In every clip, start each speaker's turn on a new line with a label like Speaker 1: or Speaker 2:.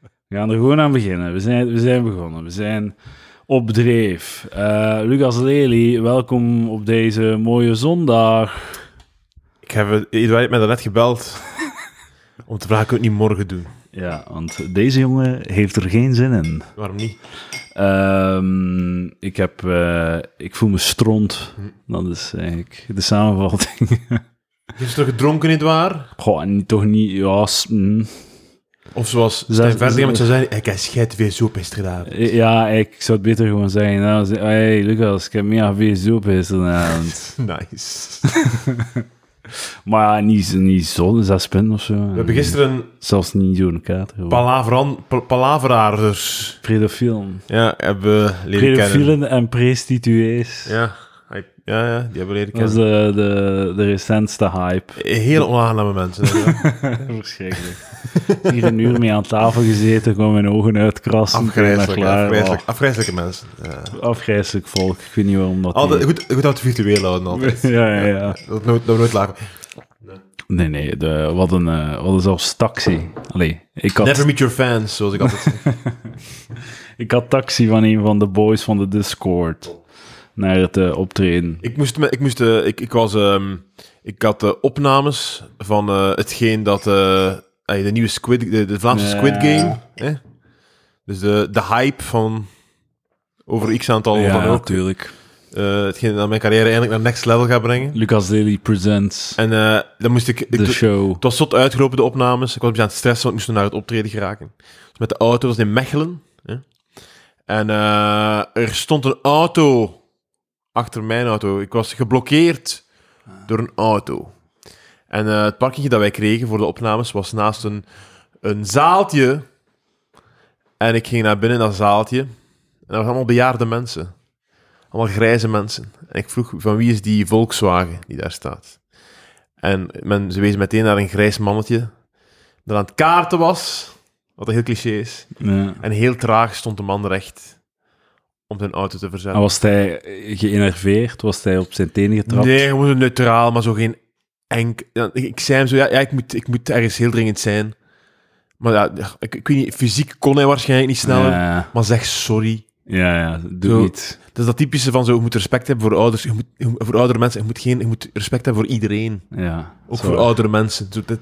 Speaker 1: We gaan er gewoon aan beginnen. We zijn, we zijn begonnen. We zijn op dreef. Eh, Lucas Lely, welkom op deze mooie zondag.
Speaker 2: Ik heb, Edouard heeft mij daarnet gebeld om te vragen, kun je het niet morgen doen?
Speaker 1: Ja, want deze jongen heeft er geen zin in.
Speaker 2: Waarom niet?
Speaker 1: Ehm, ik, heb, eh, ik voel me stront. Dat is eigenlijk de samenvatting.
Speaker 2: Je is toch gedronken, Edouard?
Speaker 1: Goh, en toch niet... Ja, s- mm.
Speaker 2: Of zoals
Speaker 1: Zij-
Speaker 2: Stijn Verdegem zou zeggen, ik heb scheid weer zo gisteravond.
Speaker 1: Eh, ja, ik zou het beter gewoon zeggen. Nou, ze- hey, Lucas, ik heb meer veel zoep gisteravond.
Speaker 2: Nice.
Speaker 1: Maar ja, niet, niet zo, zes punten of zo.
Speaker 2: We hebben gisteren
Speaker 1: Zelfs niet zo'n kater. gewoon.
Speaker 2: palaveran, pa- palaveraarders
Speaker 1: Pedofielen.
Speaker 2: ja, hebben leren kennen.
Speaker 1: Pedofielen en prostituees.
Speaker 2: Ja, hij- ja, ja, die hebben leren
Speaker 1: Dat is
Speaker 2: kennen.
Speaker 1: de, de, de recentste hype.
Speaker 2: Heel onaangename mensen. ja.
Speaker 1: Verschrikkelijk. Hier een uur mee aan tafel gezeten, gewoon mijn ogen uitkrassen.
Speaker 2: Afgrijzelijke,
Speaker 1: Ik ben daar klaar.
Speaker 2: afgrijzelijke, afgrijzelijke mensen. Ja.
Speaker 1: Oh, afgrijzelijk volk. Ik weet niet waarom dat...
Speaker 2: Altijd,
Speaker 1: die-
Speaker 2: goed, goed dat we het virtueel houden altijd.
Speaker 1: ja, ja, ja.
Speaker 2: Dat nooit, dat nooit lagen.
Speaker 1: Nee, nee. De, wat, een, eh, wat een zelfs taxi. Allee, ik had...
Speaker 2: Never meet your fans, zoals ik altijd zeg.
Speaker 1: Ik had taxi van een van de boys van de Discord naar het eh, optreden.
Speaker 2: Ik moest, me- ik, moest eh, ik, ik was, ehm, ik had eh, opnames van eh, hetgeen dat eh, ey, de nieuwe Squid, de, de Vlaamse
Speaker 1: Ja.
Speaker 2: Squid Game, hè? dus de, de hype van over x aantal van Oh, ook,
Speaker 1: natuurlijk.
Speaker 2: eh, hetgeen dat mijn carrière eindelijk naar next level gaat brengen.
Speaker 1: Lucas Lely presents
Speaker 2: En eh, dan moest ik, ik
Speaker 1: de show.
Speaker 2: het was zot uitgelopen de opnames, ik was een beetje aan het stressen, want ik moest nog naar het optreden geraken. Dus met de auto was het in Mechelen, hè? en eh, er stond een auto achter mijn auto. Ik was geblokkeerd door een auto. En eh, het parkingje dat wij kregen voor de opnames was naast een, een zaaltje. En ik ging naar binnen in dat zaaltje. En dat waren allemaal bejaarde mensen. Allemaal grijze mensen. En ik vroeg, van wie is die Volkswagen die daar staat? En men, ze wezen meteen naar een grijs mannetje dat aan het kaarten was. Wat heel cliché is.
Speaker 1: Ja.
Speaker 2: En heel traag stond de man recht om zijn auto te
Speaker 1: En
Speaker 2: verzetten.
Speaker 1: was hij geënerveerd? Was hij op zijn tenen getrapt?
Speaker 2: Nee, gewoon neutraal, maar zo geen enk. Ja, ik, ik zei hem zo, ja, ja ik, moet, ik moet ergens heel dringend zijn. Maar ja, ik, ik weet niet, fysiek kon hij waarschijnlijk niet sneller.
Speaker 1: Ja,
Speaker 2: Maar zeg sorry.
Speaker 1: ja, ja, doe
Speaker 2: Zo.
Speaker 1: niet.
Speaker 2: Dat is dat typische van zo, je moet respect hebben voor ouders, je moet, je moet- voor oudere mensen. Je moet, geen, je moet respect hebben voor iedereen.
Speaker 1: Ja,
Speaker 2: Ook
Speaker 1: zo.
Speaker 2: voor oudere mensen. Zo, dat,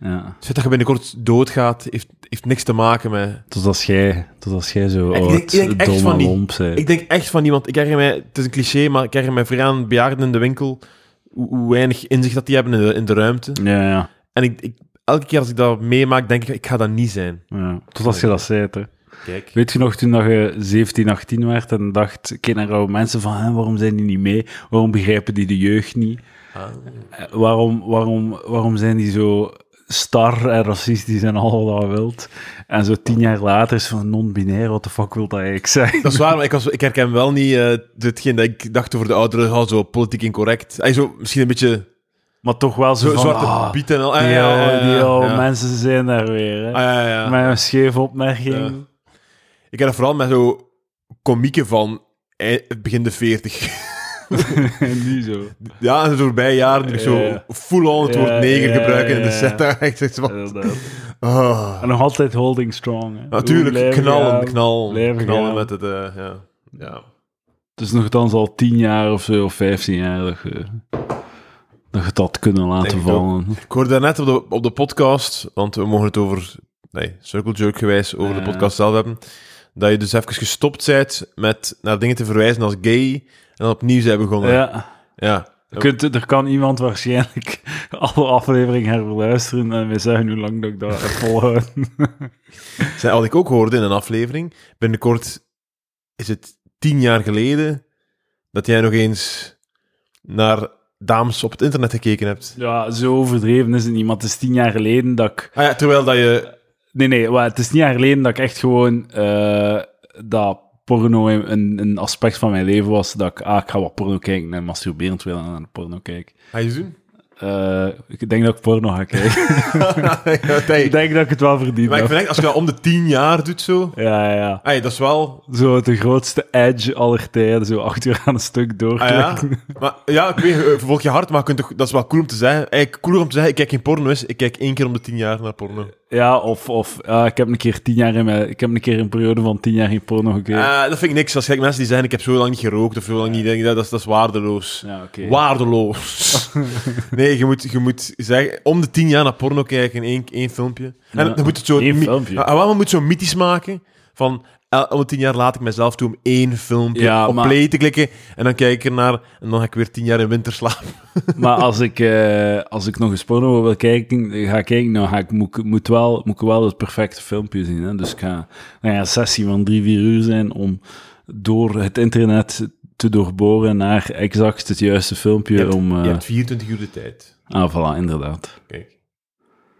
Speaker 1: Ja.
Speaker 2: het feit dat je binnenkort doodgaat, heeft, heeft niks te maken met...
Speaker 1: Tot als jij, tot als jij zo
Speaker 2: Ik denk-
Speaker 1: oud,
Speaker 2: ik denk echt
Speaker 1: dom
Speaker 2: van
Speaker 1: en
Speaker 2: die-
Speaker 1: lomp bent.
Speaker 2: Ik denk echt van iemand, ik herinner mij, het is een cliché, maar ik herinner mij vrij aan bejaarden in de winkel, hoe, hoe weinig inzicht dat die hebben in de, in de ruimte.
Speaker 1: Ja, ja,
Speaker 2: En ik, ik- elke keer als ik dat meemaak, denk ik, ik ga dat niet zijn.
Speaker 1: ja. Tot als je dat zei, hè.
Speaker 2: Kijk.
Speaker 1: Weet je nog toen dat je 17, 18 werd en dacht, kijk naar oude mensen van, hè, waarom zijn die niet mee? Waarom begrijpen die de jeugd niet?
Speaker 2: Ah.
Speaker 1: Eh, Waarom, waarom, waarom zijn die zo star en racistisch en al wat dat wilt? En zo tien jaar later is van non-binair, wat de fuck wil dat eigenlijk zijn?
Speaker 2: Dat is waar, maar ik, was, ik herken wel niet eh hetgeen dat ik dacht over de ouderen, oh, zo politiek incorrect. Ey, zo, misschien een beetje
Speaker 1: Maar toch wel zo
Speaker 2: zo,
Speaker 1: van,
Speaker 2: zwarte
Speaker 1: ah,
Speaker 2: piet en al. Ey,
Speaker 1: die
Speaker 2: ja, ja,
Speaker 1: oude,
Speaker 2: ja,
Speaker 1: die
Speaker 2: ja.
Speaker 1: oude
Speaker 2: Ja.
Speaker 1: mensen zijn daar weer, hè.
Speaker 2: Ah, ja, ja, ja.
Speaker 1: Met een scheve opmerking.
Speaker 2: Ja. Ik heb dat vooral met zo komieken van ei- het begin de 40.
Speaker 1: Die zo.
Speaker 2: Ja, en de voorbije jaren die ik zo
Speaker 1: Ja, ja.
Speaker 2: full-on het
Speaker 1: Ja,
Speaker 2: woord neger
Speaker 1: ja,
Speaker 2: gebruiken in de
Speaker 1: ja, ja.
Speaker 2: set. Daar echt zoiets van,
Speaker 1: Inderdaad.
Speaker 2: ah.
Speaker 1: En nog altijd holding strong, hè.
Speaker 2: Natuurlijk,
Speaker 1: Oeh, blijven
Speaker 2: knallen,
Speaker 1: gaan.
Speaker 2: knallen,
Speaker 1: Blijven
Speaker 2: knallen
Speaker 1: gaan.
Speaker 2: met het, eh, ja. ja.
Speaker 1: Het is nogthans al tien jaar of zo, of vijftien jaar dat je dat, je het had kunnen laten
Speaker 2: Denk ik
Speaker 1: vallen.
Speaker 2: Ik hoorde daarnet op de, op de podcast, want we mogen het over, nee, circle jerk gewijs, over
Speaker 1: Ja.
Speaker 2: de podcast zelf hebben, dat je dus even gestopt bent met naar dingen te verwijzen als gay en dan opnieuw zijn begonnen. Ja.
Speaker 1: Ja, je kunt, er kan iemand waarschijnlijk alle afleveringen herbeluisteren en wij zeggen hoe lang dat ik dat heb volhouden.
Speaker 2: Zij- Wat ik ook hoorde in een aflevering, binnenkort is het tien jaar geleden dat jij nog eens naar dames op het internet gekeken hebt.
Speaker 1: Ja, zo overdreven is het niet, maar het is tien jaar geleden dat ik...
Speaker 2: Ah ja, terwijl dat je...
Speaker 1: Nee, nee, maar het is tien jaar geleden dat ik echt gewoon eh, dat porno een, een aspect van mijn leven was, dat ik, ah, ik ga wat porno kijken en masturberen terwijl ik naar de porno kijk.
Speaker 2: Ga je doen?
Speaker 1: Eh, ik denk dat ik porno ga kijken.
Speaker 2: Nee.
Speaker 1: ik denk dat ik het wel verdiend
Speaker 2: Maar ik
Speaker 1: heb.
Speaker 2: vind echt, als je dat om de tien jaar doet zo...
Speaker 1: Ja, ja, ja.
Speaker 2: Hey, dat is wel
Speaker 1: Zo de grootste edge aller tijden, zo acht uur aan een stuk
Speaker 2: Ah, ja?
Speaker 1: doorklikken.
Speaker 2: maar, ja, ik weet, eh, volg je hart, maar je kunt toch, dat is wel cool om te zeggen. Eigenlijk cooler om te zeggen, ik kijk geen porno is, ik kijk één keer om de tien jaar naar porno.
Speaker 1: Ja, of, of ah, ik heb een keer tien jaar in mijn, ik heb een keer een periode van tien jaar in porno gekeken.
Speaker 2: Eh, dat vind ik niks. Als gek mensen die zeggen, ik heb zo lang niet gerookt of zo lang niet... denk ik, Dat, dat, is, dat is waardeloos.
Speaker 1: ja, oké.
Speaker 2: Waardeloos. nee, je moet, je moet zeggen, om de tien jaar naar porno kijken, één, één filmpje. En
Speaker 1: Ja.
Speaker 2: dan moet het zo...
Speaker 1: Eén
Speaker 2: mi- Ah,
Speaker 1: filmpje.
Speaker 2: Ja, en waarom moet je zo mythisch maken van... el- Om de tien jaar laat ik mezelf toe om één filmpje
Speaker 1: Ja,
Speaker 2: op
Speaker 1: maar-
Speaker 2: play te klikken. En dan kijk ik ernaar en dan ga ik weer tien jaar in winter slapen.
Speaker 1: Maar als ik, eh, als ik nog eens porno wil kijken, ga kijken, nou ga ik, moet, ik- moet, wel, moet ik wel het perfecte filmpje zien. Hè? Dus ik ga nou ja, een sessie van drie, vier uur zijn om door het internet te doorboren naar exact het juiste filmpje
Speaker 2: Je hebt-
Speaker 1: om... eh,
Speaker 2: Je hebt 24 uur de tijd.
Speaker 1: Ah, voilà, inderdaad.
Speaker 2: Kijk.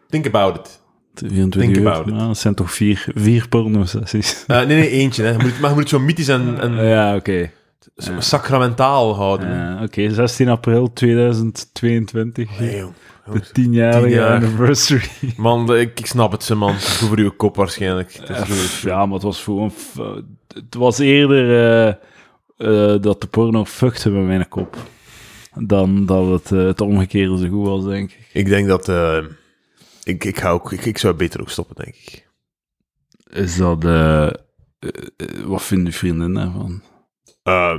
Speaker 2: Think about it.
Speaker 1: 24
Speaker 2: Think
Speaker 1: uur.
Speaker 2: about it.
Speaker 1: Nou, dat zijn toch vier, vier porno-sessions?
Speaker 2: Eh, nee, nee, eentje. Hè. Je moet, maar je moet het zo mythisch en, en
Speaker 1: ja, oké.
Speaker 2: s- sacramentaal houden.
Speaker 1: Eh, oké, 16 april 2022.
Speaker 2: Nee, jong.
Speaker 1: De 10-jarige
Speaker 2: 10 jaar.
Speaker 1: anniversary.
Speaker 2: Man, de- ik, ik snap het, ze, man. Goed voor uw kop waarschijnlijk. Het is
Speaker 1: Eh,
Speaker 2: zoiets.
Speaker 1: pff, ja, maar het was gewoon... f- eh, Het was eerder eh, eh, dat de porno fuckte met mijn kop. Dan dat het, eh, het omgekeerde zo goed was, denk ik.
Speaker 2: Ik denk dat... eh, ik, ik, ga ook, ik, ik zou beter ook stoppen, denk ik.
Speaker 1: Is dat... eh, eh, eh, wat vinden vrienden daarvan?
Speaker 2: Eh,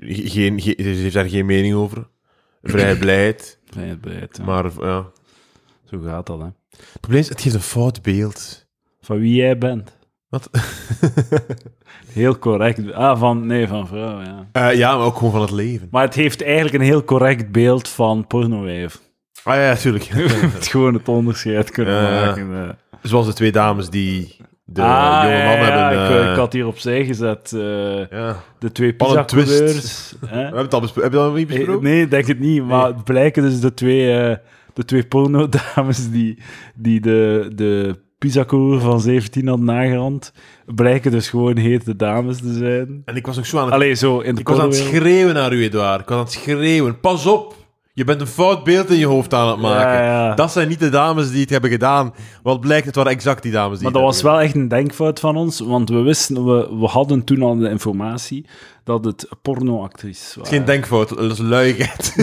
Speaker 2: ge- geen, ge- ze heeft daar geen mening over. Vrije blijheid.
Speaker 1: Vrijheid, ja.
Speaker 2: Maar ja.
Speaker 1: Zo gaat dat, hè.
Speaker 2: Het probleem is, het geeft een fout beeld.
Speaker 1: Van wie jij bent.
Speaker 2: Wat?
Speaker 1: Heel correct. Ah, van... Nee, van vrouw, ja.
Speaker 2: Eh, ja, maar ook gewoon van het leven.
Speaker 1: Maar het heeft eigenlijk een heel correct beeld van pornowijf.
Speaker 2: Ah ja, tuurlijk.
Speaker 1: het gewoon het onderscheid kunnen
Speaker 2: Ja, ja.
Speaker 1: maken. eh.
Speaker 2: Zoals de twee dames die de
Speaker 1: Ah,
Speaker 2: jonge man
Speaker 1: ja, ja,
Speaker 2: hebben...
Speaker 1: ik,
Speaker 2: eh,
Speaker 1: ik had hier opzij gezet eh,
Speaker 2: ja.
Speaker 1: de twee
Speaker 2: Wat een twist.
Speaker 1: pizza-coureurs. hè?
Speaker 2: We hebben het al besproken. Heb je dat nog niet
Speaker 1: Eh,
Speaker 2: besproken?
Speaker 1: Nee, denk het niet. Maar het blijken dus de twee, eh, de twee porno-dames die, die de, de pizza-coureur van 17 had nagerand, blijken dus gewoon hete dames te zijn.
Speaker 2: En ik was ook zo aan het...
Speaker 1: Allee, zo in de
Speaker 2: ik was aan het
Speaker 1: pornowereld.
Speaker 2: schreeuwen naar u, Edouard. Ik was aan het schreeuwen. Pas op! Je bent een fout beeld in je hoofd aan het maken.
Speaker 1: Ja, ja.
Speaker 2: Dat zijn niet de dames die het hebben gedaan. Wat blijkt, het waren exact die dames die
Speaker 1: Maar dat was
Speaker 2: het hebben
Speaker 1: wel echt een denkfout van ons, want we wisten, we, we hadden toen al de informatie dat het pornoactrices
Speaker 2: gedaan.
Speaker 1: waren.
Speaker 2: Geen denkfout, dat is luiheid.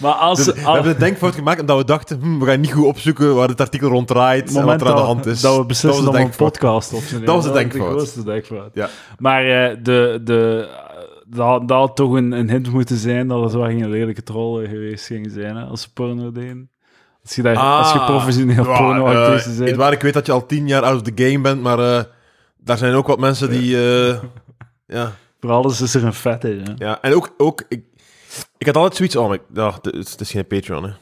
Speaker 1: Maar als...
Speaker 2: Dus we
Speaker 1: als-
Speaker 2: hebben een denkfout gemaakt omdat we dachten, hm, we gaan niet goed opzoeken waar het artikel rond draait
Speaker 1: het
Speaker 2: en wat
Speaker 1: moment
Speaker 2: er aan
Speaker 1: dat,
Speaker 2: de hand is.
Speaker 1: dat we
Speaker 2: was
Speaker 1: beslissen
Speaker 2: de
Speaker 1: om een
Speaker 2: denkfout.
Speaker 1: podcast op te nemen.
Speaker 2: Dat was de
Speaker 1: De
Speaker 2: denkfout.
Speaker 1: grootste denkfout.
Speaker 2: Ja.
Speaker 1: Maar eh, de, de, eh, dat, had- dat had toch een, een hint moeten zijn dat het wel geen lelijke troll geweest ging zijn hè, als ze porno deden. Als je, daar, als je
Speaker 2: Ah.
Speaker 1: professioneel
Speaker 2: Ja,
Speaker 1: pornoactrice
Speaker 2: eh,
Speaker 1: bent.
Speaker 2: Edouard, ik weet dat je al tien jaar out of the game bent, maar eh, daar zijn ook wat mensen die... eh, ja.
Speaker 1: Voor alles is er een vette. Hè.
Speaker 2: Ja, en ook, ook ik, ik had altijd zoiets... Oh, maar ik- ja, het, is, het is geen Patreon, hè. Hoe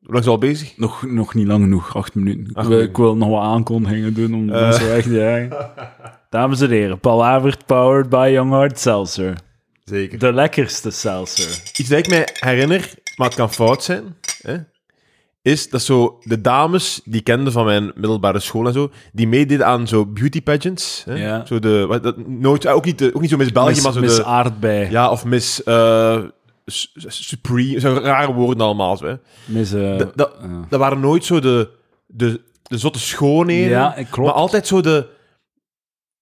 Speaker 2: lang is het al bezig?
Speaker 1: Nog, nog niet lang genoeg, acht minuten.
Speaker 2: Acht
Speaker 1: ik, wil,
Speaker 2: minuten.
Speaker 1: ik wil nog wat aankondigingen doen om
Speaker 2: Eh.
Speaker 1: mensen weg te jagen. Dames en heren, Palaver powered by Young Heart Seltzer.
Speaker 2: Zeker.
Speaker 1: De lekkerste seltzer.
Speaker 2: Iets dat ik mij herinner, maar het kan fout zijn, hè, is dat zo de dames die ik kende van mijn middelbare school en zo, die meededen aan zo beauty pageants. Hè?
Speaker 1: Ja.
Speaker 2: Zo de... Wat, dat, nooit, ook, niet de- ook niet zo Miss België,
Speaker 1: Mis,
Speaker 2: maar zo
Speaker 1: mis
Speaker 2: de...
Speaker 1: aardbei.
Speaker 2: Ja, of Miss... eh, su- su- Supreme, zo'n rare woorden allemaal. Zo, hè.
Speaker 1: Mis, eh,
Speaker 2: Dat- dat-
Speaker 1: eh.
Speaker 2: dat waren nooit zo de, de, de zotte schoonheden.
Speaker 1: Ja, eh, klopt.
Speaker 2: Maar altijd zo de...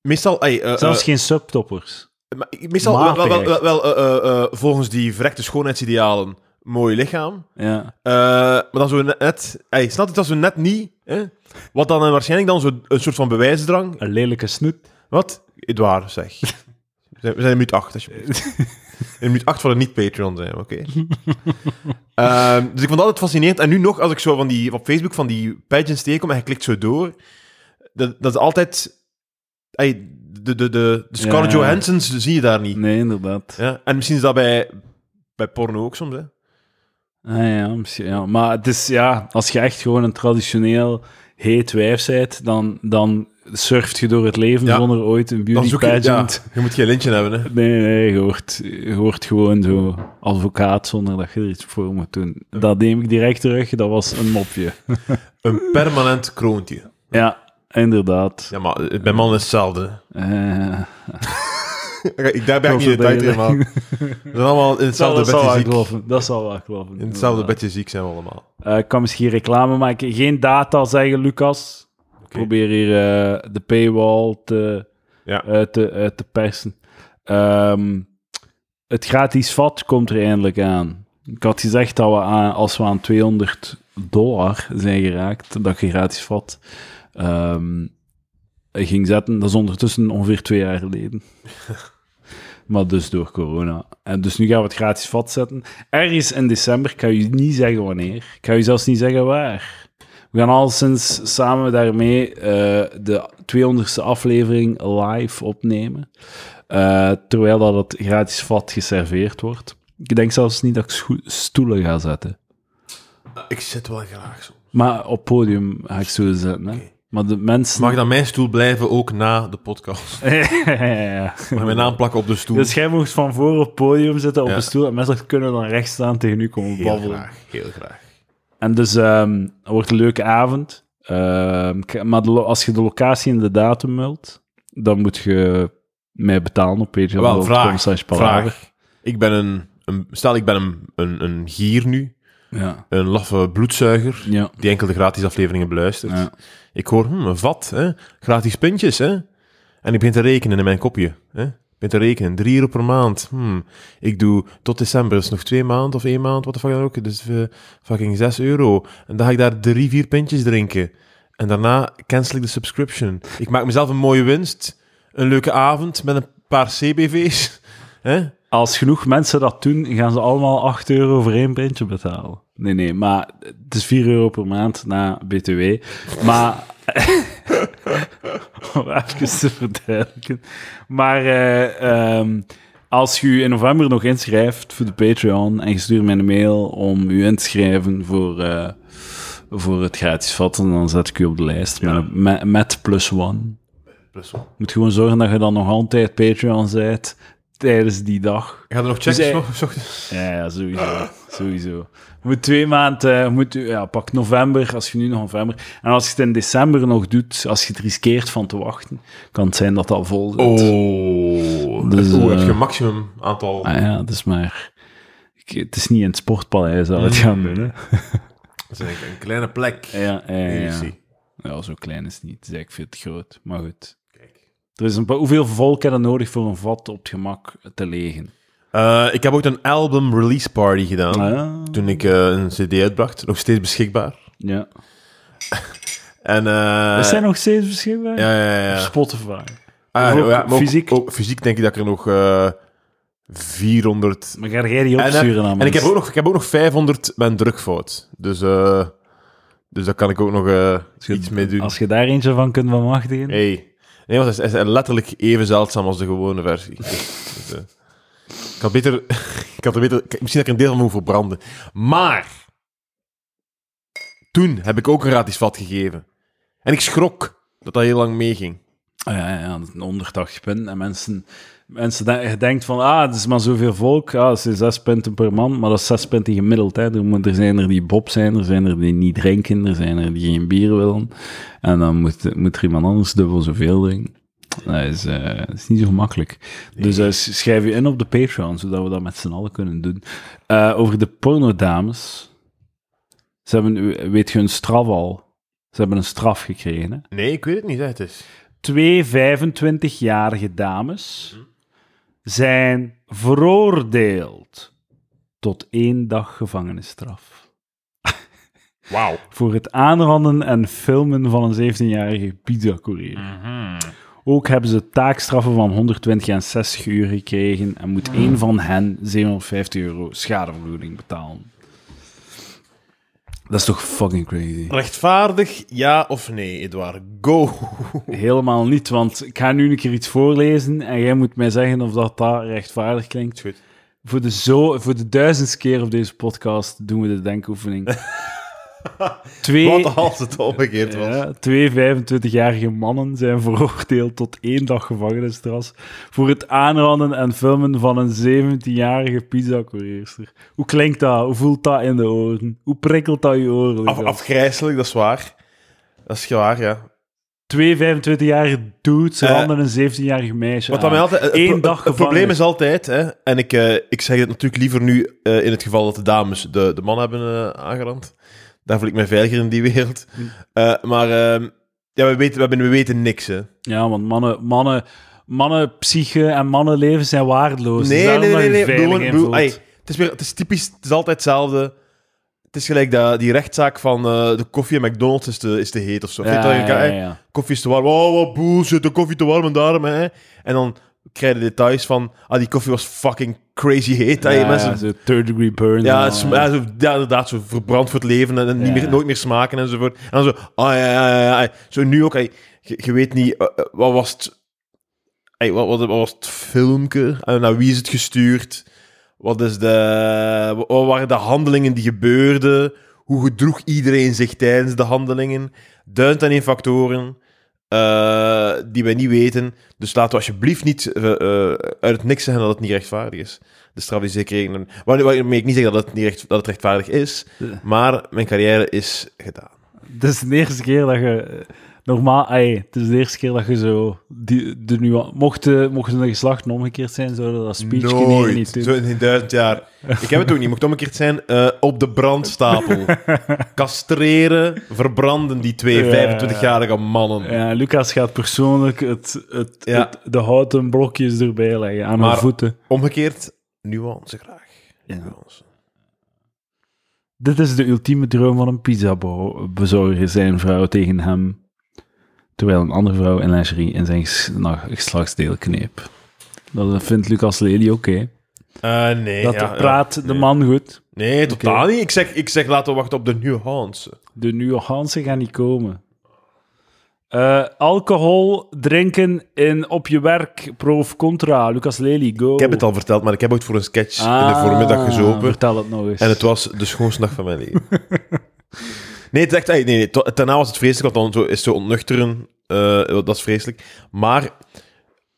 Speaker 2: Meestal... ey, eh,
Speaker 1: Zelfs
Speaker 2: eh,
Speaker 1: geen subtoppers.
Speaker 2: maar meestal wel,
Speaker 1: matig
Speaker 2: wel, wel,
Speaker 1: echt.
Speaker 2: wel, eh, eh, eh, volgens die verrekte schoonheidsidealen mooi lichaam.
Speaker 1: Ja.
Speaker 2: Eh, maar dan zo net... ey, snap je, dat zo net niet... Hè? Wat dan eh, waarschijnlijk dan zo een soort van bewijsdrang...
Speaker 1: Een lelijke snoet.
Speaker 2: Wat? Edouard, zeg. We zijn, we zijn in minuut 8, alsjeblieft. In minuut 8 van een niet-Patreon zijn, we, oké. Ehm, dus ik vond dat altijd fascinerend. En nu nog, als ik zo van die, op Facebook van die pageants tegenkom en je klikt zo door, dat, dat is altijd... ey, de, de, de, de Scarlett
Speaker 1: Ja.
Speaker 2: Johansons zie je daar niet.
Speaker 1: Nee, inderdaad.
Speaker 2: Ja? En misschien is dat bij, bij porno ook soms, hè.
Speaker 1: Ah, ja, misschien, ja. Maar het is, ja, als je echt gewoon een traditioneel heet wijf bent, dan, dan surft je door het leven
Speaker 2: Ja.
Speaker 1: zonder ooit een
Speaker 2: Dan
Speaker 1: beauty
Speaker 2: zoek je... Ja,
Speaker 1: pageant.
Speaker 2: je moet geen lintje hebben, hè.
Speaker 1: Nee, nee, je hoort, je hoort gewoon zo advocaat zonder dat je er iets voor moet doen. Dat neem ik direct terug, dat was een mopje.
Speaker 2: Een permanent kroontje.
Speaker 1: Ja, inderdaad.
Speaker 2: Ja, maar eh, bij mannen is hetzelfde. hè.
Speaker 1: Eh,
Speaker 2: Oké, Ik, daar ben ik
Speaker 1: Klopt,
Speaker 2: niet in de
Speaker 1: dat
Speaker 2: tijd
Speaker 1: ben je-
Speaker 2: helemaal. We zijn allemaal in hetzelfde
Speaker 1: dat zal
Speaker 2: bedje
Speaker 1: wel
Speaker 2: ziek.
Speaker 1: kloppen. Dat zal wel kloppen.
Speaker 2: In hetzelfde
Speaker 1: inderdaad.
Speaker 2: bedje ziek zijn we allemaal.
Speaker 1: Eh, ik kan misschien reclame maken. Geen data zeggen, Lucas. Ik probeer hier eh, de paywall te,
Speaker 2: Ja.
Speaker 1: eh, te, eh, te persen. Ehm, het gratis vat komt er eindelijk aan. Ik had gezegd dat we aan- als we aan 200 dollar zijn geraakt, dat ik een gratis vat ehm, ging zetten. Dat is ondertussen ongeveer twee jaar geleden. maar dus door corona. En dus nu gaan we het gratis vat zetten. Ergens in december, ik ga je niet zeggen wanneer. Ik ga je zelfs niet zeggen waar. We gaan al sinds samen daarmee eh, de 200ste aflevering live opnemen. Eh, terwijl dat het gratis vat geserveerd wordt. Ik denk zelfs niet dat ik scho- stoelen ga zetten.
Speaker 2: Ik zit wel graag zo.
Speaker 1: Maar op podium ga ik stoelen zetten. Hè.
Speaker 2: Oké.
Speaker 1: Maar de mensen.
Speaker 2: Mag dan mijn stoel blijven ook na de podcast?
Speaker 1: ja.
Speaker 2: Mag mijn naam plakken op de stoel?
Speaker 1: Dus jij mocht van voor op het podium zitten op
Speaker 2: Ja.
Speaker 1: een stoel en mensen kunnen dan rechts staan tegen u komen
Speaker 2: heel
Speaker 1: babbelen.
Speaker 2: graag. Heel graag.
Speaker 1: En dus ehm, het wordt een leuke avond. Ehm, k- maar de lo- als je de locatie en de datum wilt, dan moet je mij betalen op
Speaker 2: Ah, Wel,
Speaker 1: patreon.com
Speaker 2: vraag.
Speaker 1: slash palaver.
Speaker 2: vraag. Ik ben een, een... Stel, ik ben een, een, een gier nu.
Speaker 1: Ja.
Speaker 2: Een laffe bloedzuiger.
Speaker 1: Ja.
Speaker 2: die enkel de gratis afleveringen beluistert.
Speaker 1: Ja.
Speaker 2: Ik hoor, hm, een vat, hè? gratis puntjes. Hè? En ik begin te rekenen in mijn kopje. Hè? Ik begin te rekenen, drie euro per maand. Hm. Ik doe tot december, dat is nog twee maanden of één maand, wat de fuck dan ook. Dus eh, fucking zes euro. En dan ga ik daar drie, vier pintjes drinken. En daarna cancel ik de subscription. Ik maak mezelf een mooie winst. Een leuke avond met een paar CBV's. hè?
Speaker 1: Als genoeg mensen dat doen, gaan ze allemaal 8 euro voor één printje betalen. Nee, nee, maar het is 4 euro per maand na BTW. Maar. Om even te verduidelijken. Maar eh, ehm, als je je in november nog inschrijft voor de Patreon en je stuurt mij een mail om je in te schrijven voor, eh, voor het gratis vatten, dan zet ik je op de lijst met, een- met, met plus one.
Speaker 2: Plus wel.
Speaker 1: Moet gewoon zorgen dat je dan nog altijd Patreon bent tijdens die dag.
Speaker 2: Ga er nog checks
Speaker 1: Dus, eh,
Speaker 2: nog? 's ochtends?
Speaker 1: Ja, ja, sowieso. sowieso. Moet twee maanden, eh, moet, u- ja, pak november, als je nu nog november. En als je het in december nog doet, als je het riskeert van te wachten, kan het zijn dat dat vol zit.
Speaker 2: Oh,
Speaker 1: Dus,
Speaker 2: oh, heb
Speaker 1: eh,
Speaker 2: je een maximum aantal...
Speaker 1: Ah ja, dat is maar... ik- het is niet in het sportpaleis dat we het gaan doen,
Speaker 2: Mm.
Speaker 1: hè.
Speaker 2: Dat is eigenlijk een kleine plek.
Speaker 1: Ja, ja, ja, ja.
Speaker 2: Zie.
Speaker 1: Ja, zo klein is het niet. Het is eigenlijk veel te groot. Maar goed.
Speaker 2: Kijk.
Speaker 1: Er is een paar, hoeveel volk heb je nodig voor een vat op het gemak te legen?
Speaker 2: Eh, ik heb ook een album release party gedaan.
Speaker 1: Ah,
Speaker 2: Toen ik eh, een CD uitbracht. Nog steeds beschikbaar.
Speaker 1: ja.
Speaker 2: En, eh,
Speaker 1: Er zijn nog steeds beschikbaar?
Speaker 2: ja, ja, ja,
Speaker 1: Op
Speaker 2: ja.
Speaker 1: Spotify.
Speaker 2: Ah,
Speaker 1: ook
Speaker 2: maar ook-
Speaker 1: fysiek?
Speaker 2: Ook, fysiek denk ik dat ik er nog eh 400.
Speaker 1: Maar ga jij die
Speaker 2: En, eh,
Speaker 1: opsturen aan
Speaker 2: en ik, heb
Speaker 1: mensen?
Speaker 2: ook nog, ik heb ook nog 500 met een drukfout. Dus, eh dus daar kan ik ook nog eh,
Speaker 1: je-
Speaker 2: iets mee doen.
Speaker 1: Als je daar eentje van kunt bemachtigen.
Speaker 2: Hey. Nee, want het is, het is letterlijk even zeldzaam als de gewone versie. Dus, eh, ik had beter... Ik had er beter ik- misschien dat ik er een deel van moet verbranden. Maar... Toen heb ik ook een gratis vat gegeven. En ik schrok dat dat heel lang meeging.
Speaker 1: Ah, ja, ja, ja, dat is een 180 punten. En mensen, mensen de- je denkt van, ah, het is maar zoveel volk. Ah, dat zijn zes punten per man. Maar dat is zes punten gemiddeld. Hè. Er, moet- er zijn er die bob zijn, er zijn er die niet drinken, er zijn er die geen bier willen. En dan moet, moet er iemand anders dubbel zoveel drinken. Dat is, eh, dat is niet zo makkelijk. Dus eh, s- schrijf je in op de Patreon, zodat we dat met z'n allen kunnen doen. Eh, over de pornodames. Ze hebben, weet je, een straf al. Ze hebben een straf gekregen, hè
Speaker 2: Nee, ik weet het niet. Hè. Het is...
Speaker 1: twee 25-jarige dames zijn veroordeeld tot één dag gevangenisstraf.
Speaker 2: Wauw.
Speaker 1: Voor het aanranden en filmen van een 17-jarige pizzacourier. Ook hebben ze taakstraffen van 120 en 60 uur gekregen en moet één van hen 750 euro schadevergoeding betalen. Dat is toch fucking crazy?
Speaker 2: Rechtvaardig, ja of nee, Edouard? Go!
Speaker 1: Helemaal niet, want ik ga nu een keer iets voorlezen en jij moet mij zeggen of dat, dat rechtvaardig klinkt.
Speaker 2: Goed.
Speaker 1: Voor de, zo, voor de duizendste keer op deze podcast doen we de denkoefening. twee,
Speaker 2: Wat als het omgekeerd was.
Speaker 1: ja, twee 25-jarige mannen zijn veroordeeld tot één dag gevangenisstraf voor het aanranden en filmen van een 17-jarige pizzacourierster. Hoe klinkt dat? Hoe voelt dat in de oren? Hoe prikkelt dat je oren?
Speaker 2: Af, afgrijselijk, dat is waar. Dat is waar, ja.
Speaker 1: Twee 25-jarige dudes
Speaker 2: Eh,
Speaker 1: randen een 17-jarige meisje
Speaker 2: Wat dan mij
Speaker 1: aan.
Speaker 2: altijd, het,
Speaker 1: Eén
Speaker 2: pro-
Speaker 1: dag
Speaker 2: het probleem
Speaker 1: gevangenis.
Speaker 2: is altijd, hè, en ik, eh, ik zeg het natuurlijk liever nu eh, in het geval dat de dames de, de man hebben eh, aangerand. Daar voel ik mij veiliger in die wereld.
Speaker 1: Hm.
Speaker 2: Eh, maar ehm, ja, we, weten, we, hebben- we weten niks. Hè.
Speaker 1: Ja, want mannen, mannen, mannen psyche en mannenleven zijn waardeloos.
Speaker 2: Nee, nee, nee, nee. nee. Ik bedoel, ik bedoel, ai, Het is, weer, het is typisch, het is altijd hetzelfde. Het is gelijk dat, die rechtszaak van eh, de koffie en McDonald's is te, is te heet of zo. Vind je dat je- eh,
Speaker 1: ja.
Speaker 2: Koffie is te warm. Oh, wat bullshit, de koffie te warm en daarom. Hè. En dan krijg je de details van, ah, die koffie was fucking crazy heet. hè.
Speaker 1: Ja,
Speaker 2: mensen,
Speaker 1: ja, zo third degree burn.
Speaker 2: ja,
Speaker 1: en eh,
Speaker 2: het
Speaker 1: al,
Speaker 2: sma- ja, zo, ja, inderdaad, zo verbrand voor het leven en, en niet
Speaker 1: Ja.
Speaker 2: meer, nooit meer smaken enzovoort. En dan zo, ah ja, ja, ja, ja. Zo nu ook, hey, je, je weet niet, eh, eh, wat was het... hey, wat, wat, wat was het filmpje? Eh, naar wie is het gestuurd? Wat, is de, wa- wat waren de handelingen die gebeurden? Hoe gedroeg iedereen zich tijdens de handelingen? Duint aan één factoren eh, die wij niet weten. Dus laten we alsjeblieft niet eh, eh, uit het niks zeggen dat het niet rechtvaardig is. De straf die ze kregen. Waar- Waarmee ik niet zeg dat het, niet recht, dat het rechtvaardig is.
Speaker 1: Ja.
Speaker 2: Maar mijn carrière is gedaan.
Speaker 1: Het is de eerste keer dat je... eh, Normaal, ey, het is de eerste keer dat je zo... Die, de nuance, mochten, mochten de geslachten omgekeerd zijn, zouden we dat speech hier niet doen.
Speaker 2: Zo in duizend jaar. Ik heb het ook niet. Mocht omgekeerd zijn, eh, op de brandstapel. Castreren, verbranden die twee
Speaker 1: Ja.
Speaker 2: 25-jarige mannen.
Speaker 1: Ja, Lucas gaat persoonlijk het, het,
Speaker 2: Ja.
Speaker 1: het- de houten blokjes erbij leggen aan
Speaker 2: Maar-
Speaker 1: mijn voeten.
Speaker 2: Omgekeerd, nuance graag.
Speaker 1: Ja.
Speaker 2: Nuance.
Speaker 1: Dit is de ultieme droom van een pizzabezorger, zijn vrouw tegen hem. Terwijl een andere vrouw in lingerie in zijn ges- na- geslachtsdeel kneep. Dat vindt Lucas Lely oké.
Speaker 2: Eh, nee,
Speaker 1: Dat
Speaker 2: ja, ja.
Speaker 1: praat de man goed.
Speaker 2: Nee, totaal niet. Ik zeg, ik zeg laten we wachten op de nuance.
Speaker 1: De nuance gaan niet komen. Eh, alcohol drinken in, op je werk, pro of contra. Lucas Lely, go.
Speaker 2: Ik heb het al verteld, maar ik heb ooit voor een sketch in de
Speaker 1: Oh. Ah,
Speaker 2: voormiddag gezopen.
Speaker 1: Vertel het nog eens.
Speaker 2: En het was de schoonste dag van mijn leven. nee, het is echt, nee, nee, nee, to- daarna was het vreselijk, want dan zo, is het zo ontnuchteren. eh, dat is vreselijk. Maar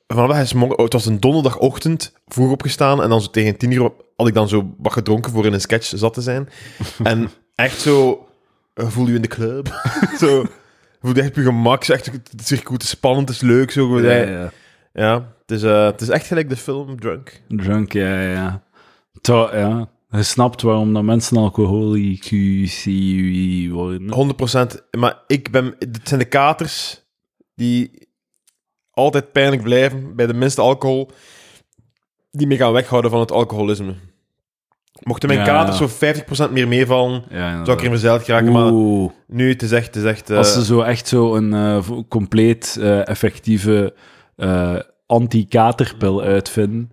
Speaker 2: vanaf hij is morgen, oh, het was een donderdagochtend, vroeg opgestaan. En dan zo tegen tien uur op- had ik dan zo wat gedronken voor in een sketch zat te zijn. en echt zo, eh, voel je in de club. zo, voel je echt op je gemak. Zo Echt, het circuit is spannend, het is leuk. Zo,
Speaker 1: Ja,
Speaker 2: ja,
Speaker 1: ja.
Speaker 2: het, is, eh, het is echt gelijk de film Drunk.
Speaker 1: Drunk, ja, ja, ja. Terwijl, ja. Je snapt waarom dat mensen alcoholici worden.
Speaker 2: Oh, 100%. Maar ik ben... Dit zijn de katers die altijd pijnlijk blijven bij de minste alcohol. Die me gaan weghouden van het alcoholisme. Mochten mijn
Speaker 1: Ja.
Speaker 2: katers zo 50% meer meevallen,
Speaker 1: Ja,
Speaker 2: zou ik er mezelf geraken. Maar
Speaker 1: Oeh,
Speaker 2: nu, het is echt... Het is echt eh,
Speaker 1: als ze zo echt zo een eh, vo- compleet eh, effectieve eh, anti-katerpil uitvinden,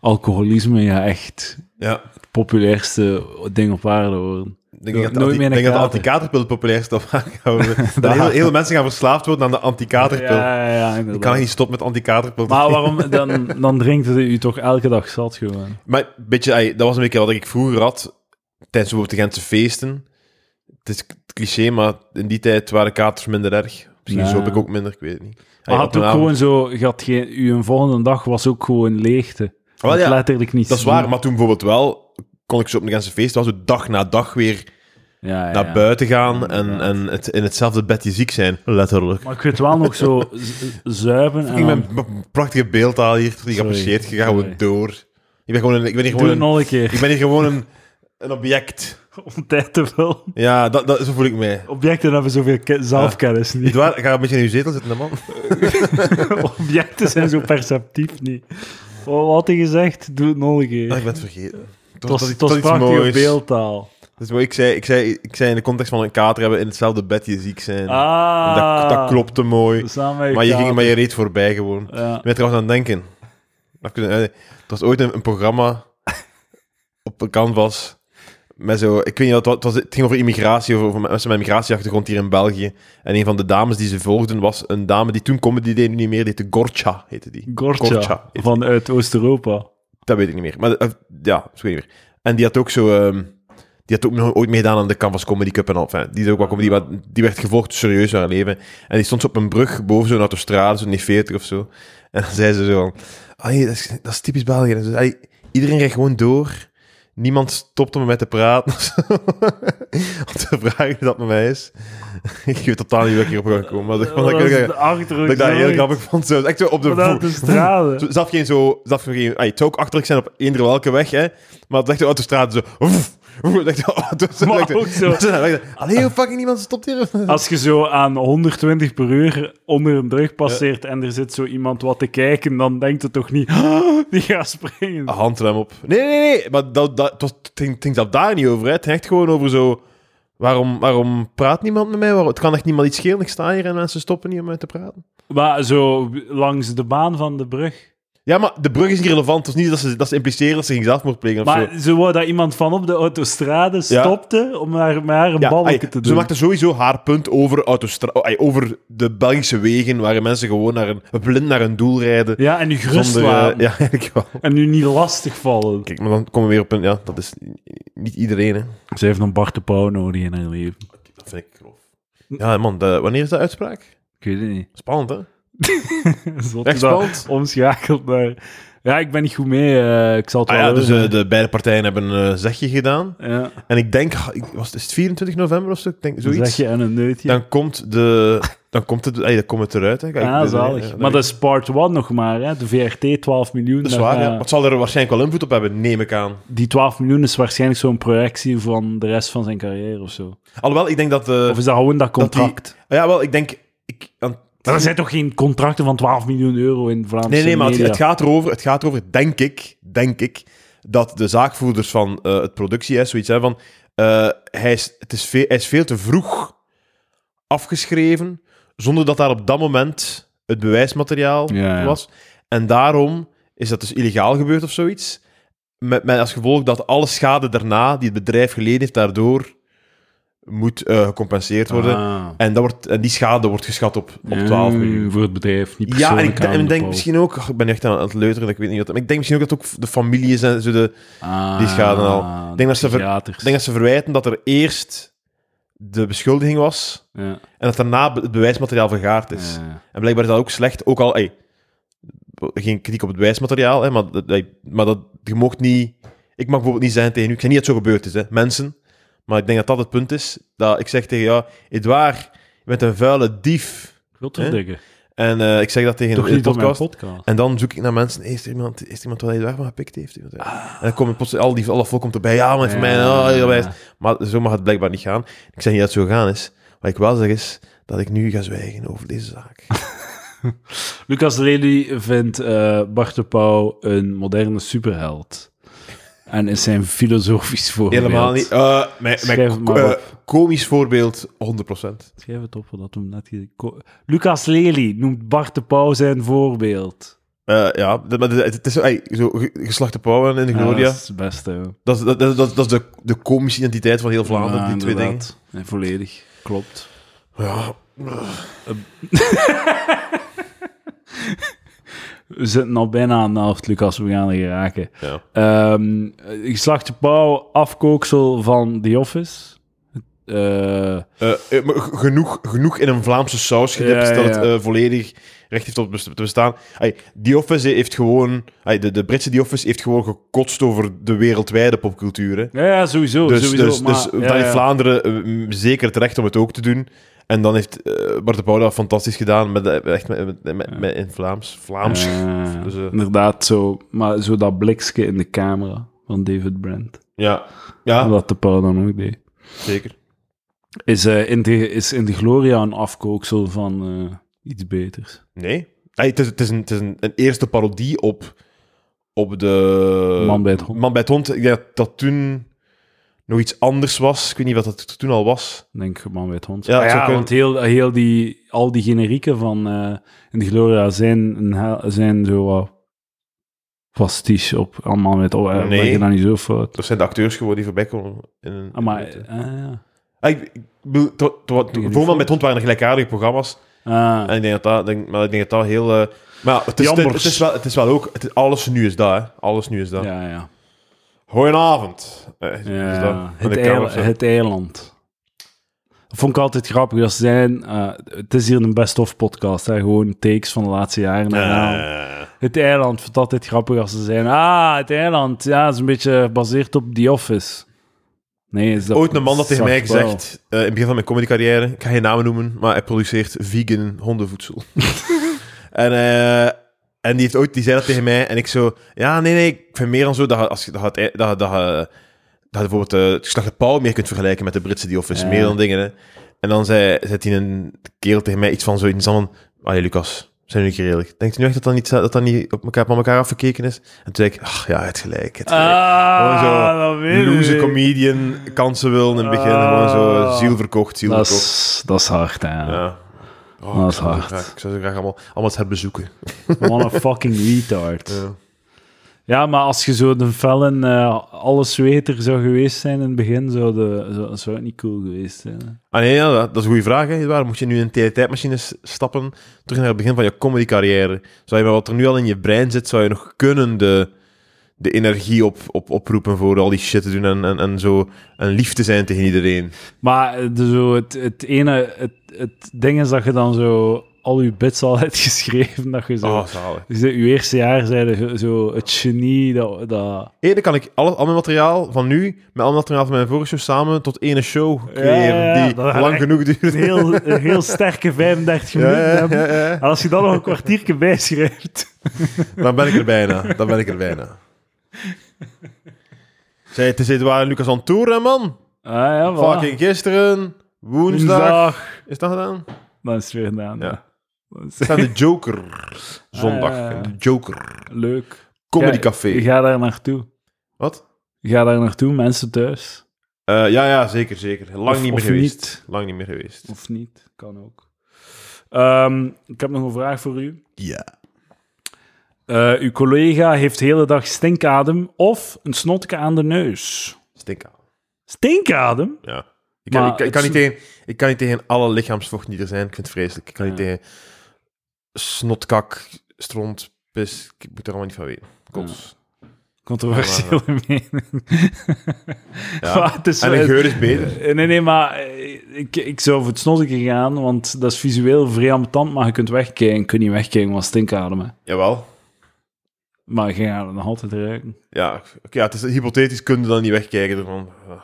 Speaker 1: alcoholisme ja echt
Speaker 2: ja,
Speaker 1: het populairste ding op aarde worden.
Speaker 2: ik denk dat de
Speaker 1: Nooit
Speaker 2: anti-
Speaker 1: meer
Speaker 2: ik
Speaker 1: een
Speaker 2: denk dat de
Speaker 1: kater.
Speaker 2: anti-katerpil het populairste op aangehouden. dat heel, heel veel mensen gaan verslaafd worden aan de anti-katerpil.
Speaker 1: Ja, ja, ja,
Speaker 2: ik
Speaker 1: inderdaad.
Speaker 2: kan niet stoppen met anti-katerpil.
Speaker 1: Maar waarom, dan, dan drinkt het u toch elke dag zat gewoon.
Speaker 2: Maar een beetje, ey, dat was een beetje wat ik vroeger had tijdens bijvoorbeeld de Gentse feesten. Het is k- cliché, maar in die tijd waren katers minder erg. Misschien
Speaker 1: Ja.
Speaker 2: zo heb ik ook minder, ik weet het niet. Ey,
Speaker 1: Maar
Speaker 2: op
Speaker 1: had
Speaker 2: een
Speaker 1: ook
Speaker 2: avond-
Speaker 1: gewoon zo, je had geen, uw volgende dag was ook gewoon leegte.
Speaker 2: Wel,
Speaker 1: Had
Speaker 2: ja,
Speaker 1: letterlijk niet
Speaker 2: dat is waar, maar toen bijvoorbeeld wel kon ik zo op de Gentse feesten was het dag na dag weer
Speaker 1: ja, ja,
Speaker 2: naar
Speaker 1: ja.
Speaker 2: buiten gaan en,
Speaker 1: Inderdaad.
Speaker 2: en het, in hetzelfde bedje ziek zijn, letterlijk.
Speaker 1: Maar ik weet wel nog zo z- zuipen en
Speaker 2: Ik
Speaker 1: dan-
Speaker 2: ben een prachtige beeldtaal hier, die geapprecieerd. Je gaat gewoon
Speaker 1: Sorry.
Speaker 2: door. Ik ben, gewoon een, ik ben hier
Speaker 1: Doe
Speaker 2: gewoon
Speaker 1: het
Speaker 2: een,
Speaker 1: nog een keer.
Speaker 2: ik ben hier gewoon een, een object.
Speaker 1: Om tijd te vullen.
Speaker 2: Ja, dat, dat, zo voel ik mij.
Speaker 1: Objecten hebben zoveel ke- zelfkennis niet.
Speaker 2: Edouard, ga een beetje in je zetel zitten, hè, man.
Speaker 1: Objecten zijn zo perceptief niet. Wat had hij gezegd? Doe het nog een keer.
Speaker 2: Ah, ik
Speaker 1: Het
Speaker 2: ben het vergeten. Het was,
Speaker 1: was,
Speaker 2: dat-
Speaker 1: het
Speaker 2: dat
Speaker 1: was
Speaker 2: is iets
Speaker 1: prachtige
Speaker 2: moois.
Speaker 1: beeldtaal.
Speaker 2: Dat is mooi. Ik zei, ik, zei, ik zei in de context van een kater hebben in hetzelfde bedje ziek zijn.
Speaker 1: Ah.
Speaker 2: Dat, dat klopte mooi.
Speaker 1: Samen met
Speaker 2: Maar je, ging,
Speaker 1: kater.
Speaker 2: maar je reed voorbij gewoon. Ik
Speaker 1: Ja.
Speaker 2: ben trouwens aan het denken. Dat ik- eh, Er was ooit een, een programma op een canvas. Met zo, ik weet niet, wat het, was, het ging over immigratie, over, over mensen met migratieachtergrond hier in België. En een van de dames die ze volgden was een dame die toen comedy deed, nu niet meer, die heette Gorcha, heette die.
Speaker 1: Gortja,
Speaker 2: Gortja.
Speaker 1: vanuit Oost-Europa.
Speaker 2: Dat weet ik niet meer. Maar eh, ja, dat weet ik niet meer. En die had ook zo... ehm, die had ook nog ooit meegedaan aan de Canvas Comedy Cup en al. Enfin, die, deed ook wel comedy, maar die werd gevolgd serieus in haar leven. En die stond zo op een brug boven zo'n autostrade, zo'n 40 of zo. En dan zei ze zo van... "Ai, dat, is, dat is typisch België. En ze zei, "Ai, iedereen rijdt gewoon door. Niemand stopt om met te praten of zo. Om te vragen wie dat met mij is. ik weet totaal niet hoe ik hierop ga komen. Maar dat,
Speaker 1: Dat
Speaker 2: dat,
Speaker 1: is
Speaker 2: dat,
Speaker 1: de achterhoek.
Speaker 2: ik dat heel
Speaker 1: zoiets.
Speaker 2: grappig vond. Zo, echt zo op de
Speaker 1: Vanuit
Speaker 2: voet-
Speaker 1: de straten.
Speaker 2: zo- Zelf geen zo. Zelf geen, ay, het zou ook achterlijk zijn op eender welke weg, hè? Maar het is echt de autostrade zo. woef, Ik dacht, oh, dat is-
Speaker 1: Maar
Speaker 2: ik dacht,
Speaker 1: ook zo.
Speaker 2: dat is- ik dacht, Allee, hoe fucking niemand stopt hier.
Speaker 1: Als je zo aan 120 per uur onder een brug passeert en er zit zo iemand wat te kijken, dan denkt het toch niet, "Ah, die gaat
Speaker 2: Ah.
Speaker 1: springen.
Speaker 2: handrem op. Nee, nee, nee. Maar dat, dat, het was- het ging, het ging zelfs daar niet over. Hè. Het ging echt gewoon over zo... Waarom, waarom praat niemand met mij? Waarom, het kan echt niemand iets schelen. Ik sta hier en mensen stoppen niet om met te praten.
Speaker 1: Maar zo langs de baan van de brug.
Speaker 2: Ja, maar de brug is niet relevant. Het was niet dat ze, dat ze impliceren dat ze ging zelfmoord plegen of zo.
Speaker 1: Maar zo wou dat iemand van op de autostrade stopte om haar, met haar een
Speaker 2: Ja,
Speaker 1: balken
Speaker 2: ai,
Speaker 1: te
Speaker 2: Ze
Speaker 1: doen.
Speaker 2: maakte sowieso haar punt over, autostra- ai, over de Belgische wegen waar mensen gewoon naar een, blind naar hun doel rijden.
Speaker 1: Ja, en nu gerust
Speaker 2: eh,
Speaker 1: laten.
Speaker 2: ja, eigenlijk wel.
Speaker 1: En nu niet lastig vallen.
Speaker 2: Kijk, maar dan komen we weer op een... Ja, dat is niet iedereen, hè.
Speaker 1: Ze heeft een Bart de Pauw nodig in haar leven.
Speaker 2: Dat vind ik grof. Ja, man, de- wanneer is dat uitspraak?
Speaker 1: Ik weet het niet.
Speaker 2: Spannend, hè?
Speaker 1: Zot
Speaker 2: Echt
Speaker 1: dat
Speaker 2: spannend.
Speaker 1: Omschakeld naar... Ja, ik ben niet goed mee. eh, ik zal het
Speaker 2: Ah,
Speaker 1: wel
Speaker 2: ja, dus
Speaker 1: horen.
Speaker 2: eh, de beide partijen hebben een eh, zegje gedaan.
Speaker 1: ja,
Speaker 2: En ik denk, ah, ik- was, is het 24 november of zo? Ik denk,
Speaker 1: dan
Speaker 2: zoiets.
Speaker 1: zeg je en een neutje.
Speaker 2: Dan komt de... Dan komt het, ey, dan komt het eruit. Hè. Kijk,
Speaker 1: ah,
Speaker 2: dit-
Speaker 1: zalig.
Speaker 2: ja, dan-
Speaker 1: maar dat is part 1 nog maar, hè. De VRT, 12 miljoen.
Speaker 2: dat is waar,
Speaker 1: maar,
Speaker 2: ja.
Speaker 1: eh,
Speaker 2: Maar het zal er waarschijnlijk wel invloed op hebben, neem ik aan.
Speaker 1: Die 12 miljoen is waarschijnlijk zo'n projectie van de rest van zijn carrière of zo.
Speaker 2: Alhoewel, ik denk dat... eh,
Speaker 1: Of is dat gewoon dat
Speaker 2: dat die-
Speaker 1: contract?
Speaker 2: ja, wel, ik denk... Ik, aan-
Speaker 1: Er zijn toch geen contracten van 12 miljoen euro in Vlaamse
Speaker 2: nee, nee, maar het,
Speaker 1: media?
Speaker 2: het gaat erover, het gaat erover denk, ik, denk ik, dat de zaakvoerders van eh, het productie, hè, zoiets hè, van... eh, hij, is, het is veel, hij is veel te vroeg afgeschreven, zonder dat daar op dat moment het bewijsmateriaal
Speaker 1: Ja, ja.
Speaker 2: was. En daarom is dat dus illegaal gebeurd of zoiets. Met, met als gevolg dat alle schade daarna, die het bedrijf geleden heeft daardoor, moet eh, gecompenseerd worden.
Speaker 1: Ah.
Speaker 2: En, dat wordt, en die schade wordt geschat op, op
Speaker 1: Ja,
Speaker 2: 12 miljoen.
Speaker 1: Voor het bedrijf, niet
Speaker 2: Ja, en
Speaker 1: persoonlijk
Speaker 2: ik de- en
Speaker 1: aan de
Speaker 2: ik denk
Speaker 1: Paul.
Speaker 2: misschien ook... ach, ik ben echt aan het leuteren, dat ik weet niet wat... Maar ik denk misschien ook dat ook de families en zo... De,
Speaker 1: Ah,
Speaker 2: die schade al. Ik denk dat ze ver-
Speaker 1: psychiaters.
Speaker 2: ik denk dat ze verwijten dat er eerst de beschuldiging was
Speaker 1: Ja,
Speaker 2: en dat daarna be- het bewijsmateriaal vergaard is.
Speaker 1: ja.
Speaker 2: En blijkbaar is dat ook slecht, ook al... ey, geen kritiek op het bewijsmateriaal, hè, maar, dat- ey, maar dat, je mocht niet... Ik mag bijvoorbeeld niet zeggen tegen u, ik zeg niet dat het zo gebeurd is, hè, mensen. Maar ik denk dat dat het punt is, dat ik zeg tegen jou... Edouard, je bent een vuile dief.
Speaker 1: Godverdikke.
Speaker 2: En eh, ik zeg dat tegen
Speaker 1: Toch
Speaker 2: in de
Speaker 1: niet op mijn
Speaker 2: podcast.
Speaker 1: podcast.
Speaker 2: En dan zoek ik naar mensen. Is er iemand, is er iemand waar hij het weg van gepikt heeft? En dan komen plots al die alle volk komt erbij. Ah. Ja, maar voor mij. Oh, ja, wijs. Maar zo mag het blijkbaar niet gaan. Ik zeg niet dat het zo gaan is. Wat ik wel zeg is dat ik nu ga zwijgen over deze zaak.
Speaker 1: Lucas Lely vindt eh, Bart de Pauw een moderne superheld. En is zijn filosofisch voorbeeld.
Speaker 2: Helemaal niet. Eh, mijn mijn
Speaker 1: Schrijf het maar
Speaker 2: eh,
Speaker 1: op.
Speaker 2: komisch voorbeeld 100%.
Speaker 1: Schrijf het op, dat hem net... ge- ko- Lucas Lely noemt Bart de Pauw zijn voorbeeld.
Speaker 2: Eh, ja, dat- maar het, het is zo, ey, zo ge- geslachte pauwen in de
Speaker 1: Ja,
Speaker 2: Gloria.
Speaker 1: dat is het beste, hoor.
Speaker 2: dat, is, dat, dat, dat, dat is de, de komische identiteit van heel Vlaanderen,
Speaker 1: Ja,
Speaker 2: die twee dingen.
Speaker 1: inderdaad. Nee, volledig. Klopt.
Speaker 2: Ja,
Speaker 1: We zitten al bijna aan de helft, Lucas. We gaan er geraken.
Speaker 2: ja.
Speaker 1: Ehm geslachte pauw, afkooksel van The Office. Eh,
Speaker 2: Eh, eh, maar g- genoeg, genoeg in een Vlaamse saus gedipt
Speaker 1: Ja,
Speaker 2: dat het
Speaker 1: ja.
Speaker 2: eh, volledig recht heeft op bes- te bestaan. Ay, die Office heeft gewoon... ay, de, de Britse The Office heeft gewoon gekotst over de wereldwijde popcultuur. hè.
Speaker 1: ja, ja, sowieso.
Speaker 2: Dus,
Speaker 1: Oh, sowieso
Speaker 2: dus,
Speaker 1: maar,
Speaker 2: dus
Speaker 1: ja,
Speaker 2: daar heeft
Speaker 1: ja.
Speaker 2: Vlaanderen eh, m, zeker het recht om het ook te doen. En dan heeft eh, Bart de Pauw dat fantastisch gedaan met, eh, echt met, met, met- met- in Vlaams. Vlaams.
Speaker 1: Eh,
Speaker 2: Dus, eh,
Speaker 1: Inderdaad, zo, maar zo dat blikske in de camera van David Brent.
Speaker 2: ja. ja,
Speaker 1: Wat de pauw dan ook deed.
Speaker 2: zeker.
Speaker 1: Is, eh, in, de, is in de Gloria een afkooksel van eh, iets beters.
Speaker 2: Nee. Ay, het is, het is, een, het is een, een eerste parodie op, op de...
Speaker 1: Man bij het hond,
Speaker 2: Man bij het hond, ik denk dat dat toen nog iets anders was. Ik weet niet wat dat toen al was.
Speaker 1: denk ik. Man bij het hond.
Speaker 2: Ja,
Speaker 1: Ah
Speaker 2: het zou kunnen.
Speaker 1: want heel, heel die, al die generieken van eh, in de Gloria zijn, een hel- zijn zo wat pastiche op allemaal met... Oh, eh,
Speaker 2: Nee.
Speaker 1: leg je dat niet zo fout?
Speaker 2: Dat zijn de acteurs gewoon die voorbij komen. In een,
Speaker 1: Ah, maar...
Speaker 2: in een-
Speaker 1: ah, ja.
Speaker 2: Ah, ik, ik bedoel, to- to- to-
Speaker 1: weet niet
Speaker 2: voor Man
Speaker 1: voor.
Speaker 2: bij het hond waren er gelijkaardige programma's.
Speaker 1: Ah,
Speaker 2: En ik denk dat dat, denk, maar ik denk dat dat heel... eh, maar ja, het is, het,
Speaker 1: Jambers.
Speaker 2: het is wel, het is wel ook... Het, is- alles nu is dat, hè. Alles nu is dat.
Speaker 1: ja, ja.
Speaker 2: Goedenavond. Eh, is dat.
Speaker 1: ja.
Speaker 2: Aan
Speaker 1: Het,
Speaker 2: de
Speaker 1: eil-
Speaker 2: camera of zo.
Speaker 1: het eiland. Dat vond ik altijd grappig. Dat ze zijn, eh, het is hier een best-of-podcast. hè, Gewoon takes van de laatste jaren. herhalen.
Speaker 2: Eh,
Speaker 1: Het eiland vond ik altijd grappig als ze zeiden... Ah, het eiland. Ja, is een beetje gebaseerd op The Office. Nee, is dat...
Speaker 2: ooit een man dat tegen mij
Speaker 1: zacht wel.
Speaker 2: gezegd, eh, in het begin van mijn comedycarrière, ik ga geen namen noemen, maar hij produceert vegan hondenvoedsel. en, eh, en die, heeft ooit, die zei e- dat tegen mij en ik zo, ja, nee, nee, ik vind meer dan zo dat je- als je, dat je, het ei- dat je- dat je dat je bijvoorbeeld eh, het geslacht de pauw meer kunt vergelijken met de Britse die office,
Speaker 1: Ja.
Speaker 2: meer dan dingen. Hè. En dan zei, zei die een kerel tegen mij iets van zoiets van, allee Lucas, zijn jullie keer eerlijk? Denkt u nu echt dat dat niet, dat dat niet op elkaar, van elkaar afgekeken is? En toen zei ik, ach ja, het gelijk, het gelijk.
Speaker 1: Ah,
Speaker 2: Gewoon
Speaker 1: dat weet
Speaker 2: Loose
Speaker 1: ik.
Speaker 2: comedian, kansen wil in het begin,
Speaker 1: Ah.
Speaker 2: gewoon zo ziel verkocht, ziel
Speaker 1: Dat
Speaker 2: verkocht.
Speaker 1: is, dat is hard, hè.
Speaker 2: Ja. Oh,
Speaker 1: Dat is
Speaker 2: ik zou ze
Speaker 1: hard.
Speaker 2: graag- Ik zou ze graag allemaal, allemaal eens herbezoeken.
Speaker 1: What a fucking retard.
Speaker 2: Ja.
Speaker 1: Ja, maar als je zo de Fallon eh allesweter zou geweest zijn in het begin, zou, de, zou, zou het niet cool geweest zijn. hè.
Speaker 2: Ah nee, ja, dat, dat is een goede vraag. Hè. Waar moet je nu in een tijdmachine stappen, terug naar het begin van je comedycarrière? Zou je met wat er nu al in je brein zit, zou je nog kunnen de, de energie op, op, oproepen voor al die shit te doen en, en, en zo en lief te zijn tegen iedereen?
Speaker 1: Maar eh, de, zo, het, het ene, het, het ding is dat je dan zo al je bits al hebt geschreven. Dat je zo.
Speaker 2: Oh, zalig.
Speaker 1: Dus je eerste jaar zeiden zo het genie dat. dat
Speaker 2: Eerder kan ik al, al mijn materiaal van nu met al mijn materiaal van mijn vorige show samen tot ene show creëren
Speaker 1: ja, ja,
Speaker 2: die
Speaker 1: dat gaat
Speaker 2: lang
Speaker 1: echt
Speaker 2: genoeg duurt.
Speaker 1: een heel, een heel sterke 35
Speaker 2: Ja,
Speaker 1: minuten
Speaker 2: ja,
Speaker 1: hebben.
Speaker 2: ja, ja.
Speaker 1: En als je dan nog een kwartiertje bijschrijft.
Speaker 2: Dan ben ik er bijna. Dan ben ik er bijna. Zij, het is Edouard en Lucas aan het toeren, man.
Speaker 1: Ah ja, voilà.
Speaker 2: Fucking gisteren, woensdag.
Speaker 1: Woensdag.
Speaker 2: Is dat gedaan?
Speaker 1: Dan is het weer gedaan.
Speaker 2: Ja.
Speaker 1: Dat is-
Speaker 2: Staat de Joker. Zondag.
Speaker 1: Ah, ja, ja.
Speaker 2: De Joker.
Speaker 1: leuk.
Speaker 2: Comedy
Speaker 1: Kijk,
Speaker 2: Café.
Speaker 1: Ga daar naartoe.
Speaker 2: Wat?
Speaker 1: Ga daar naartoe, mensen thuis.
Speaker 2: Eh, ja, ja, zeker, zeker. Lang
Speaker 1: Of-
Speaker 2: niet meer
Speaker 1: of
Speaker 2: geweest.
Speaker 1: niet.
Speaker 2: Lang niet meer geweest.
Speaker 1: Of niet, kan ook. Ehm, ik heb nog een vraag voor u.
Speaker 2: Ja.
Speaker 1: Eh, uw collega heeft de hele dag stinkadem of een snotke aan de neus.
Speaker 2: Stinken.
Speaker 1: Stinkadem?
Speaker 2: Ja. Ik kan,
Speaker 1: Maar
Speaker 2: ik, kan- ik kan
Speaker 1: het
Speaker 2: niet tegen, ik kan niet tegen alle lichaamsvochten die er zijn. Ik vind het vreselijk. Ik kan niet
Speaker 1: Ja.
Speaker 2: tegen snotkak, stront, pis. Ik moet er allemaal niet van weten. Kots.
Speaker 1: Controversieel mening.
Speaker 2: Ja.
Speaker 1: Maar het is
Speaker 2: En
Speaker 1: wel-
Speaker 2: de geur is beter.
Speaker 1: Eh, Nee, nee, maar eh, ik, ik zou voor het snotke gaan, want dat is visueel vrij ambetant, maar je kunt wegkijken. Je kunt niet wegkijken, want stinkadem. hè.
Speaker 2: Jawel.
Speaker 1: Maar je gaat het nog altijd ruiken.
Speaker 2: Ja, oké, ja, het is hypothetisch, kun je dan niet wegkijken ervan. Ah.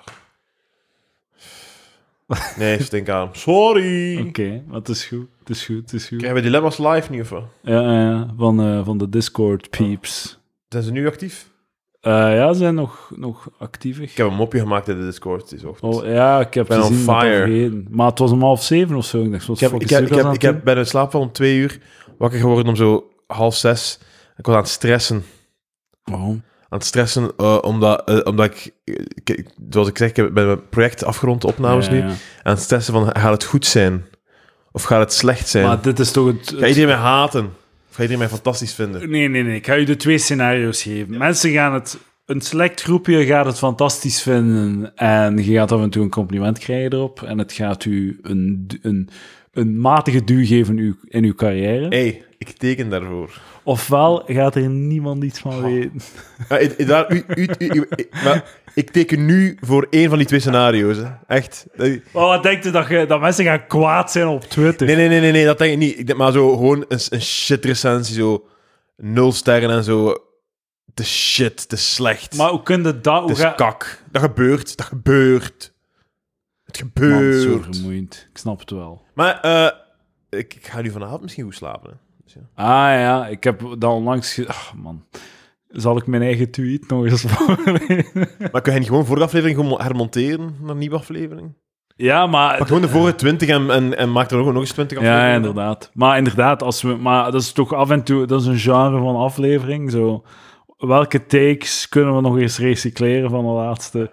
Speaker 2: Nee, stinkadem. Sorry!
Speaker 1: Oké, maar het is goed. Het is goed, het is goed.
Speaker 2: Krijgen we dilemma's live nu of wat?
Speaker 1: Ja, ja, ja, van, eh, van de Discord peeps.
Speaker 2: Zijn ze nu actief?
Speaker 1: Eh, ja, ze zijn nog, nog actief.
Speaker 2: Ik heb een mopje gemaakt in de Discord deze ochtend.
Speaker 1: Oh, ja, ik heb
Speaker 2: ben on
Speaker 1: gezien dat dat
Speaker 2: fire.
Speaker 1: vergeten. Maar het was om half zeven of zo. Ik dacht, wat
Speaker 2: ik, heb,
Speaker 1: fuck
Speaker 2: ik,
Speaker 1: is
Speaker 2: heb, ik,
Speaker 1: Lucas
Speaker 2: heb,
Speaker 1: aan
Speaker 2: ik
Speaker 1: het
Speaker 2: heb, ben in slaap van om twee uur wakker geworden om zo half zes. Ik was aan het stressen.
Speaker 1: doen? Waarom?
Speaker 2: Aan het stressen eh, omdat, eh, omdat ik, ik- ik- zoals ik zeg, ik heb- ben mijn project afgerond, de opnames
Speaker 1: Ja,
Speaker 2: nu.
Speaker 1: ja.
Speaker 2: Aan het stressen van, gaat het goed zijn? Of gaat het slecht zijn?
Speaker 1: Maar dit is toch het...
Speaker 2: Ga
Speaker 1: het-
Speaker 2: iedereen mij haten? Of ga iedereen mij fantastisch vinden?
Speaker 1: Nee, nee, nee. Ik ga je de twee scenario's geven. Mensen gaan het... Een select groepje gaat het fantastisch vinden en je gaat af en toe een compliment krijgen erop. En het gaat u een, een, een matige duw geven in uw, in uw carrière.
Speaker 2: hey, ik teken daarvoor.
Speaker 1: Ofwel gaat er niemand iets
Speaker 2: Oh.
Speaker 1: van weten.
Speaker 2: Ja, i- i- daar, u, u, u- u- i- maar ik teken nu voor één van die twee scenario's. Hè. Echt. Nee,
Speaker 1: Maar Oh, wat denkt u dat, je, dat mensen gaan kwaad zijn op Twitter?
Speaker 2: nee, nee, nee, nee, dat denk ik niet. Ik denk maar zo gewoon een, een shit recensie, zo nul sterren en zo. Te shit, te slecht.
Speaker 1: Maar hoe kun je dat... Hoe
Speaker 2: het is
Speaker 1: ga...
Speaker 2: kak. Dat gebeurt, dat gebeurt. Het
Speaker 1: Man, het is zo
Speaker 2: gebeurt.
Speaker 1: vermoeiend. Ik snap het wel.
Speaker 2: maar eh, ik, ik ga nu vanavond misschien goed slapen. Hè. Dus ja.
Speaker 1: Ah ja, ik heb dat onlangs... Ge... Ach, man. Zal ik mijn eigen tweet nog eens voorlezen?
Speaker 2: Maar kun je niet gewoon voor de aflevering gewoon hermonteren naar een nieuwe aflevering?
Speaker 1: ja,
Speaker 2: Pak
Speaker 1: maar...
Speaker 2: gewoon de vorige 20 en, en, en maak er ook nog eens 20 afleveringen.
Speaker 1: Ja,
Speaker 2: van.
Speaker 1: inderdaad. Maar inderdaad, als we... Maar dat is toch af en toe... Dat is een genre van aflevering, zo... Welke takes kunnen we nog eens recycleren van de laatste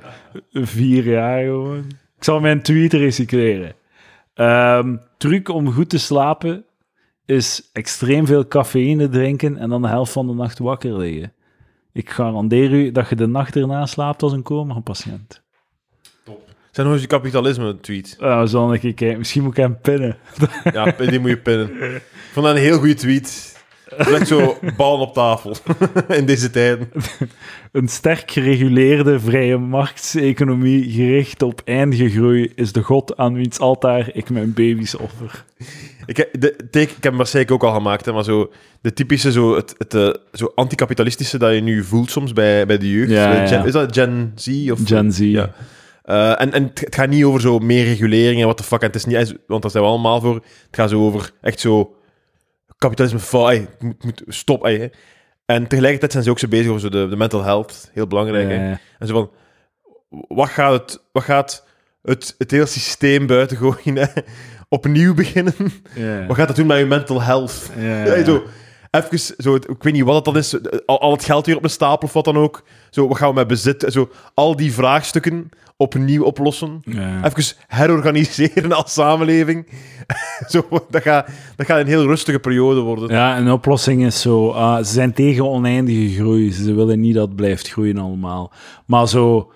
Speaker 1: vier jaar gewoon? Ik zal mijn tweet recycleren. Ehm, truc om goed te slapen is extreem veel cafeïne drinken en dan de helft van de nacht wakker liggen. Ik garandeer u dat je de nacht erna slaapt als een coma-patiënt.
Speaker 2: Zijn nog eens die kapitalisme-tweet.
Speaker 1: Nou, zal ik kijken. Misschien moet ik hem pinnen.
Speaker 2: Ja, die moet je pinnen. Ik vond dat een heel goede tweet. Leg zo ballen op tafel in deze tijden.
Speaker 1: Een sterk gereguleerde vrije marktseconomie gericht op eindige groei is de god aan wiens altaar ik mijn baby's offer.
Speaker 2: Ik heb, de, take- ik heb hem waarschijnlijk ook al gemaakt, hè, maar zo de typische, zo, het, het, eh, zo anticapitalistische dat je nu voelt soms bij, bij de jeugd.
Speaker 1: Ja,
Speaker 2: Eh, Gen-
Speaker 1: ja.
Speaker 2: Is dat Gen Z? Of,
Speaker 1: Gen Z.
Speaker 2: Ja. Eh, en en het, het gaat niet over zo meer regulering en wat de fuck. En het is niet, want daar zijn we allemaal voor. Het gaat zo over echt zo kapitalisme. fa- ey, het moet, moet stop. ey, hè. En tegelijkertijd zijn ze ook zo bezig over zo de, de mental health. Heel belangrijk. hè.
Speaker 1: Eh,
Speaker 2: En zo van, wat gaat het, wat gaat het, het hele systeem buiten gooien? Hè? Opnieuw beginnen?
Speaker 1: Eh, Ja.
Speaker 2: Wat gaat dat doen met je mental health?
Speaker 1: Ja,
Speaker 2: Ja,
Speaker 1: ja.
Speaker 2: zo, even, zo, het- ik weet niet wat het dan is, al, al het geld weer op een stapel of wat dan ook. Zo, wat gaan we met bezit? Zo, al die vraagstukken opnieuw oplossen.
Speaker 1: Ja.
Speaker 2: Even herorganiseren als samenleving. zo, dat, gaat, dat gaat een heel rustige periode worden.
Speaker 1: Ja, een oplossing is zo. ah, ze zijn tegen oneindige groei. Ze willen niet dat het blijft groeien allemaal. Maar zo,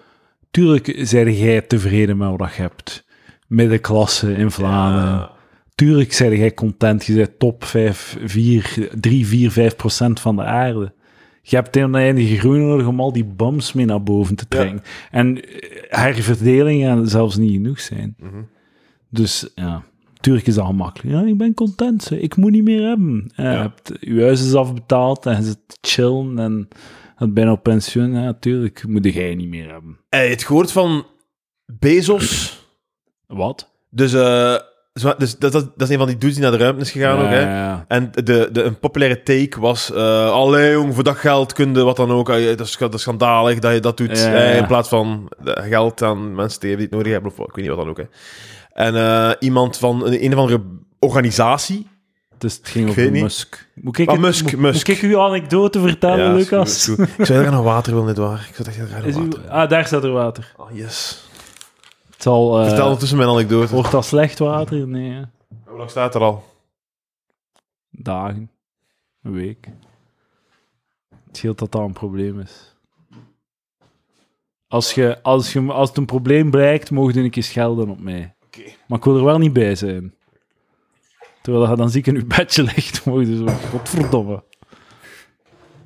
Speaker 1: tuurlijk zijn jij tevreden met wat je hebt. Middenklasse in Vlaanderen. Tuurlijk zijn jij content. Je bent top 5, 4, 3, 4, 5 procent van de aarde. Je hebt een oneindige groei nodig om al die bums mee naar boven te trekken. En eh, herverdelingen gaan zelfs niet genoeg zijn. Dus ja, tuurlijk is dat gemakkelijk. Ja, ik ben content, hè. ik moet niet meer hebben. Ja, Je hebt je huis is afbetaald en je zit te chillen en het bijna op pensioen. Ja, tuurlijk moet jij niet meer hebben.
Speaker 2: Hey, het gehoord van Bezos.
Speaker 1: Wat?
Speaker 2: Dus, eh, zo- dus dat, dat, dat is een van die dudes die naar de ruimte is gegaan ook. Hè?
Speaker 1: Eh, Ja,
Speaker 2: En de, de, een populaire take was... eh Allee, jong, voor dat geld kunde wat dan ook. eh, Dat is, dat is schandalig dat je dat doet.
Speaker 1: Ja.
Speaker 2: eh, in plaats van eh, geld aan mensen die het nodig hebben. Of wat, ik weet niet wat dan ook. Hè. En eh, iemand van een, een of andere organisatie.
Speaker 1: dus het ging
Speaker 2: weet
Speaker 1: over
Speaker 2: niet.
Speaker 1: Musk. Moet ik,
Speaker 2: Ah,
Speaker 1: het-
Speaker 2: Musk,
Speaker 1: moet-
Speaker 2: Musk.
Speaker 1: moet ik uw anekdote vertellen,
Speaker 2: Ja, is goed,
Speaker 1: Lucas?
Speaker 2: is goed. Ik zou daar nog water willen, net waar. Ik zou echt graag nog
Speaker 1: Is uw-
Speaker 2: water willen.
Speaker 1: ah, daar staat er water.
Speaker 2: Ah, yes.
Speaker 1: Het zal, eh, oh.
Speaker 2: Vertel ondertussen mijn anekdote.
Speaker 1: wordt dat slecht water? Nee, hè.
Speaker 2: Hoe lang staat er al?
Speaker 1: dagen, een week. Het scheelt dat dat een probleem is. Als, je, als, je, als het een probleem blijkt, mogen je een keer schelden op mij.
Speaker 2: Oké.
Speaker 1: Maar ik wil er wel niet bij zijn. Terwijl je dan ziek in je bedje ligt, mogen je zo... Godverdomme.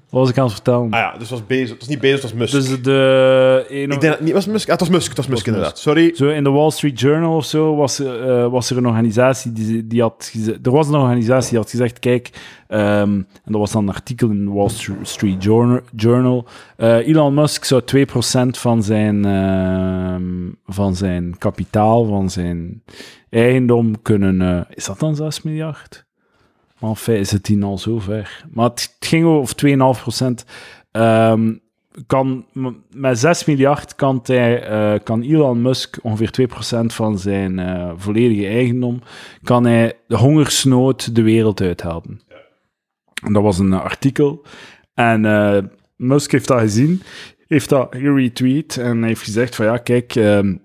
Speaker 1: Wat was ik aan het vertellen?
Speaker 2: Ah ja, dus het was Bezos. Het was niet Bezos, het was Musk.
Speaker 1: Dus de... Een,
Speaker 2: Ik denk dat niet was Musk. Ah, het was Musk, het was Musk
Speaker 1: was
Speaker 2: inderdaad. Sorry.
Speaker 1: Zo in de Wall Street Journal of zo was, er, eh, was er een organisatie die, die had geze- Er was een organisatie die had gezegd: kijk, ehm, en dat was dan een artikel in de Wall Stru- Street Journa- Journal. eh, Elon Musk zou 2% van zijn, ehm, van zijn kapitaal, van zijn eigendom kunnen. eh, is dat dan 6 miljard? Maar enfin, is het die al zo ver? Maar het, het ging over 2,5%. ehm kan, m- met 6 miljard kan, hij, eh, kan Elon Musk ongeveer 2% van zijn eh, volledige eigendom, kan hij de hongersnood de wereld uithelpen. En Dat was een eh, artikel. En eh, Musk heeft dat gezien, heeft dat geretweet en heeft gezegd van ja, kijk, ehm,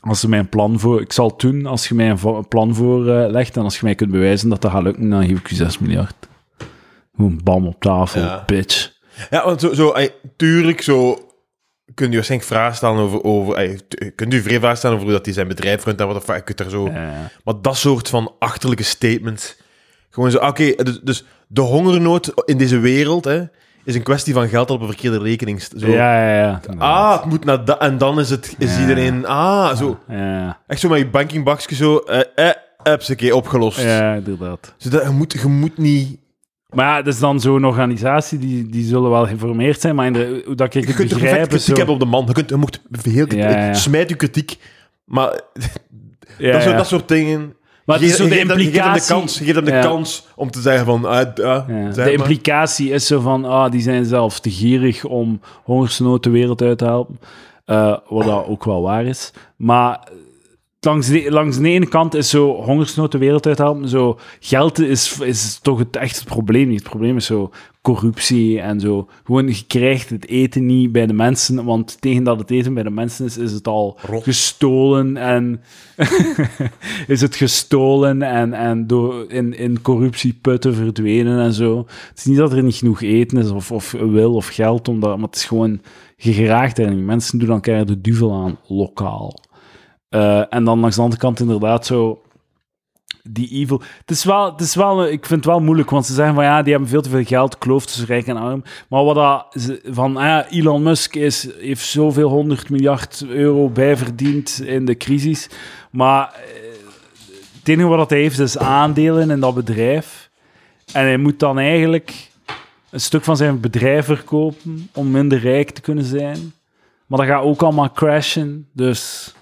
Speaker 1: als je mijn plan voor, ik zal het doen als je mij een, vo- een plan voor eh, legt en als je mij kunt bewijzen dat dat gaat lukken, dan geef ik je 6 miljard. Gewoon bam op tafel,
Speaker 2: Ja.
Speaker 1: bitch.
Speaker 2: Ja, want zo, zo ey, tuurlijk, zo kunt u waarschijnlijk vragen stellen over. over ey, tu- kunt u vrij vragen stellen over hoe dat hij zijn bedrijf runt en wat dat voor- je kunt er zo.
Speaker 1: Eh.
Speaker 2: Maar dat soort van achterlijke statements. Gewoon zo, ah, oké, dus, dus de hongernood in deze wereld hè, is een kwestie van geld dat op een verkeerde rekening staat. Zo,
Speaker 1: Ja, ja, ja.
Speaker 2: Ah, het moet naar dat. En dan is, het, is
Speaker 1: Ja.
Speaker 2: iedereen. Ah, zo.
Speaker 1: Ja,
Speaker 2: Echt zo met je bankingbakje zo. eh, eh, hupsakee, opgelost.
Speaker 1: ja, inderdaad.
Speaker 2: Dus dat, je, moet, je moet niet.
Speaker 1: Maar ja, dat is dan zo'n organisatie, die, die zullen wel geïnformeerd zijn, maar in de, hoe dat ik
Speaker 2: Je
Speaker 1: het
Speaker 2: kunt er perfect
Speaker 1: begrijp is
Speaker 2: kritiek
Speaker 1: zo...
Speaker 2: hebben op de man. Je, kunt, je mocht heel
Speaker 1: Ja, ja.
Speaker 2: smijt je kritiek. Maar
Speaker 1: Ja,
Speaker 2: dat, soort,
Speaker 1: ja.
Speaker 2: dat soort dingen.
Speaker 1: Maar het
Speaker 2: Je-
Speaker 1: is zo
Speaker 2: je
Speaker 1: de
Speaker 2: geeft hem- je geeft hem
Speaker 1: implicatie...
Speaker 2: de kans, je geeft hem de
Speaker 1: Ja.
Speaker 2: kans om te zeggen van... ah, d- ah,
Speaker 1: Ja.
Speaker 2: zeg
Speaker 1: De
Speaker 2: maar.
Speaker 1: implicatie is zo van, ah, die zijn zelf te gierig om hongersnood de wereld uit te helpen. Eh, wat dat ook wel waar is. Maar eh, langs de, langs de ene kant is zo hongersnood de wereld uit te helpen. Zo, geld is, is toch het, echt het probleem niet. Het probleem is zo corruptie en zo. Gewoon, je krijgt het eten niet bij de mensen, want tegen dat het eten bij de mensen is, is het al
Speaker 2: Rot.
Speaker 1: gestolen en... is het gestolen en, en door in, in corruptieputten verdwenen en zo. Het is niet dat er niet genoeg eten is of, of wil of geld, om dat, maar het is gewoon je geraakt er niet. Mensen doen elkaar de duvel aan, lokaal. Eh, en dan langs de andere kant inderdaad zo die evil. Het is wel, het is wel, eh, ik vind het wel moeilijk, want ze zeggen van ja, die hebben veel te veel geld, kloof tussen rijk en arm. Maar wat dat, ze- van ah ja, Elon Musk is, heeft zoveel 100 miljard euro bijverdiend in de crisis. Maar eh, het enige wat dat hij heeft is aandelen in dat bedrijf. En hij moet dan eigenlijk een stuk van zijn bedrijf verkopen om minder rijk te kunnen zijn. Maar dat gaat ook allemaal crashen. Dus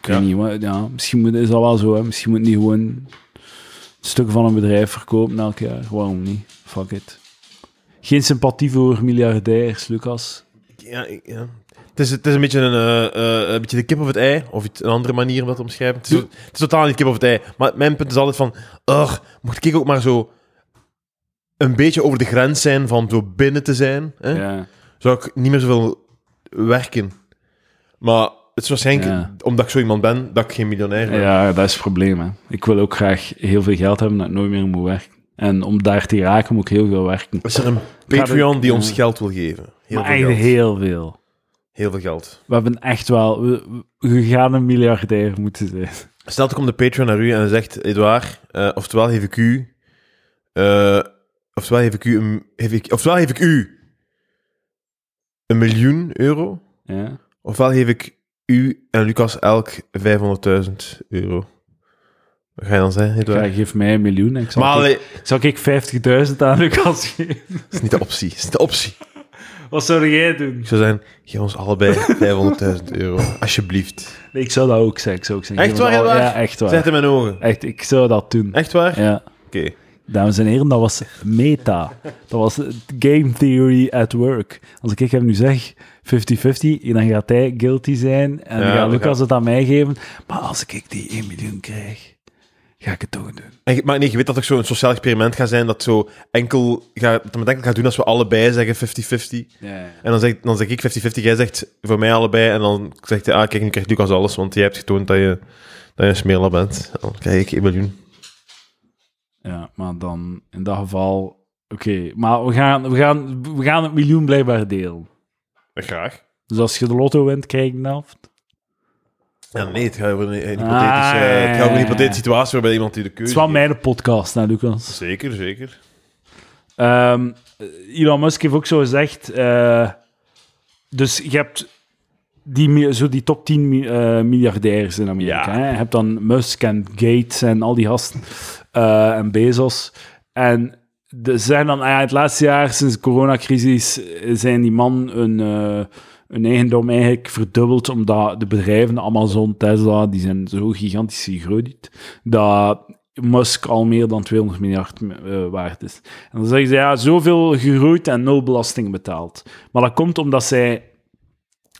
Speaker 1: ik weet
Speaker 2: Ja.
Speaker 1: niet, wat- ja, misschien moet, is dat wel zo. Hè. Misschien moet niet gewoon een stuk van een bedrijf verkopen elk jaar. Waarom niet? Fuck it. Geen sympathie voor miljardairs, Lucas.
Speaker 2: Ja, ik- ja. Het is, het is een, beetje een, eh, eh, een beetje de kip of het ei, of iets, een andere manier om dat te omschrijven. Het is, het is totaal niet kip of het ei. Maar mijn punt is altijd van, ugh, mocht ik ook maar zo een beetje over de grens zijn van zo binnen te zijn, hè,
Speaker 1: Ja.
Speaker 2: zou ik niet meer zoveel werken. Maar het is waarschijnlijk,
Speaker 1: Ja.
Speaker 2: omdat ik zo iemand ben, dat ik geen miljonair ben.
Speaker 1: ja, dat is het probleem. Hè. Ik wil ook graag heel veel geld hebben dat ik nooit meer moet werken. En om daar te raken moet ik heel veel werken.
Speaker 2: Is er een
Speaker 1: Gaat
Speaker 2: Patreon
Speaker 1: het-
Speaker 2: die ons
Speaker 1: ja.
Speaker 2: geld wil geven? Heel
Speaker 1: maar
Speaker 2: veel
Speaker 1: echt
Speaker 2: geld.
Speaker 1: heel veel.
Speaker 2: Heel veel geld.
Speaker 1: We hebben echt wel... We, we gaan een miljardair moeten zijn.
Speaker 2: Stel, er komt de Patreon naar u en zegt: Edouard, eh, oftewel geef ik u. eh, oftewel, geef ik u een, geef ik, oftewel geef ik u. een miljoen euro.
Speaker 1: Ja.
Speaker 2: Ofwel geef ik u en Lucas elk 500.000 euro. Wat ga je dan zeggen,
Speaker 1: Ja,
Speaker 2: Edouard?
Speaker 1: geef mij een miljoen. en Ik zal,
Speaker 2: Maar
Speaker 1: ik,
Speaker 2: allee,
Speaker 1: zal ik 50.000 aan Lucas geven?
Speaker 2: dat is niet de optie. Dat is niet de optie.
Speaker 1: Wat zou jij doen?
Speaker 2: Ik zou zeggen: geef ons allebei 500.000 euro. Alsjeblieft.
Speaker 1: Nee, ik zou dat ook zeggen. Ik zou ook zeggen
Speaker 2: Echt
Speaker 1: geef me
Speaker 2: waar,
Speaker 1: dat-
Speaker 2: Edouard?
Speaker 1: Ja, echt
Speaker 2: Zet
Speaker 1: waar.
Speaker 2: in mijn ogen.
Speaker 1: Echt, ik zou dat doen.
Speaker 2: Echt waar?
Speaker 1: Ja.
Speaker 2: Oké.
Speaker 1: Dames en heren, dat was meta. Dat was game theory at work. Als ik hem nu zeg 50-50, dan gaat hij guilty zijn en
Speaker 2: Ja,
Speaker 1: dan gaat
Speaker 2: we
Speaker 1: Lucas
Speaker 2: gaan-
Speaker 1: het aan mij geven. Maar als ik die 1 miljoen krijg, ga ik het toch doen.
Speaker 2: En je- maar nee, je weet dat er zo'n sociaal experiment gaat zijn dat zo enkel ga, dat men enkel gaat doen als we allebei zeggen 50-50. En dan zeg, dan zeg ik 50-50, jij zegt voor mij allebei. En dan zegt hij, ah kijk, nu krijgt Lucas alles, want jij hebt getoond dat je, dat je een smeerlap bent. En Dan krijg ik 1 miljoen.
Speaker 1: Ja, maar dan in dat geval... Oké, maar we gaan, we, gaan, we gaan het miljoen blijkbaar delen.
Speaker 2: Eh, Graag.
Speaker 1: Dus als je de lotto wint, krijg ik de helft.
Speaker 2: Ja, nee, het gaat over een, een hypothetische,
Speaker 1: Ah, ja, ja,
Speaker 2: het gaat over een
Speaker 1: ja,
Speaker 2: hypothetische
Speaker 1: ja.
Speaker 2: situatie waarbij iemand die de
Speaker 1: Het
Speaker 2: keuze
Speaker 1: is wel
Speaker 2: heeft.
Speaker 1: mijn podcast, hè, Lucas.
Speaker 2: Zeker, zeker.
Speaker 1: Ehm, Elon Musk heeft ook zo gezegd. eh, dus je hebt die, mi- zo die top 10 mi- eh, miljardairs in Amerika.
Speaker 2: Ja.
Speaker 1: Hè? Je hebt dan Musk en Gates en al die gasten. eh, en Bezos. En de, ze zijn dan, ah ja, het laatste jaar sinds de coronacrisis eh, zijn die man een. eh, hun eigendom eigenlijk verdubbeld, omdat de bedrijven, Amazon, Tesla, die zijn zo gigantisch gegroeid, dat Musk al meer dan 200 miljard eh, waard is. En dan zeggen ze, ja, zoveel gegroeid en nul belasting betaald. Maar dat komt omdat zij...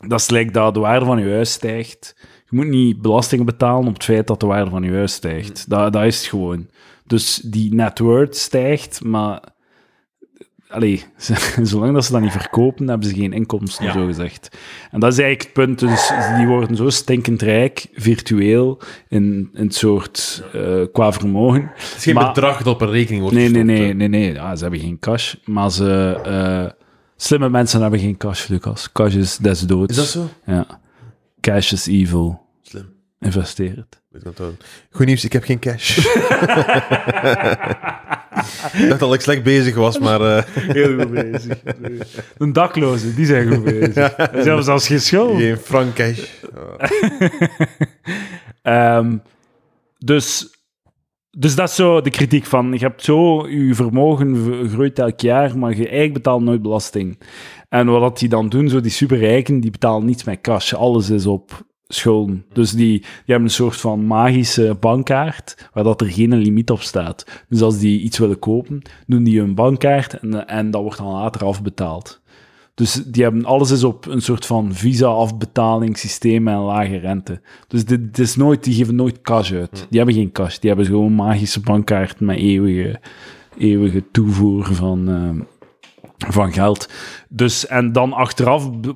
Speaker 1: Dat is gelijk dat de waarde van je huis stijgt. Je moet niet belasting betalen op het feit dat de waarde van je huis stijgt.
Speaker 2: Mm.
Speaker 1: Dat, dat is het gewoon. Dus die net worth stijgt, maar... Allee, ze- zolang dat ze dat niet verkopen, hebben ze geen inkomsten, zo gezegd. En dat is eigenlijk het punt. Dus die worden zo stinkend rijk, virtueel, in, in het soort eh, qua vermogen.
Speaker 2: Het is geen
Speaker 1: Maar-
Speaker 2: bedrag dat op een rekening wordt
Speaker 1: Nee, nee,
Speaker 2: gestopt,
Speaker 1: nee, nee, nee. Ja, ze hebben geen cash, maar ze... eh, slimme mensen hebben geen cash, Lucas. Cash is des doods.
Speaker 2: hè. Is dat zo?
Speaker 1: Ja. Cash is evil.
Speaker 2: Slim.
Speaker 1: Investeer het.
Speaker 2: Weet ik wat dat- Goed nieuws, ik heb geen cash. ik dacht dat ik slecht bezig was, maar... eh,
Speaker 1: Heel goed bezig. Een dakloze, die zijn goed bezig. Zelfs als je schuld.
Speaker 2: Geen frank cash.
Speaker 1: Ehm, dus, dus dat is zo de kritiek van, je hebt zo, je vermogen v- groeit elk jaar, maar je eigenlijk betaalt nooit belasting. En wat dat die dan doen, zo die superrijken, die betalen niets met cash. Alles is op schulden. Dus die, die hebben een soort van magische bankkaart, waar dat er geen limiet op staat. Dus als die iets willen kopen, doen die hun bankkaart en, en dat wordt dan later afbetaald. Dus die hebben, alles is op een soort van visa-afbetalingssysteem en lage rente. Dus dit, dit is nooit, die geven nooit cash uit. Die hebben geen cash. Die hebben gewoon magische bankkaarten met eeuwige, eeuwige toevoer van, eh, van geld. Dus, en dan achteraf b-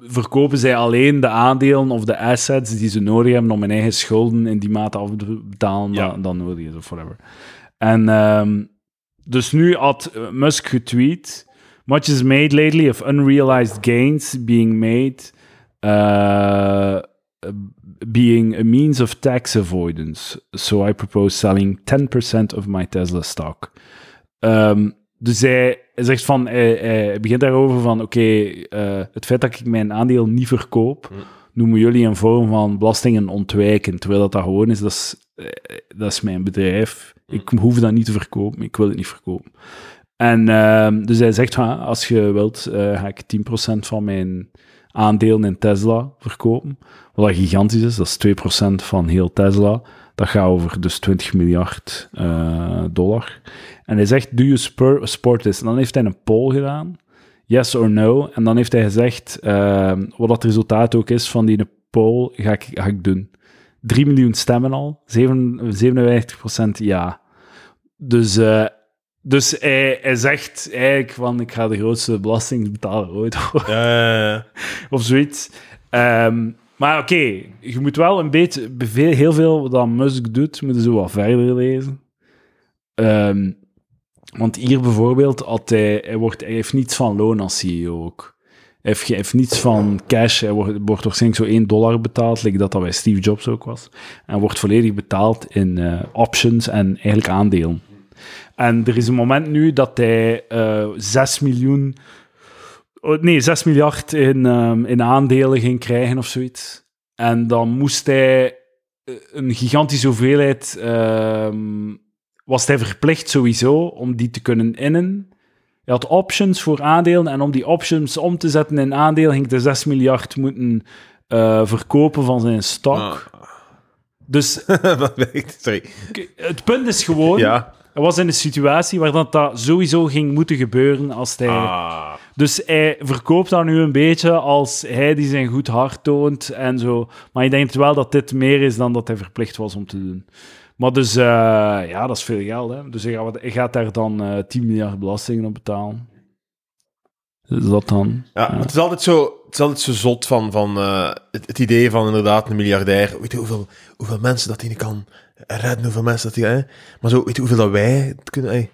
Speaker 1: verkopen zij alleen de aandelen of de assets die ze nodig hebben om hun eigen schulden in die mate af te betalen
Speaker 2: Ja.
Speaker 1: dan, dan nodig is of whatever. En ehm, dus nu had eh, Musk getweet... Much is made lately of unrealized gains being made, uh, being a means of tax avoidance. So I propose selling 10% of my Tesla stock. Ehm, dus hij zegt van, hij, hij begint daarover van, oké, eh, het feit dat ik mijn aandeel niet verkoop, noemen jullie een vorm van belastingen ontwijken, terwijl dat, dat gewoon is, dat is, eh, dat is mijn bedrijf. Ik hoef dat niet te verkopen, ik wil het niet verkopen. En ehm, dus hij zegt, van, als je wilt, eh, ga ik 10% van mijn aandelen in Tesla verkopen. Wat dat gigantisch is, dat is 2% van heel Tesla. Dat gaat over dus 20 miljard eh, dollar. En hij zegt, do you spur, support this? En dan heeft hij een poll gedaan. yes or no. En dan heeft hij gezegd, ehm, wat dat resultaat ook is van die poll, ga ik, ga ik doen. 3 miljoen stemmen al, zeven- 57% ja. Dus, eh, dus hij, hij zegt eigenlijk van, ik ga de grootste belastingbetaler ooit worden
Speaker 2: Eh,
Speaker 1: of zoiets. Ehm, maar oké, je moet wel een beetje... Veel, heel veel wat dan Musk doet, moeten ze wat verder lezen. Ehm, want hier bijvoorbeeld, had hij, hij, wordt, hij heeft niets van loon als CEO ook. Hij heeft, ge- hij heeft niets van cash. Hij wordt, wordt waarschijnlijk zo 1 dollar betaald, like dat dat bij Steve Jobs ook was. En wordt volledig betaald in eh, options en eigenlijk aandelen. En er is een moment nu dat hij eh 6 miljoen Oh, nee, 6 miljard in, ehm, in aandelen ging krijgen of zoiets. En dan moest hij eh, een gigantische hoeveelheid. ehm, was hij verplicht sowieso om die te kunnen innen. Hij had options voor aandelen en om die options om te zetten in aandelen ging hij 6 miljard moeten eh, verkopen van zijn stok.
Speaker 2: Ah.
Speaker 1: Dus
Speaker 2: wat werkt- Sorry.
Speaker 1: k- het punt is gewoon,
Speaker 2: Ja.
Speaker 1: hij was in een situatie waar dat, dat sowieso ging moeten gebeuren als hij...
Speaker 2: Ah.
Speaker 1: Dus hij verkoopt dat nu een beetje als hij die zijn goed hart toont en zo. Maar ik denk wel dat dit meer is dan dat hij verplicht was om te doen. Maar dus, eh, ja, dat is veel geld. Hè? Dus hij gaat, hij gaat daar dan eh 10 miljard belastingen op betalen. Is dat dan?
Speaker 2: Ja, maar Het, is altijd zo, het is altijd zo zot van, van eh, het, het idee van inderdaad een miljardair. Weet je hoeveel, hoeveel mensen dat hij kan redden, hoeveel mensen dat hij... Hè? Maar zo, weet je hoeveel dat wij het kunnen... Hè?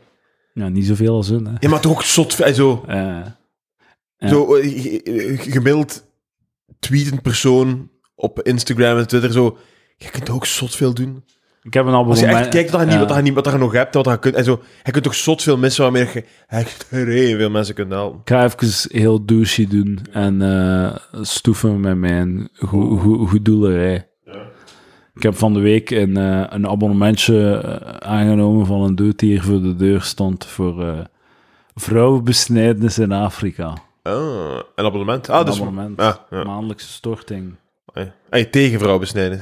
Speaker 1: Ja, niet zoveel als hun. Hè?
Speaker 2: Ja, maar toch ook zot... hè, Zo,
Speaker 1: Eh, Ja.
Speaker 2: zo eh, g- g- gemiddeld tweetend persoon op Instagram en Twitter zo... Je kunt ook zot veel doen.
Speaker 1: ik heb een al
Speaker 2: Als je echt
Speaker 1: moment-
Speaker 2: kijkt wat je, niet,
Speaker 1: Ja.
Speaker 2: wat, je niet, wat je nog hebt, wat je kunt... En zo, je kunt toch zot veel missen waarmee je echt heel veel mensen kunt helpen.
Speaker 1: Ik ga even heel douchey doen en eh, stoeven met mijn goe- goe- goedoelerij. Ik heb van de week een, eh, een abonnementje eh, aangenomen van een dude die hier voor de deur stond voor eh vrouwenbesnijdenis in Afrika.
Speaker 2: Ah, een abonnement. Ah,
Speaker 1: Een
Speaker 2: dus...
Speaker 1: abonnement.
Speaker 2: Ah, ja.
Speaker 1: Maandelijkse storting.
Speaker 2: Hey, tegen vrouwbesnijden.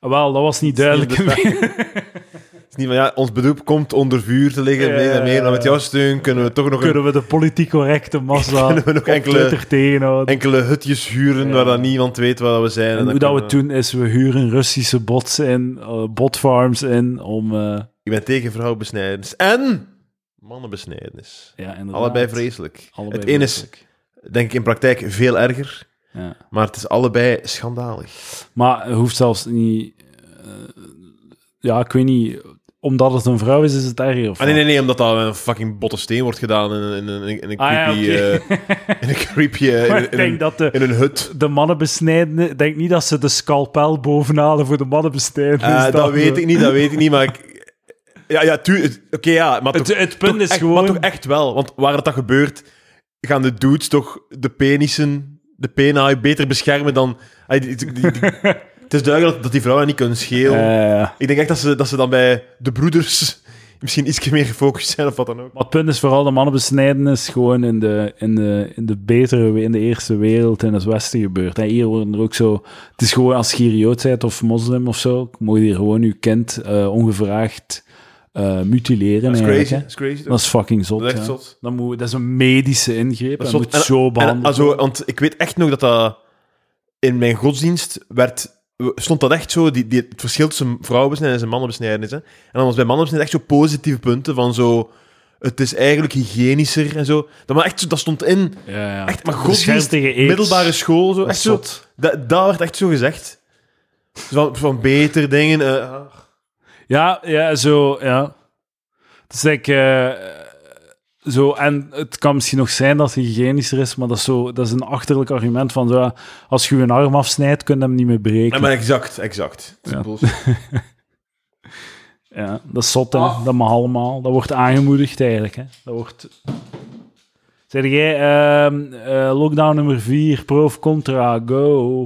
Speaker 1: Ah, wel, dat was niet duidelijk.
Speaker 2: Het is niet van, ja, ons beroep komt onder vuur te liggen,
Speaker 1: Ja.
Speaker 2: meer en meer. Maar met jouw steun kunnen we toch nog een,
Speaker 1: Kunnen we de politiek correcte massa
Speaker 2: Kunnen we nog
Speaker 1: op
Speaker 2: enkele-
Speaker 1: Twitter tegenhouden?
Speaker 2: enkele hutjes huren
Speaker 1: Ja.
Speaker 2: waar dan niemand weet waar we zijn.
Speaker 1: En
Speaker 2: dan
Speaker 1: hoe dat we het
Speaker 2: kunnen
Speaker 1: doen is, we huren Russische bots in, eh, botfarms in, om... eh,
Speaker 2: Ik ben tegen vrouwenbesnijdenis en mannenbesnijdenis.
Speaker 1: ja, inderdaad.
Speaker 2: Allebei vreselijk.
Speaker 1: Allebei
Speaker 2: het een is,
Speaker 1: vreselijk.
Speaker 2: denk ik, in praktijk veel erger.
Speaker 1: Ja.
Speaker 2: Maar het is allebei schandalig.
Speaker 1: Maar het hoeft zelfs niet. eh, ja, ik weet niet. Omdat het een vrouw is, is het erger. Of
Speaker 2: Ah, nee, nee, nee, omdat dat een fucking botte steen wordt gedaan in, een- in, een- in een
Speaker 1: Ah, ja,
Speaker 2: creepy...
Speaker 1: oké.
Speaker 2: eh, in een creepy... eh,
Speaker 1: Maar
Speaker 2: in,
Speaker 1: ik
Speaker 2: in een,
Speaker 1: denk dat de,
Speaker 2: in een hut.
Speaker 1: de mannen besnijden. Ik denk niet dat ze de scalpel bovenhalen voor de mannen besnijden.
Speaker 2: Eh, dat weet ik niet, dat weet ik niet, maar ik... Ja, ja, tu... het- Oké, ja, maar
Speaker 1: Het,
Speaker 2: toch-
Speaker 1: het punt
Speaker 2: Toch
Speaker 1: is
Speaker 2: echt- Maar
Speaker 1: gewoon.
Speaker 2: toch echt wel, want waar het dat gebeurt, gaan de dudes toch de penissen, de penaai, beter beschermen dan... Ay, die- die- die- die- het is duidelijk dat, dat die vrouwen niet kunnen schelen.
Speaker 1: Eh,
Speaker 2: Ik denk echt dat ze, dat ze dan bij de broeders misschien iets meer gefocust zijn of wat dan ook.
Speaker 1: maar het punt is vooral de mannen besnijden is gewoon in de, in de, in de betere, we- in de eerste wereld, in het Westen gebeurd. En hier worden er ook zo. Het is gewoon als je hier Jood bent of moslim of zo, moet je hier gewoon je kind eh, ongevraagd eh, mutileren.
Speaker 2: Dat is
Speaker 1: eigenlijk,
Speaker 2: crazy.
Speaker 1: hè.
Speaker 2: Dat is crazy. toch?
Speaker 1: Dat is fucking zot.
Speaker 2: Dat is echt
Speaker 1: ja.
Speaker 2: zot.
Speaker 1: Dat, moet, dat is een medische ingreep.
Speaker 2: Dat
Speaker 1: Dat,
Speaker 2: is zot.
Speaker 1: moet zo
Speaker 2: En,
Speaker 1: behandeld
Speaker 2: also,
Speaker 1: worden.
Speaker 2: want ik weet echt nog dat dat in mijn godsdienst werd, stond dat echt zo, die, die, het verschil tussen vrouwenbesnijdenis en mannenbesnijdenis. Hè? En dan was bij mannenbesnijdenis echt zo positieve punten van zo, het is eigenlijk hygiënischer en zo. Dat, maar echt, zo- dat stond in,
Speaker 1: Ja, ja.
Speaker 2: echt, maar
Speaker 1: Beschermd
Speaker 2: godsdienst,
Speaker 1: Ah, tegen aids.
Speaker 2: middelbare school, zo,
Speaker 1: Dat
Speaker 2: echt
Speaker 1: is
Speaker 2: zo,
Speaker 1: zot.
Speaker 2: dat, dat werd echt zo gezegd. Zo Van, van beter dingen. eh,
Speaker 1: Ah. Ja, ja, zo, ja. Dus ik, eh, zo, en het kan misschien nog zijn dat het hygiënischer is, maar dat is, zo, dat is een achterlijk argument van, zo, ja, als je een arm afsnijdt, kun je hem niet meer
Speaker 2: ja,
Speaker 1: breken.
Speaker 2: maar exact, exact.
Speaker 1: Ja.
Speaker 2: Bullshit.
Speaker 1: Ja, dat is zot, hè.
Speaker 2: Ah.
Speaker 1: Dat mag allemaal. Dat wordt aangemoedigd, eigenlijk, hè. Dat wordt... Zeg jij, ehm, eh, lockdown nummer 4, pro of contra, go.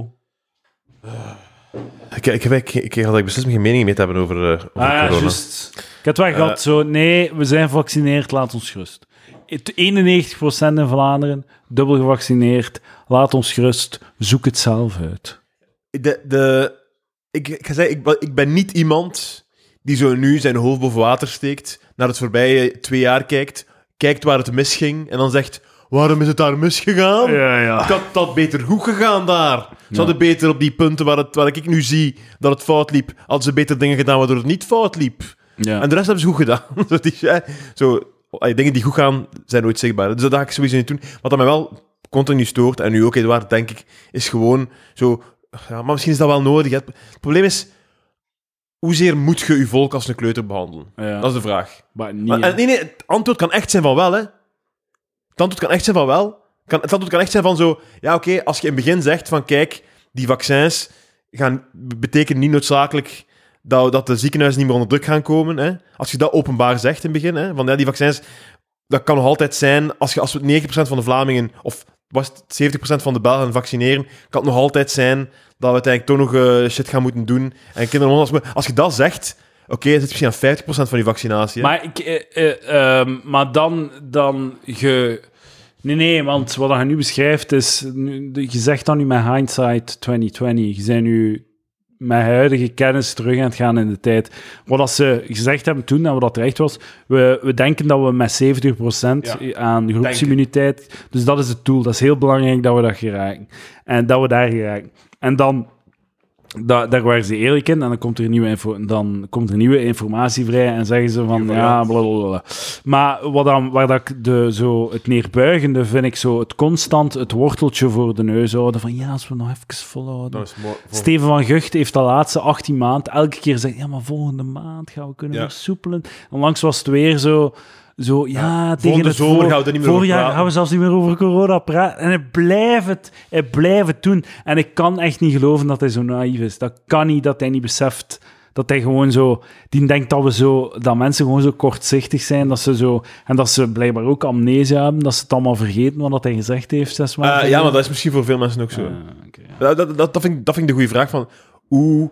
Speaker 2: Ik, ik, heb eigenlijk- ik, ik had ik beslist geen mening mee te hebben over, eh, over
Speaker 1: Ah, ja,
Speaker 2: corona.
Speaker 1: juist. Ik had wel gehad zo, nee, we zijn gevaccineerd, laat ons gerust. Het 91% in Vlaanderen, dubbel gevaccineerd, laat ons gerust, zoek het zelf uit.
Speaker 2: de, de, ik, ik ga zeggen, ik, ben- ik ben niet iemand die zo nu zijn hoofd boven water steekt, naar het voorbije twee jaar kijkt, kijkt waar het misging en dan zegt: Waarom is het daar misgegaan?
Speaker 1: Ja, ja.
Speaker 2: Het had dat beter goed gegaan daar. Ze
Speaker 1: Ja.
Speaker 2: hadden beter op die punten waar, het, waar ik nu zie dat het fout liep, hadden ze beter dingen gedaan waardoor het niet fout liep.
Speaker 1: Ja.
Speaker 2: En de rest hebben ze goed gedaan. Zo die, eh, zo, eh, dingen die goed gaan, zijn nooit zichtbaar. Dus dat ga ik sowieso niet doen. Wat dat mij wel continu stoort, en nu ook Edouard, denk ik, is gewoon zo... Ja, maar misschien is dat wel nodig. hè. Het probleem is, hoezeer moet je je volk als een kleuter behandelen?
Speaker 1: Ja.
Speaker 2: Dat is de vraag.
Speaker 1: Maar
Speaker 2: Maar-
Speaker 1: niet...
Speaker 2: en nee, nee, het antwoord kan echt zijn van wel, hè. Het antwoord kan echt zijn van wel. Kan, het antwoord kan echt zijn van zo... Ja, oké, als je in het begin zegt van... Kijk, die vaccins gaan, betekenen niet noodzakelijk dat, dat de ziekenhuizen niet meer onder druk gaan komen. Hè. Als je dat openbaar zegt in het begin, hè, van ja, die vaccins... Dat kan nog altijd zijn, als, je, als we 90% van de Vlamingen... Of was het 70% van de Belgen vaccineren... Kan het nog altijd zijn dat we uiteindelijk toch nog eh, shit gaan moeten doen. En kinderen... Als, we- als je dat zegt... Oké, het is misschien aan 50% van je vaccinatie. hè.
Speaker 1: Maar, ik, eh, eh, ehm, maar dan, dan je. Nee, nee, want wat je nu beschrijft is. nu- Je zegt dan nu met hindsight 2020. Je bent nu met huidige kennis terug aan het gaan in de tijd. Wat dat ze gezegd hebben toen en wat dat terecht was. We, we denken dat we met 70% aan groepsimmuniteit. Dus dat is het doel. Dat is heel belangrijk dat we dat geraken. En dat we daar geraken. En dan. Da- daar waren ze eerlijk in en dan komt er nieuwe, info, dan komt er nieuwe informatie vrij en zeggen ze van
Speaker 2: Nieuwe
Speaker 1: ja,
Speaker 2: variant.
Speaker 1: blablabla. Maar wat dan, waar dat ik de, zo, het neerbuigende vind ik zo het constant het worteltje voor de neus houden van ja, als we nog even volhouden.
Speaker 2: Dan is het mooi- voor-
Speaker 1: Steven van Gucht heeft de laatste 18 maanden elke keer gezegd: ja, maar volgende maand gaan we kunnen
Speaker 2: Ja.
Speaker 1: versoepelen. En langs was het weer zo. Zo, ja, tegen
Speaker 2: volgende
Speaker 1: het
Speaker 2: zomer
Speaker 1: voor-
Speaker 2: gaan we er niet meer
Speaker 1: voorjaar
Speaker 2: over praten.
Speaker 1: gaan we zelfs niet meer over corona praten. En hij blijft het, hij blijft het doen. En ik kan echt niet geloven dat hij zo naïef is. Dat kan niet dat hij niet beseft dat hij gewoon zo... Die denkt dat, we zo, dat mensen gewoon zo kortzichtig zijn. Dat ze zo, en dat ze blijkbaar ook amnesie hebben. Dat ze het allemaal vergeten wat dat hij gezegd heeft zes maanden
Speaker 2: Eh, ja,
Speaker 1: geleden.
Speaker 2: maar dat is misschien voor veel mensen ook zo.
Speaker 1: Ah, oké, ja.
Speaker 2: Dat, dat, dat, dat vind ik, dat vind ik de goede vraag van hoe,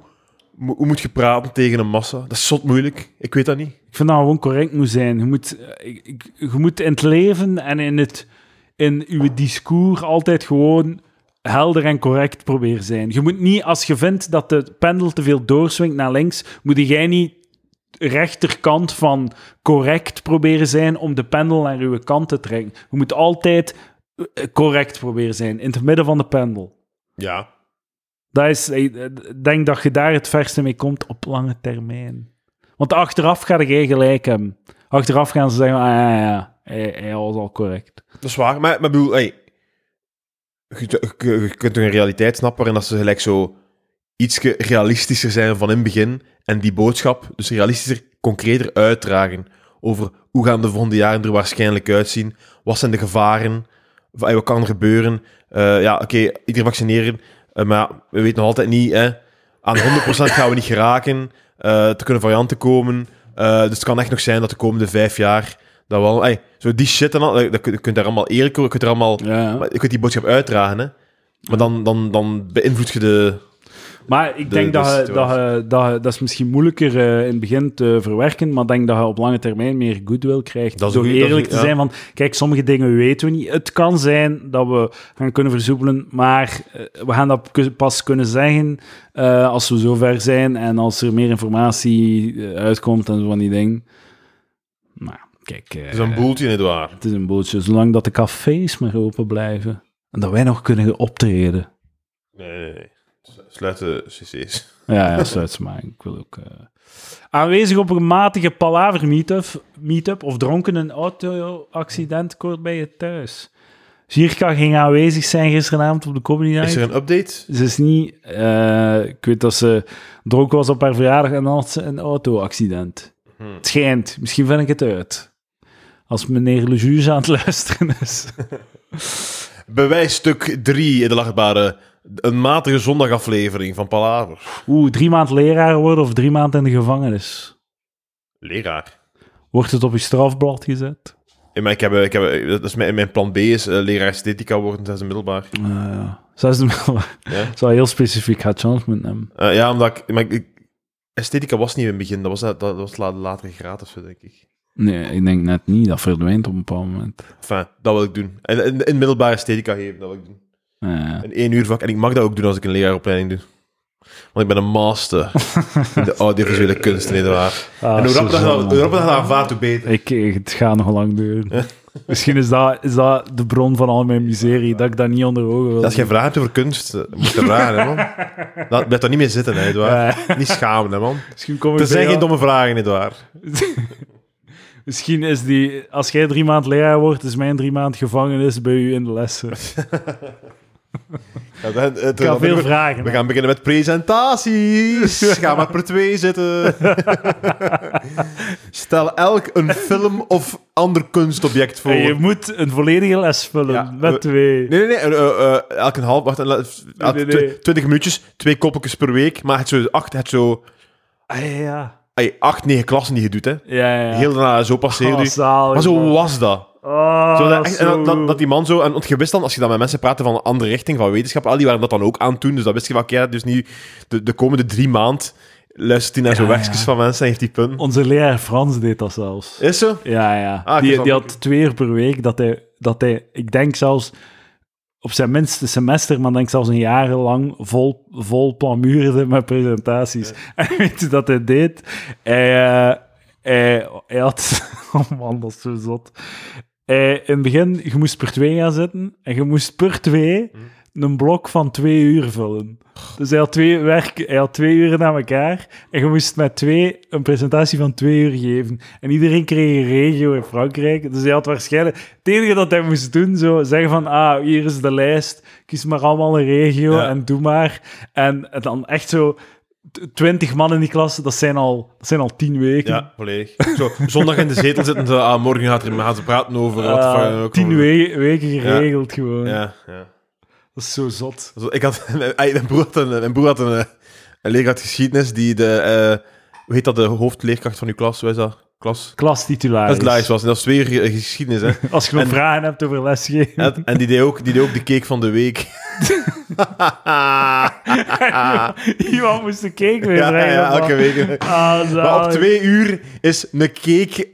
Speaker 2: mo- hoe moet je praten tegen een massa? Dat is zot moeilijk. Ik weet dat niet.
Speaker 1: Ik vind dat je gewoon correct moet zijn. Je moet, eh, ik- ik- je moet in het leven en in, het, in uw discours altijd gewoon helder en correct proberen zijn. Je moet niet, als je vindt dat de pendel te veel doorswingt naar links, moet jij niet rechterkant van correct proberen zijn om de pendel naar uw kant te trekken. Je moet altijd eh, correct proberen zijn, in het midden van de pendel.
Speaker 2: Ja.
Speaker 1: Dat is, ik denk dat je daar het verste mee komt op lange termijn. Want achteraf ga jij gelijk hebben. Achteraf gaan ze zeggen, ah ja, ja, hij, hij was al correct.
Speaker 2: Dat is waar. Maar, maar bedoel, hey, je, je- je kunt toch een realiteit snappen waarin dat ze gelijk zo iets realistischer zijn van in het begin en die boodschap dus realistischer, concreter uitdragen over hoe gaan de volgende jaren er waarschijnlijk uitzien, wat zijn de gevaren, Van, hey, wat kan er gebeuren. Eh, ja, oké, iedereen vaccineren, eh, maar ja, we weten nog altijd niet, hè. aan 100% gaan we niet geraken, Eh, er kunnen varianten komen, Eh, dus het kan echt nog zijn dat de komende vijf jaar dat wel, hey, zo die shit en al, eh, dat kun- je kunt daar allemaal eerlijk over, je kunt er allemaal,
Speaker 1: Ja.
Speaker 2: maar je kunt die boodschap uitdragen, hè. Maar dan, dan, dan beïnvloed je de,
Speaker 1: Maar ik
Speaker 2: De-
Speaker 1: denk dat,
Speaker 2: de
Speaker 1: je- dat,
Speaker 2: situatie.
Speaker 1: je- dat, je- dat is misschien moeilijker eh, in het begin te verwerken, maar ik denk dat je op lange termijn meer goodwill krijgt.
Speaker 2: Dat is
Speaker 1: door
Speaker 2: goed, dat is
Speaker 1: eerlijk
Speaker 2: goed,
Speaker 1: te
Speaker 2: ja.
Speaker 1: zijn van, kijk, sommige dingen weten we niet. Het kan zijn dat we gaan kunnen versoepelen, maar eh, we gaan dat ku- pas kunnen zeggen eh, als we zover zijn en als er meer informatie eh, uitkomt en zo van die dingen. Nou, kijk, eh,
Speaker 2: Het is een boeltje, nietwaar?
Speaker 1: het is een boeltje. Zolang dat de cafés maar open blijven en dat wij nog kunnen optreden.
Speaker 2: Nee, nee, nee. Sluit de cc's.
Speaker 1: Ja, ja sluit ze maar. Ik wil ook... eh, Aanwezig op een matige palaver meetup, meetup of dronken een auto-accident kort bij je thuis. Zierka ging aanwezig zijn gisteravond op de comedy night.
Speaker 2: Is er een update?
Speaker 1: Ze is niet... eh, ik weet dat ze dronken was op haar verjaardag en dan had ze een auto-accident.
Speaker 2: Hmm.
Speaker 1: Het schijnt. Misschien vind ik het uit. Als meneer Le Juge aan het luisteren is.
Speaker 2: Bewijsstuk 3 in de lachbare. Een matige zondagaflevering van Palaver.
Speaker 1: Oeh, drie maand leraar worden of drie maanden in de gevangenis.
Speaker 2: Leraar.
Speaker 1: Wordt het op je strafblad gezet?
Speaker 2: Ja, maar ik heb, eh, ik heb, eh, dat is mijn, mijn plan B is eh, leraar esthetica worden tijdens het middelbaar.
Speaker 1: Uh, zesde middelbaar.
Speaker 2: Ja.
Speaker 1: Zou heel specifiek gaat chance moeten hebben.
Speaker 2: Eh, ja, omdat ik, maar ik- ik- Esthetica was niet in het begin. Dat was, dat, dat was la- latere graad of zo, denk ik.
Speaker 1: Nee, ik denk net niet. Dat verdwijnt op een bepaald moment.
Speaker 2: Enfin, dat wil ik doen. En in, in het middelbaar esthetica geven, dat wil ik doen.
Speaker 1: Ja.
Speaker 2: Een één uur vak. En ik mag dat ook doen als ik een leraaropleiding doe. Want ik ben een master in de audiovisuele kunsten, nietwaar?
Speaker 1: Ah,
Speaker 2: en hoe
Speaker 1: zo
Speaker 2: rapper dat je
Speaker 1: zo,
Speaker 2: dat-
Speaker 1: man.
Speaker 2: hoe rapper dat je dat aanvaardt, hoe beter.
Speaker 1: Ik, ik- het gaat nog lang duren. Misschien is dat, is dat de bron van al mijn miserie, dat ik dat niet onder ogen wil.
Speaker 2: Als je vraagt over kunst, eh, moet je vragen, hè, man. Laat, blijf daar niet mee zitten, hè, nietwaar? Niet schamen, hè, man.
Speaker 1: Misschien kom ik
Speaker 2: Er zijn
Speaker 1: bij
Speaker 2: geen
Speaker 1: jou-
Speaker 2: domme vragen, nietwaar?
Speaker 1: Misschien is die... Als jij drie maand leraar wordt, is mijn drie maand gevangenis bij u in de lessen.
Speaker 2: Ja, dan- eh,
Speaker 1: Ik
Speaker 2: dan-
Speaker 1: had veel vragen.
Speaker 2: We gaan beginnen met presentaties. Ga maar per twee zitten. Stel elk een film of ander kunstobject voor.
Speaker 1: En je moet een volledige les vullen,
Speaker 2: Ja, we-
Speaker 1: met twee.
Speaker 2: Nee, nee, nee. eh, eh, eh, elk een half... Wacht, eh, la- elk
Speaker 1: nee,
Speaker 2: twi-
Speaker 1: nee.
Speaker 2: 20 minuutjes, twee koppeltjes per week. Maar het zo acht, het zo...
Speaker 1: Ah, ja, ja.
Speaker 2: ay, acht, negen klassen die je doet, hè.
Speaker 1: Ja, ja.
Speaker 2: Heel daarna zo
Speaker 1: Oh,
Speaker 2: passeerde je.
Speaker 1: zalig,
Speaker 2: Maar zo
Speaker 1: man.
Speaker 2: was dat.
Speaker 1: Oh,
Speaker 2: Zo dat, echt- en
Speaker 1: zo
Speaker 2: dat, dat,
Speaker 1: goed.
Speaker 2: dat die man zo... En want je wist dan, als je dan met mensen praatte van een andere richting, van wetenschap, al die waren dat dan ook aan toen. Dus dat wist je wel, oké, dus nu de, de komende drie maand luistert hij naar zo'n
Speaker 1: Ja,
Speaker 2: werkjes
Speaker 1: ja.
Speaker 2: van mensen en heeft die punten.
Speaker 1: Onze leraar Frans deed dat zelfs.
Speaker 2: Is zo?
Speaker 1: Ja, ja.
Speaker 2: Ah, ik
Speaker 1: die,
Speaker 2: snap
Speaker 1: die
Speaker 2: het.
Speaker 1: had twee uur per week dat hij, dat hij, ik denk zelfs op zijn minste semester, maar ik denk zelfs een jaar lang vol, vol plamuurde met presentaties. En weet je dat hij deed? Hij, eh, hij, hij had, oh man, dat is zo zot. Hij- in het begin, je moest per twee gaan zitten en je moest per twee
Speaker 2: Hm.
Speaker 1: een blok van twee uur vullen. Dus hij had twee, werk, hij had twee uren aan elkaar en je moest met twee een presentatie van twee uur geven. En iedereen kreeg een regio in Frankrijk, dus hij had waarschijnlijk... Het enige dat hij moest doen, zo zeggen van, ah, hier is de lijst, kies maar allemaal een regio
Speaker 2: Ja.
Speaker 1: en doe maar. En, en dan echt zo... Twintig man in die klas, dat zijn al, dat zijn al tien weken.
Speaker 2: Ja, volledig. Zo, zondag in de zetel zitten, ze, ah, morgen gaat er, gaan ze praten over... wat
Speaker 1: Ah,
Speaker 2: de fuck dan ook
Speaker 1: tien
Speaker 2: over.
Speaker 1: we- weken geregeld gewoon.
Speaker 2: Ja, ja.
Speaker 1: Dat is zo zot.
Speaker 2: Dus ik had, ey, mijn broer had een, mijn broer had een, eh, een leerkracht geschiedenis die de... eh, hoe heet dat, de hoofdleerkracht van uw klas? Hoe is dat? Klas?
Speaker 1: Klastitularis.
Speaker 2: Dat is Lais was. En dat is weer eh, geschiedenis, hè.
Speaker 1: Als je nog
Speaker 2: En-
Speaker 1: vragen hebt over lesgeven.
Speaker 2: En, en die, deed ook, die deed ook de cake van de week. ja,
Speaker 1: Iemand moest de cake weer
Speaker 2: ja,
Speaker 1: brengen. man.
Speaker 2: elke week.
Speaker 1: Ah, zalig.
Speaker 2: Maar op twee uur is een cake...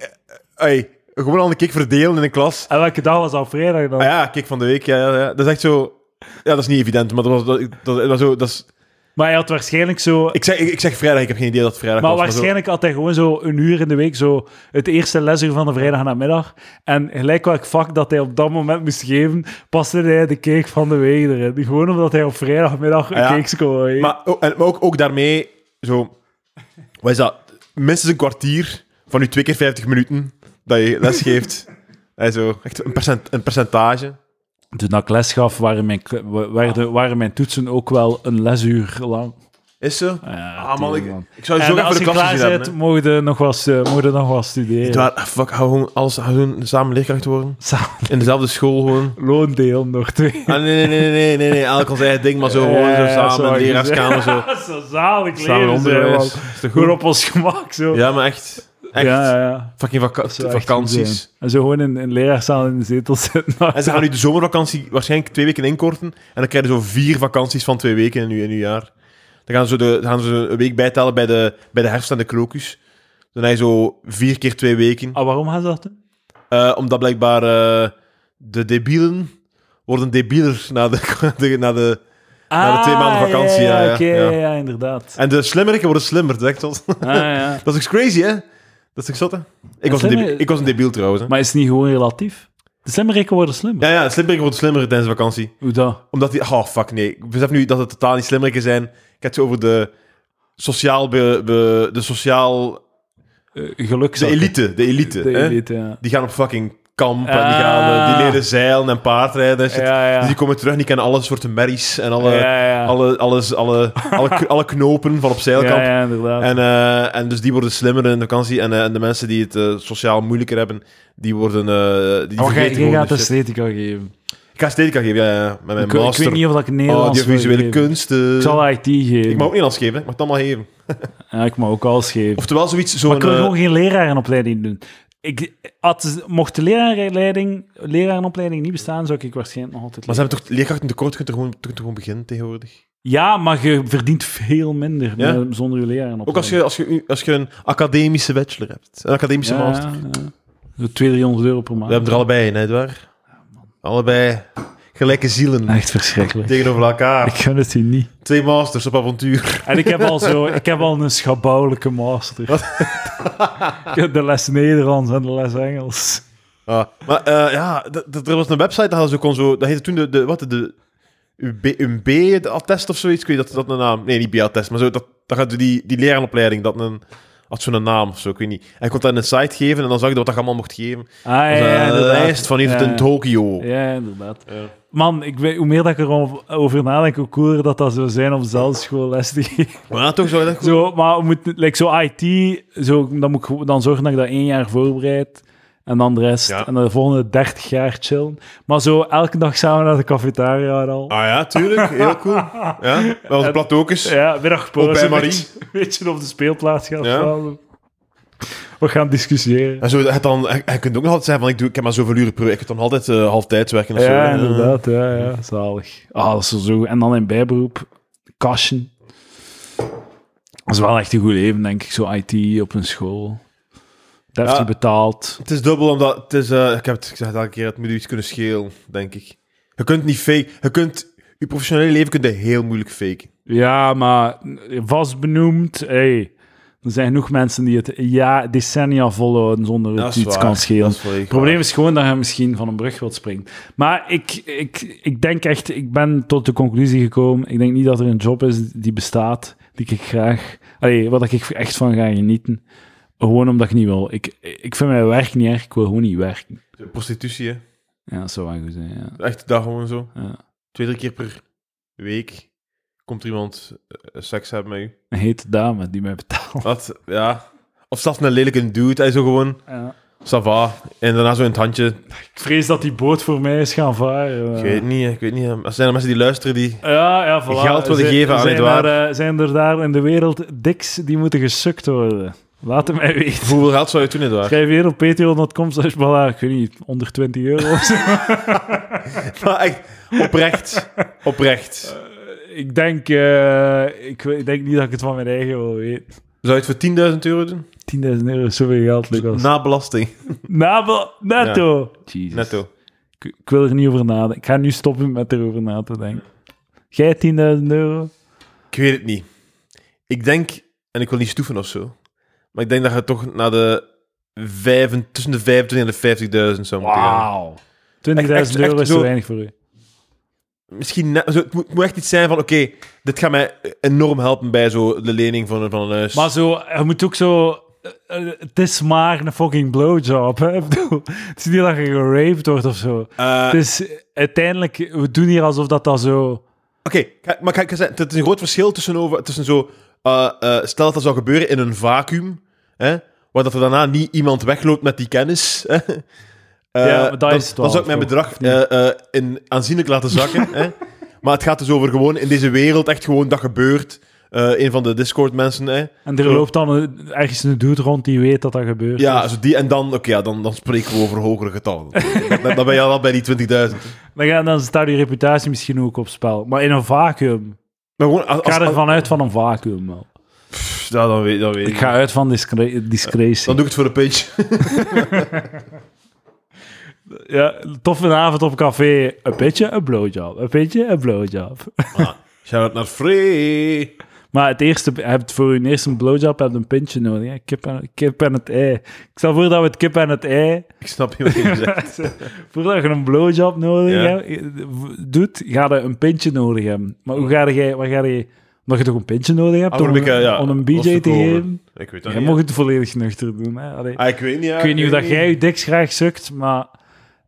Speaker 2: eh, ey, gewoon al een cake verdelen in een klas.
Speaker 1: En welke dag was dat? Vrijdag dan?
Speaker 2: Ah ja, cake van de week. Ja, ja, ja. Dat is echt zo... Ja, dat is niet evident, maar dat was, dat, dat, dat was zo... Dat is,
Speaker 1: Maar hij had waarschijnlijk zo...
Speaker 2: ik, zeg, ik, ik zeg vrijdag, ik heb geen idee dat het vrijdag
Speaker 1: Maar
Speaker 2: was. zo-
Speaker 1: waarschijnlijk had hij gewoon zo een uur in de week, zo het eerste lesuur van de vrijdag namiddag. En gelijk welk vak dat hij op dat moment moest geven, paste hij de cake van de week erin. Gewoon omdat hij op vrijdagmiddag een
Speaker 2: Ah ja.
Speaker 1: cake kon eten.
Speaker 2: Maar, ook- en, maar ook, ook daarmee, zo, wat is dat? Minstens een kwartier van je twee keer 50 minuten dat je les geeft. En zo, echt een, percent, een percentage.
Speaker 1: Toen ik les gaf, waren mijn, kle- wa- werden, waren mijn toetsen ook wel een lesuur lang.
Speaker 2: Is zo?
Speaker 1: Ja,
Speaker 2: ah, man,
Speaker 1: tuurlijk,
Speaker 2: ik, ik zou je zo
Speaker 1: En
Speaker 2: graag
Speaker 1: als
Speaker 2: voor
Speaker 1: je
Speaker 2: de
Speaker 1: klaar
Speaker 2: klas gezien
Speaker 1: bent,
Speaker 2: hebben.
Speaker 1: mogen we nog wat stu- mogen we nog wat studeren.
Speaker 2: hè. Waar, fuck, hou gewoon als hou gewoon samen leerkracht worden.
Speaker 1: Samen
Speaker 2: In dezelfde school gewoon.
Speaker 1: loondeel nog twee.
Speaker 2: Ah, nee, nee, nee, nee, nee, nee. Elk ons eigen ding, maar zo gewoon
Speaker 1: Ja,
Speaker 2: zo
Speaker 1: ja,
Speaker 2: samen.
Speaker 1: zou ik
Speaker 2: leraarskamer zo.
Speaker 1: zeggen. zo zalig
Speaker 2: Samen
Speaker 1: leven, zijn,
Speaker 2: onderwijs.
Speaker 1: man.
Speaker 2: Is toch
Speaker 1: Gewoon
Speaker 2: goed?
Speaker 1: op ons gemak, zo.
Speaker 2: Ja, maar echt. Echt.
Speaker 1: Ja, ja.
Speaker 2: Fucking vaka-
Speaker 1: Dat zou echt goed
Speaker 2: vakanties.
Speaker 1: zijn. En zo gewoon in een leraarzaal in de zetel zitten.
Speaker 2: En ze gaan nu de zomervakantie waarschijnlijk twee weken inkorten. En dan krijg je zo vier vakanties van twee weken in uw, in uw jaar. Dan gaan ze, de, dan gaan ze een week bijtellen bij de, bij de herfst en de krokus. Dan heb je zo vier keer twee weken.
Speaker 1: Ah, waarom gaan ze dat doen?
Speaker 2: Eh, omdat blijkbaar eh, de debielen worden debieler na de, de- na de... de twee
Speaker 1: Ah,
Speaker 2: maanden vakantie,
Speaker 1: ja,
Speaker 2: ja, ja,
Speaker 1: oké,
Speaker 2: ja.
Speaker 1: ja, inderdaad.
Speaker 2: En de slimmeriken worden slimmer, zeg tot.
Speaker 1: Ah, ja.
Speaker 2: Dat is toch crazy, hè? Dat is toch zot, hè? Ik was, een
Speaker 1: slimmer-
Speaker 2: debiel, ik was een debiel trouwens, hè?
Speaker 1: Maar is het niet gewoon relatief? De slimmerikken worden slimmer.
Speaker 2: Ja, ja, de slimmeriken worden slimmer tijdens de vakantie.
Speaker 1: Hoe dat?
Speaker 2: Omdat die... Oh, fuck, nee. Ik besef nu dat het totaal niet slimmeriken zijn. Ik heb het zo over de sociaal... Be, be- de sociaal...
Speaker 1: Eh, geluk
Speaker 2: De elite. De elite.
Speaker 1: De
Speaker 2: hè?
Speaker 1: elite, ja.
Speaker 2: Die gaan op fucking kamp en die,
Speaker 1: Ah.
Speaker 2: gaan, eh, die leren zeilen en paardrijden en shit.
Speaker 1: Ja, ja.
Speaker 2: Dus die komen terug, die kennen alle soorten merries en alle,
Speaker 1: ja, ja.
Speaker 2: alle, alles, alle, alle, k- alle knopen van op zeilkamp.
Speaker 1: ja, ja, inderdaad.
Speaker 2: En, eh, en dus die worden slimmer in de vakantie. En, eh, en de mensen die het eh, sociaal moeilijker hebben, die worden... eh die
Speaker 1: Maar Oh, jij-
Speaker 2: vergeten
Speaker 1: jij
Speaker 2: gewoon
Speaker 1: gaat
Speaker 2: de shit.
Speaker 1: esthetica geven.
Speaker 2: Ik ga esthetica geven, ja, ja, ja. Met mijn
Speaker 1: Ik, ik
Speaker 2: master. Oh,
Speaker 1: weet niet of dat ik Nederlands wil
Speaker 2: Audiovisuele
Speaker 1: geven.
Speaker 2: kunsten.
Speaker 1: Ik zal IT geven.
Speaker 2: Ik mag ook niet alles geven, hè. ik mag het allemaal geven.
Speaker 1: Ja, ik mag ook alles geven.
Speaker 2: Oftewel zoiets,
Speaker 1: maar
Speaker 2: zo'n...
Speaker 1: ik wil
Speaker 2: eh,
Speaker 1: gewoon geen lerarenopleiding doen. Ik, had, mocht de lerarenopleiding, lerarenopleiding niet bestaan, zou ik waarschijnlijk nog altijd...
Speaker 2: maar ze hebben toch leerkrachten tekort, je kunt er gewoon, je kunt er gewoon beginnen tegenwoordig.
Speaker 1: Ja, maar je verdient veel minder
Speaker 2: Ja?
Speaker 1: met- zonder je lerarenopleiding.
Speaker 2: Ook als je, als, je, als je een academische bachelor hebt. Een academische
Speaker 1: ja,
Speaker 2: master.
Speaker 1: ja. Zo 200, 300 euro per maand.
Speaker 2: We hebben er allebei in, hè, Edouard? Allebei. Ik gelijke zielen
Speaker 1: Echt verschrikkelijk.
Speaker 2: tegenover elkaar.
Speaker 1: Ik gun het u niet.
Speaker 2: Twee masters op avontuur.
Speaker 1: En ik heb al, zo, ik heb al een schabouwelijke master. Ik heb de les Nederlands en de les Engels.
Speaker 2: Ah, maar eh, ja, d- d- er was een website, daar hadden ze ook gewoon zo... Dat heette toen de... de wat, de UB, UB-attest of zoiets? Ik weet dat, dat een naam... Nee, niet B-attest, maar zo, dat, dat gaat die, die lerarenopleiding, dat een... Had zo'n naam of zo, ik weet niet. En ik kon dat in een site geven en dan zag ik wat dat je allemaal mocht geven.
Speaker 1: Ah, ja,
Speaker 2: Dat was
Speaker 1: ja,
Speaker 2: een
Speaker 1: inderdaad.
Speaker 2: lijst van hier tot
Speaker 1: Ja.
Speaker 2: in Tokio.
Speaker 1: Ja, inderdaad.
Speaker 2: Ja.
Speaker 1: Man, ik weet, hoe meer dat ik erover over nadenk, hoe cooler dat dat zou zijn om zelf schoolles te geven.
Speaker 2: Maar ja, toch zou je dat goed...
Speaker 1: Zo, maar we moeten, like, zo IT, zo, dan moet ik gewoon- dan zorgen dat ik dat één jaar voorbereid. En dan de rest.
Speaker 2: Ja.
Speaker 1: En dan de volgende 30 jaar chillen. Maar zo elke dag samen naar de cafetaria en al.
Speaker 2: Ah ja, tuurlijk. Heel cool. Ja, wel onze plateaukes.
Speaker 1: Ja, middagpauze.
Speaker 2: Ook bij Marie.
Speaker 1: Een beetje op de speelplaats gaan
Speaker 2: Ja.
Speaker 1: samen. We gaan discussiëren.
Speaker 2: En zo, het dan, hij, hij kunt ook nog altijd zeggen van, ik, doe, ik heb maar zoveel uren per week. Ik kan dan altijd eh halftijds werken. of zo.
Speaker 1: Ja,
Speaker 2: Eh,
Speaker 1: inderdaad. Ja, ja. Zalig. Ah, dat is zo goed. En dan in bijberoep, kasten. Dat is wel echt een goed leven, denk ik. Zo IT op een school. Dat heeft
Speaker 2: Ja.
Speaker 1: hij betaald.
Speaker 2: Het is dubbel, omdat het is, eh, ik heb het gezegd elke keer, het moet u iets kunnen schelen, denk ik. Je kunt niet fake, je kunt, je professionele leven kunt je heel moeilijk faken.
Speaker 1: Ja, maar vast benoemd. Hey, er zijn genoeg mensen die het ja, decennia volhouden zonder dat het
Speaker 2: is
Speaker 1: iets
Speaker 2: waar,
Speaker 1: kan schelen.
Speaker 2: dat is volledig
Speaker 1: Het probleem is gewoon dat je misschien van een brug wilt springen. Maar ik, ik, ik denk echt, ik ben tot de conclusie gekomen. Ik denk niet dat er een job is die bestaat, die ik graag, allee, wat ik echt van ga genieten. Gewoon omdat ik niet wil. Ik, ik vind mijn werk niet erg, ik wil gewoon niet werken.
Speaker 2: waar. Prostitutie, hè.
Speaker 1: Ja, dat zou wel goed zijn. Ja.
Speaker 2: Echt, daar gewoon zo.
Speaker 1: Ja.
Speaker 2: Twee, drie keer per week komt er iemand eh, seks hebben met u.
Speaker 1: Een hete dame die mij betaalt.
Speaker 2: Wat, ja. Of zelfs een lelijke dude, hij zo gewoon,
Speaker 1: Ja.
Speaker 2: ça va. En daarna zo in het handje,
Speaker 1: Ik vrees dat die boot voor mij is gaan varen.
Speaker 2: ik weet niet, ik weet niet. eh, Er zijn er mensen die luisteren die...
Speaker 1: Ja, ja, voilà.
Speaker 2: Geld willen
Speaker 1: Zijn-
Speaker 2: geven aan
Speaker 1: zijn
Speaker 2: Edouard.
Speaker 1: er, eh, zijn er daar in de wereld diks die moeten gesukt worden? Laat het mij weten.
Speaker 2: Hoeveel geld zou je toen Edouard?
Speaker 1: Schrijf hier op patreon.com slash bala, ik weet niet, onder 20 euro of zo.
Speaker 2: Maar echt, oprecht. Oprecht.
Speaker 1: ik, denk, eh, ik, weet- ik denk niet dat ik het van mijn eigen wil weten.
Speaker 2: Zou je het voor 10.000 euro doen?
Speaker 1: 10.000 euro is zoveel geld, Lucas.
Speaker 2: Na belasting.
Speaker 1: Nabel, netto. Jezus.
Speaker 2: Netto.
Speaker 1: Ik, ik wil er niet over nadenken. Ik ga nu stoppen met erover na te denken. Jij 10.000 euro?
Speaker 2: Ik weet het niet. Ik denk, en ik wil niet stoeven of zo, maar ik denk dat je toch naar de vijven, tussen de 25 en de 50.000 zou moeten gaan.
Speaker 1: 20.000
Speaker 2: echt
Speaker 1: euro is te
Speaker 2: zo-
Speaker 1: weinig voor u.
Speaker 2: Misschien net, zo, het, moet, het moet echt iets zijn van, oké, dit gaat mij enorm helpen bij zo de lening van, een- van een huis.
Speaker 1: Maar zo, je moet ook zo. eh, eh, Het is maar een fucking blowjob. Hè? Ik bedoel, het is niet dat je geraped wordt of zo.
Speaker 2: Eh,
Speaker 1: Het is eh, uiteindelijk, we doen hier alsof dat dat zo.
Speaker 2: Oké, ga- maar kijk, het is een groot verschil tussen, over, tussen zo... eh, eh, stel dat dat zou gebeuren in een vacuüm, hè, waar dat er daarna niet iemand wegloopt met die kennis. Hè, Eh,
Speaker 1: Ja, maar dat
Speaker 2: dan,
Speaker 1: is het wel,
Speaker 2: dan zou ik mijn
Speaker 1: toch?
Speaker 2: bedrag eh, eh, in, aanzienlijk laten zakken. hè. Maar het gaat dus over gewoon in deze wereld, echt gewoon, dat gebeurt. Eh, een van de Discord-mensen, hè.
Speaker 1: En er
Speaker 2: Zo.
Speaker 1: loopt dan een- ergens een dude rond die weet dat dat gebeurt. Dus
Speaker 2: Ja, zo die, en dan, oké, ja, dan, dan spreken we over hogere getallen. dan, dan ben je al bij die 20.000.
Speaker 1: Dan, ga- dan staat je reputatie misschien ook op spel. Maar in een vacuüm.
Speaker 2: Maar gewoon, als,
Speaker 1: Ik ga
Speaker 2: als-
Speaker 1: er vanuit van een vacuüm wel.
Speaker 2: pff, ja, dan weet, dan weet
Speaker 1: Ik
Speaker 2: ik.
Speaker 1: ga uit van discre-
Speaker 2: Dan
Speaker 1: discretie.
Speaker 2: doe ik het voor de page.
Speaker 1: Ja, toffe avond op café. Een beetje een blowjob. Een beetje een blowjob.
Speaker 2: Shout-out naar Free.
Speaker 1: Maar het eerste, je hebt voor je eerste blowjob heb je een pintje nodig. Hè? Kip, en, kip en het ei. Ik stel voor dat we het kip en het ei.
Speaker 2: Ik snap niet wat je zegt.
Speaker 1: Voordat je een blowjob nodig
Speaker 2: Ja.
Speaker 1: hebt, eh, doet, ga je een pintje nodig hebben. Maar hoe ga je, waar ga je, omdat je toch een pintje nodig hebt om,
Speaker 2: Oudelijk,
Speaker 1: een-
Speaker 2: eh, ja,
Speaker 1: om een
Speaker 2: was
Speaker 1: BJ te
Speaker 2: verkopen.
Speaker 1: geven?
Speaker 2: Ik weet dat
Speaker 1: Jij
Speaker 2: niet.
Speaker 1: mag het volledig nuchter doen. Hè? Allee.
Speaker 2: Ah, ik weet niet. ja,
Speaker 1: ik weet niet hoe dat jij je diks graag sukt, maar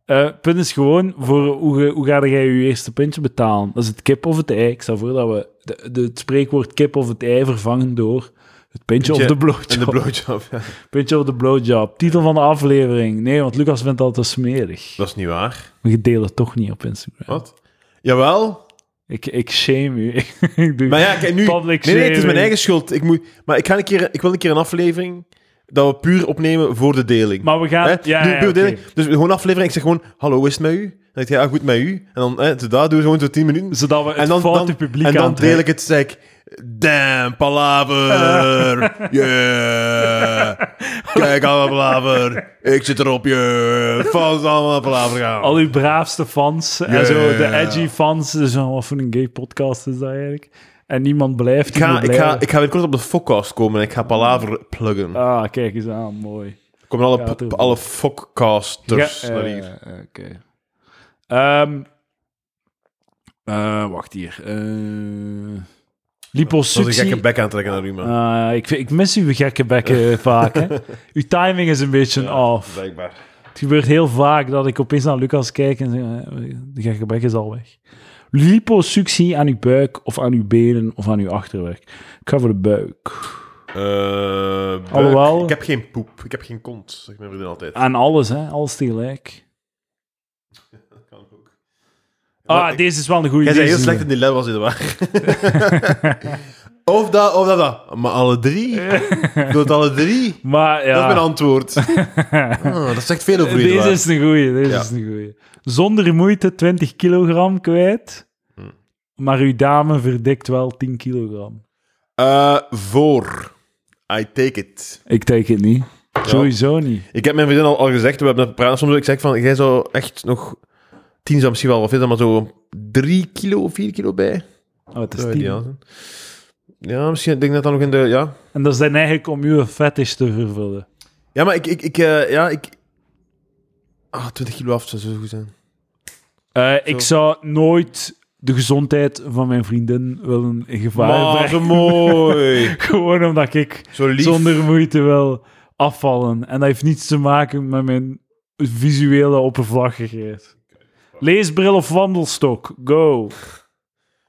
Speaker 1: eh, het punt is gewoon, voor hoe, ge- hoe ga jij je eerste pintje betalen? Dat is het kip of het ei. Ik stel voor dat we de, de- het spreekwoord kip of het ei vervangen door het pintje of
Speaker 2: Pintje
Speaker 1: de blowjob.
Speaker 2: En de blowjob, ja.
Speaker 1: Pintje of de blowjob. Titel van de aflevering. Nee, want Lucas vindt dat te smerig.
Speaker 2: Dat is niet waar.
Speaker 1: Maar je deelt het toch niet op Instagram.
Speaker 2: Wat? Jawel.
Speaker 1: Ik, ik shame u. ik doe
Speaker 2: Maar ja, kijk, nu...
Speaker 1: public
Speaker 2: nee, nee, het is
Speaker 1: shaming.
Speaker 2: mijn eigen schuld. Ik, moet, maar ik, ga een keer, ik wil een keer een aflevering dat we puur opnemen voor de deling.
Speaker 1: Maar we gaan...
Speaker 2: Hè?
Speaker 1: Ja,
Speaker 2: Doe-
Speaker 1: ja,
Speaker 2: doe-
Speaker 1: oké.
Speaker 2: Dus gewoon aflevering, ik zeg gewoon, hallo, is het met u? Dan denk je, ja, goed met u. En dan, hè, dus daar doen we gewoon zo 10 minuten.
Speaker 1: Zodat we het
Speaker 2: en dan,
Speaker 1: foute
Speaker 2: dan,
Speaker 1: publiek
Speaker 2: en dan
Speaker 1: aantrekken.
Speaker 2: trail ik het, zeg ik, damn, palaver, yeah, kijk allemaal palaver, ik zit erop, yeah, fans allemaal palaver gaan.
Speaker 1: Al uw braafste fans
Speaker 2: Ja,
Speaker 1: en zo,
Speaker 2: ja,
Speaker 1: de
Speaker 2: ja.
Speaker 1: edgy fans. Dus, oh, wat voor een gay podcast is dat eigenlijk? En niemand blijft.
Speaker 2: Ik ga,
Speaker 1: niemand
Speaker 2: ik, ga,
Speaker 1: blijft.
Speaker 2: ik ga weer kort op de fokcast komen en ik ga palaver pluggen. Er
Speaker 1: Ah, kijk eens aan, mooi.
Speaker 2: komen alle,
Speaker 1: gaat
Speaker 2: p-
Speaker 1: ervoor.
Speaker 2: alle fokcasters
Speaker 1: Ja,
Speaker 2: naar
Speaker 1: eh,
Speaker 2: hier.
Speaker 1: Oké. Ehm, eh, wacht hier. Eh
Speaker 2: Dat is een gekke
Speaker 1: liposuctie.
Speaker 2: bek aantrekken naar u, man.
Speaker 1: Ah, ik, ik mis uw gekke bekken vaak. Hè. Uw timing is een beetje af.
Speaker 2: Blijkbaar.
Speaker 1: Het gebeurt heel vaak dat ik opeens naar Lucas kijk en zeg, eh, de gekke bek is al weg. Liposuctie aan uw buik of aan uw benen of aan uw achterwerk. Ik ga voor de buik.
Speaker 2: Eh, buik.
Speaker 1: Alhoewel- Ah.
Speaker 2: Ik heb geen poep, ik heb geen kont, zegt mijn vriendin altijd.
Speaker 1: Aan alles, hè. Alles tegelijk.
Speaker 2: Dat kan ook.
Speaker 1: Ah, deze is wel een goede.
Speaker 2: Jij zei heel slecht in die lab, was dit waar. of dat, of dat, dat. Maar alle drie. Ik doe het alle drie.
Speaker 1: Maar ja, Eh,
Speaker 2: Dat is mijn antwoord. Ah, dat zegt veel over je.
Speaker 1: deze is een goeie. Deze
Speaker 2: Ja.
Speaker 1: is een goeie. Zonder moeite 20 kilogram kwijt.
Speaker 2: Hm.
Speaker 1: Maar uw dame verdikt wel 10 kilogram.
Speaker 2: Eh, voor. I take it.
Speaker 1: Ik teken het niet. Sowieso niet.
Speaker 2: Ik heb mijn vriendin al, al gezegd, we hebben net gepraat soms. Ik zeg van, jij zou echt nog... Tien zou misschien wel wat vinden, maar zo drie kilo, vier kilo bij.
Speaker 1: Oh, het is
Speaker 2: Zou
Speaker 1: 10.
Speaker 2: ideaal zijn. Ja, misschien ik denk ik dat dan nog in de... Ja,
Speaker 1: En dat zijn eigenlijk om uw fetish te vervullen.
Speaker 2: ja maar ik... ik, ik eh, ja, ik... Ah, 20 kilo af zou zo goed zijn.
Speaker 1: Eh, ik zou nooit de gezondheid van mijn vriendin willen in gevaar
Speaker 2: Maar
Speaker 1: brengen.
Speaker 2: zo mooi.
Speaker 1: Gewoon omdat ik
Speaker 2: Zo lief.
Speaker 1: zonder moeite wil afvallen. En dat heeft niets te maken met mijn visuele oppervlakkigheid. Leesbril of wandelstok, go.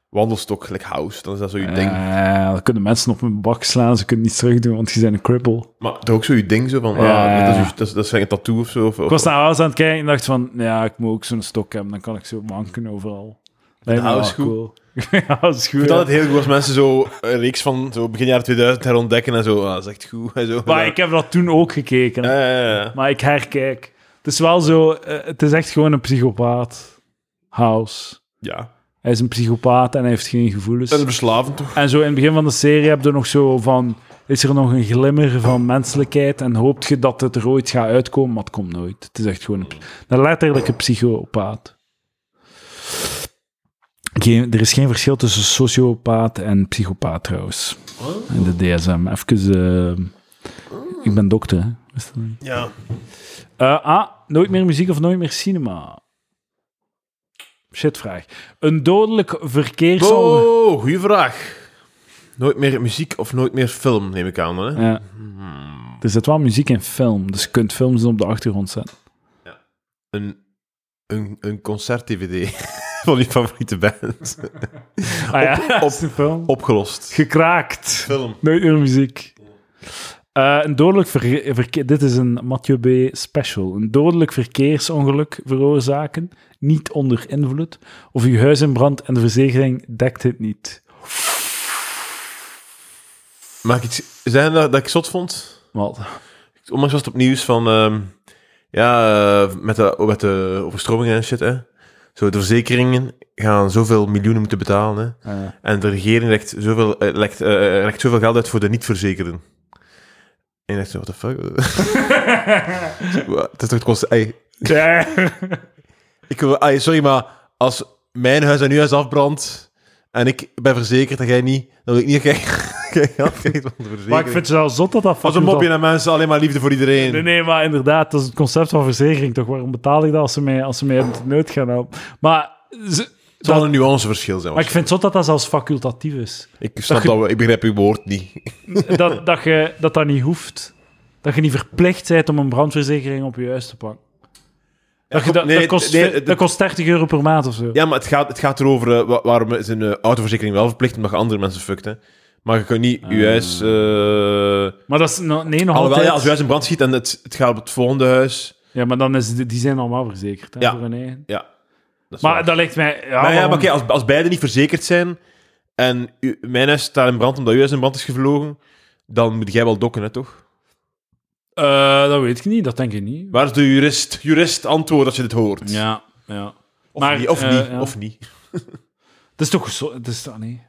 Speaker 2: Wandelstok, gelijk house, dan is dat zo je ding.
Speaker 1: Eh, dan kunnen mensen op mijn bak slaan, ze kunnen niets terug doen, want die zijn een cripple.
Speaker 2: Maar toch ook zo je ding, zo van,
Speaker 1: Ja.
Speaker 2: ah, dat, is, je- dat, is, dat is een tattoo of zo. Of,
Speaker 1: Ik was naar huis aan het kijken en dacht van, ja, ik moet ook zo'n stok hebben, dan kan ik zo manken overal. Lijkt me wel
Speaker 2: house goed?
Speaker 1: cool. Ja, dat is goed.
Speaker 2: Ik vind
Speaker 1: ja.
Speaker 2: het altijd heel goed als mensen zo een reeks van zo begin jaren 2000 herontdekken en zo. Ah, dat is echt goed. En zo.
Speaker 1: Maar ik heb dat toen ook gekeken.
Speaker 2: Ja, ja, ja, ja.
Speaker 1: Maar ik herkijk. Het is wel zo, eh, het is echt gewoon een psychopaat. House.
Speaker 2: Ja.
Speaker 1: Hij is een psychopaat en hij heeft geen gevoelens.
Speaker 2: En verslavend toch?
Speaker 1: En zo in het begin van de serie heb je nog zo van... Is er nog een glimmer van menselijkheid en hoopt je dat het er ooit gaat uitkomen? Maar het komt nooit. Het is echt gewoon een, een letterlijke psychopaat. Geen, er is geen verschil tussen sociopaat en psychopaat trouwens. In de DSM. Even... eh, ik ben dokter, hè. Wist je dat niet?
Speaker 2: Ja.
Speaker 1: Eh, ah, nooit meer muziek of nooit meer cinema? Shitvraag. Een dodelijk verkeersongeluk...
Speaker 2: Oh, goede vraag. Nooit meer muziek of nooit meer film, neem ik aan. dan, Hè?
Speaker 1: Ja. Er zit wel muziek in film, dus je kunt films op de achtergrond zetten.
Speaker 2: Een, een, een concert-DVD van je favoriete band.
Speaker 1: Ah ja, dat is een film.
Speaker 2: Opgelost.
Speaker 1: Gekraakt.
Speaker 2: Film.
Speaker 1: Nooit meer muziek. Eh, een dodelijk verkeer... Dit is een Mathieu B. special. Een dodelijk verkeersongeluk veroorzaken, niet onder invloed, of uw huis in brand en de verzekering dekt het niet.
Speaker 2: Mag ik z- zeggen dat, dat ik zot vond?
Speaker 1: Wat?
Speaker 2: Onlangs was het op nieuws van... ehm, ja, eh, met, de, met de overstromingen en shit, hè. Zo, de verzekeringen gaan zoveel miljoenen moeten betalen, hè.
Speaker 1: Eh,
Speaker 2: En de regering legt zoveel, eh, legt, eh, legt zoveel geld uit voor de niet-verzekerden. En ik dacht, what the fuck? Wat- het is toch het kost... ey,
Speaker 1: ja.
Speaker 2: ik, wil- ey, sorry, maar als mijn huis en uw huis afbrandt... en ik ben verzekerd en jij niet... dan wil ik niet dat jij jij geld krijgt van de verzekering.
Speaker 1: Maar ik vind het wel zot dat dat
Speaker 2: Als een
Speaker 1: fucking
Speaker 2: mopje naar mensen, alleen maar liefde voor iedereen.
Speaker 1: Nee, nee, maar inderdaad, dat is het concept van verzekering toch? Waarom betaal ik dat als ze mij, als ze mij uit de nood gaan helpen? Maar, ze-
Speaker 2: Het zal een nuanceverschil zijn.
Speaker 1: maar ik vind het zot dat dat zelfs facultatief is.
Speaker 2: Ik snap dat, we, ik begrijp uw woord niet.
Speaker 1: Dat dat, je, dat dat niet hoeft. Dat je niet verplicht bent om een brandverzekering op je huis te pakken. Dat, je, dat,
Speaker 2: nee,
Speaker 1: dat, kost,
Speaker 2: nee,
Speaker 1: ve-
Speaker 2: het-
Speaker 1: dat kost 30 euro per maand of zo.
Speaker 2: Ja, maar het gaat, het gaat erover eh, wa- waarom is een eh, autoverzekering wel verplicht omdat je andere mensen fuckt. Hè. Maar je kunt niet je huis. eh
Speaker 1: Maar dat is no- nee, nog
Speaker 2: alhoewel,
Speaker 1: Ah. altijd...
Speaker 2: ja, als je huis in brand schiet en het, het gaat op het volgende huis.
Speaker 1: Ja, maar dan is, die die zijn allemaal verzekerd. Hè,
Speaker 2: Ja.
Speaker 1: voor hun eigen.
Speaker 2: Ja, dat is
Speaker 1: Maar
Speaker 2: waar.
Speaker 1: dat lijkt mij... Ja,
Speaker 2: maar, ja,
Speaker 1: waarom-
Speaker 2: maar oké, als, als beide niet verzekerd zijn en u- mijn huis staat in brand omdat uw huis in brand is gevlogen, dan moet jij wel dokken, hè, toch?
Speaker 1: Eh, dat weet ik niet, dat denk ik niet.
Speaker 2: Waar is de jurist? Jurist, antwoord als je dit hoort.
Speaker 1: Ja, ja.
Speaker 2: Of
Speaker 1: Maar,
Speaker 2: niet, of
Speaker 1: eh,
Speaker 2: niet,
Speaker 1: ja.
Speaker 2: of niet.
Speaker 1: Het is toch gezo- het is, nee.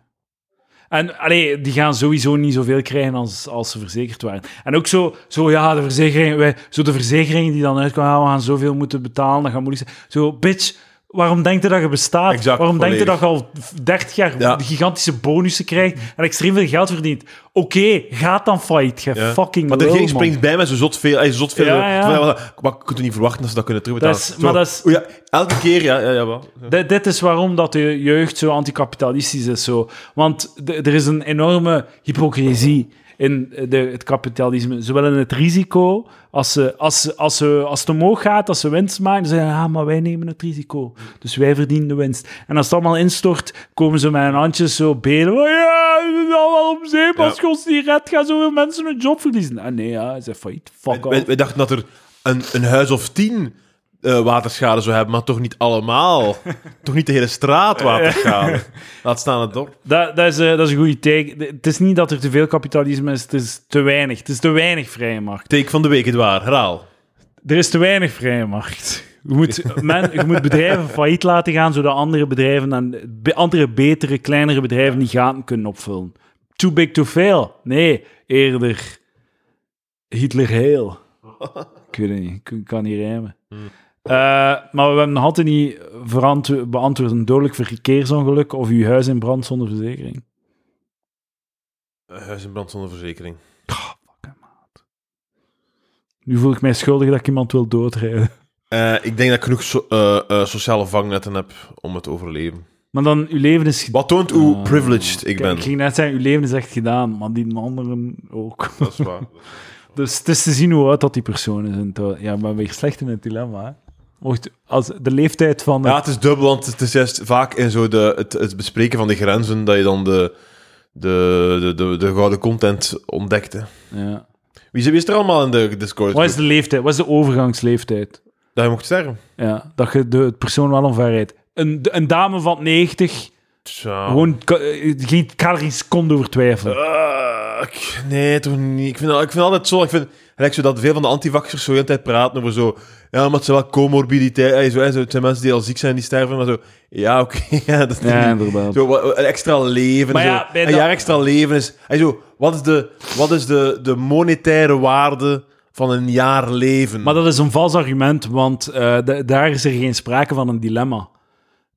Speaker 1: En allee, die gaan sowieso niet zoveel krijgen als, als ze verzekerd waren. En ook zo, zo ja, de verzekering, wij, zo de verzekering die dan uitkwam, ja, we gaan zoveel moeten betalen, dat gaat moeilijk zijn. Zo, bitch, waarom denk je dat je bestaat?
Speaker 2: Exact,
Speaker 1: waarom denk je dat
Speaker 2: volledig.
Speaker 1: je al 30 jaar
Speaker 2: Ja.
Speaker 1: gigantische bonussen krijgt en extreem veel geld verdient? Oké, gaat dan fight, je
Speaker 2: Ja.
Speaker 1: fucking
Speaker 2: Maar de
Speaker 1: lul,
Speaker 2: regering
Speaker 1: man.
Speaker 2: springt bij met zo zot veel. eh, Zo zot veel
Speaker 1: Ja, ja.
Speaker 2: Van, Maar, maar je kunt er niet verwachten dat ze dat kunnen terugbetalen.
Speaker 1: Dat is-
Speaker 2: Zo,
Speaker 1: maar dat is-
Speaker 2: oh ja, elke keer, ja, ja, ja. wel. Ja.
Speaker 1: Dit, dit is waarom dat de jeugd zo anticapitalistisch is. Zo. Want d- er is een enorme hypocrisie in de, het kapitalisme. Ze willen het risico. Als, ze, als, ze- als, ze, als het omhoog gaat, als ze winst maken, dan zeggen ze, ja, maar wij nemen het risico. Dus wij verdienen de winst. En als het allemaal instort, komen ze met hun handjes zo belen. van, Ja, het is allemaal om zeep.
Speaker 2: Ja.
Speaker 1: Als je ons niet redt, gaan zoveel mensen hun job verliezen. Ah nee, ja, ze zijn failliet. Fuck
Speaker 2: Wij,
Speaker 1: off.
Speaker 2: wij dachten dat er een, een huis of tien eh, waterschade zou hebben, maar toch niet allemaal. toch niet de hele straat waterschade. Laat staan het dorp.
Speaker 1: Dat, dat, is, eh, dat is een goede teken. De- Het is niet dat er te veel kapitalisme is, het is te weinig. Het is te weinig vrije markt.
Speaker 2: Take van de week, het waar. Herhaal.
Speaker 1: Er is te weinig vrije markt. Je moet, men, je moet bedrijven failliet laten gaan, zodat andere bedrijven dan, be- andere betere, kleinere bedrijven die gaten kunnen opvullen. Too big to fail. Nee, eerder Hitler heel. Ik weet het niet, ik kan niet rijmen. Eh, maar we hebben nog altijd niet verantwo- beantwoord een dodelijk verkeersongeluk of uw huis in brand zonder verzekering.
Speaker 2: Eh, Huis in brand zonder verzekering.
Speaker 1: Nu voel ik mij schuldig dat ik iemand wil doodrijden.
Speaker 2: Eh, ik denk dat ik genoeg so- eh, eh, sociale vangnetten heb om het te overleven.
Speaker 1: Maar dan, uw leven is gedaan.
Speaker 2: Wat toont hoe
Speaker 1: Ah.
Speaker 2: privileged ik ben.
Speaker 1: Ik ging net zeggen, uw leven is echt gedaan, maar die anderen ook.
Speaker 2: Dat is waar.
Speaker 1: Dus het is te zien hoe oud dat die persoon is. En to- ja, maar weer slecht in het dilemma. hè. Mocht, als de leeftijd van...
Speaker 2: Ja, het is dubbel, want het is juist vaak in zo de, het, het bespreken van de grenzen dat je dan de, de, de, de, de gouden content ontdekt. hè.
Speaker 1: Ja.
Speaker 2: Wie zit- wie is er allemaal in de Discord?
Speaker 1: Wat is de leeftijd? Wat is de overgangsleeftijd?
Speaker 2: Dat je mocht sterven.
Speaker 1: Ja, dat je de, het persoon wel omverrijdt. Een, een dame van 90,
Speaker 2: Tja.
Speaker 1: gewoon ka- eh, geen calorie seconde over twijfelen.
Speaker 2: Ah, ik- nee, toch niet. Ik vind, al- ik vind altijd zo... Ik vind gelijk zo dat veel van de antivaxers zo de hele tijd praten over zo... Ja, maar het zijn wel comorbiditeit. eh, Zo, eh, zo, het zijn mensen die al ziek zijn, die sterven. Maar zo... Ja, oké. ja, dat is
Speaker 1: Ja,
Speaker 2: niet-
Speaker 1: inderdaad.
Speaker 2: Zo, wat- een extra leven.
Speaker 1: Maar
Speaker 2: zo.
Speaker 1: ja, bij
Speaker 2: een
Speaker 1: dat-
Speaker 2: jaar extra leven is... en zo, wat is, de, wat is de, de monetaire waarde van een jaar leven?
Speaker 1: Maar dat is een vals argument, want eh, da- daar is er geen sprake van een dilemma.